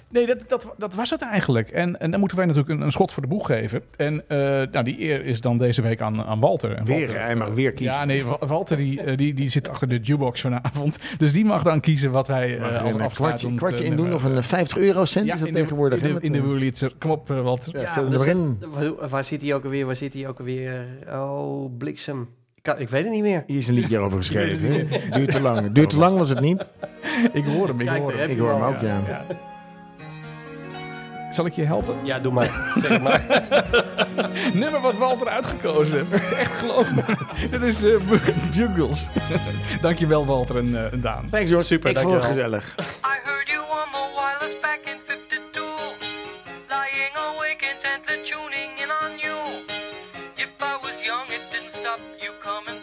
Nee, dat, dat, dat was het eigenlijk. En, en dan moeten wij natuurlijk een, een schot voor de boeg geven. En eh, nou, die eer is dan deze week aan, aan Walter. En Weer, Walter, hij mag weer kiezen. Ja, nee, Wa- Walter die, eh, die, die zit achter de jukebox vanavond. Dus die mag dan kiezen wat wij eh, Mag er als een kwartje, afsluitend, kwartje eh, in doen nummer- of een eh, 50 eurocent Ja, is dat in de- tegenwoordig. hè, In de, met, in de eh, Wurlitzer. Kom op, eh, Walter. ja, zet hem dus erin. Wa- Waar zit hij ook alweer? Waar zit hij ook alweer? Oh, bliksem. Ik, kan- ik weet het niet meer. Hier is een liedje over geschreven. hè? Duurt te lang. Duurt te lang was het niet. Ik hoor hem, ik Kijk, hoor daar hem. heb Ik je hoor hem al. ook, ja. Ja. Zal ik je helpen? Ja, doe maar. Zeg maar. nummer wat Walter uitgekozen heeft. Echt geloof me. Dit is eh Jungles. Dankjewel Walter en eh, en Daan. Thanks, George. Super, Ik vond het dankjewel. gezellig. I heard you on the wireless back in 52. Lying awake intently tuning in on you. If I was young, it didn't stop you coming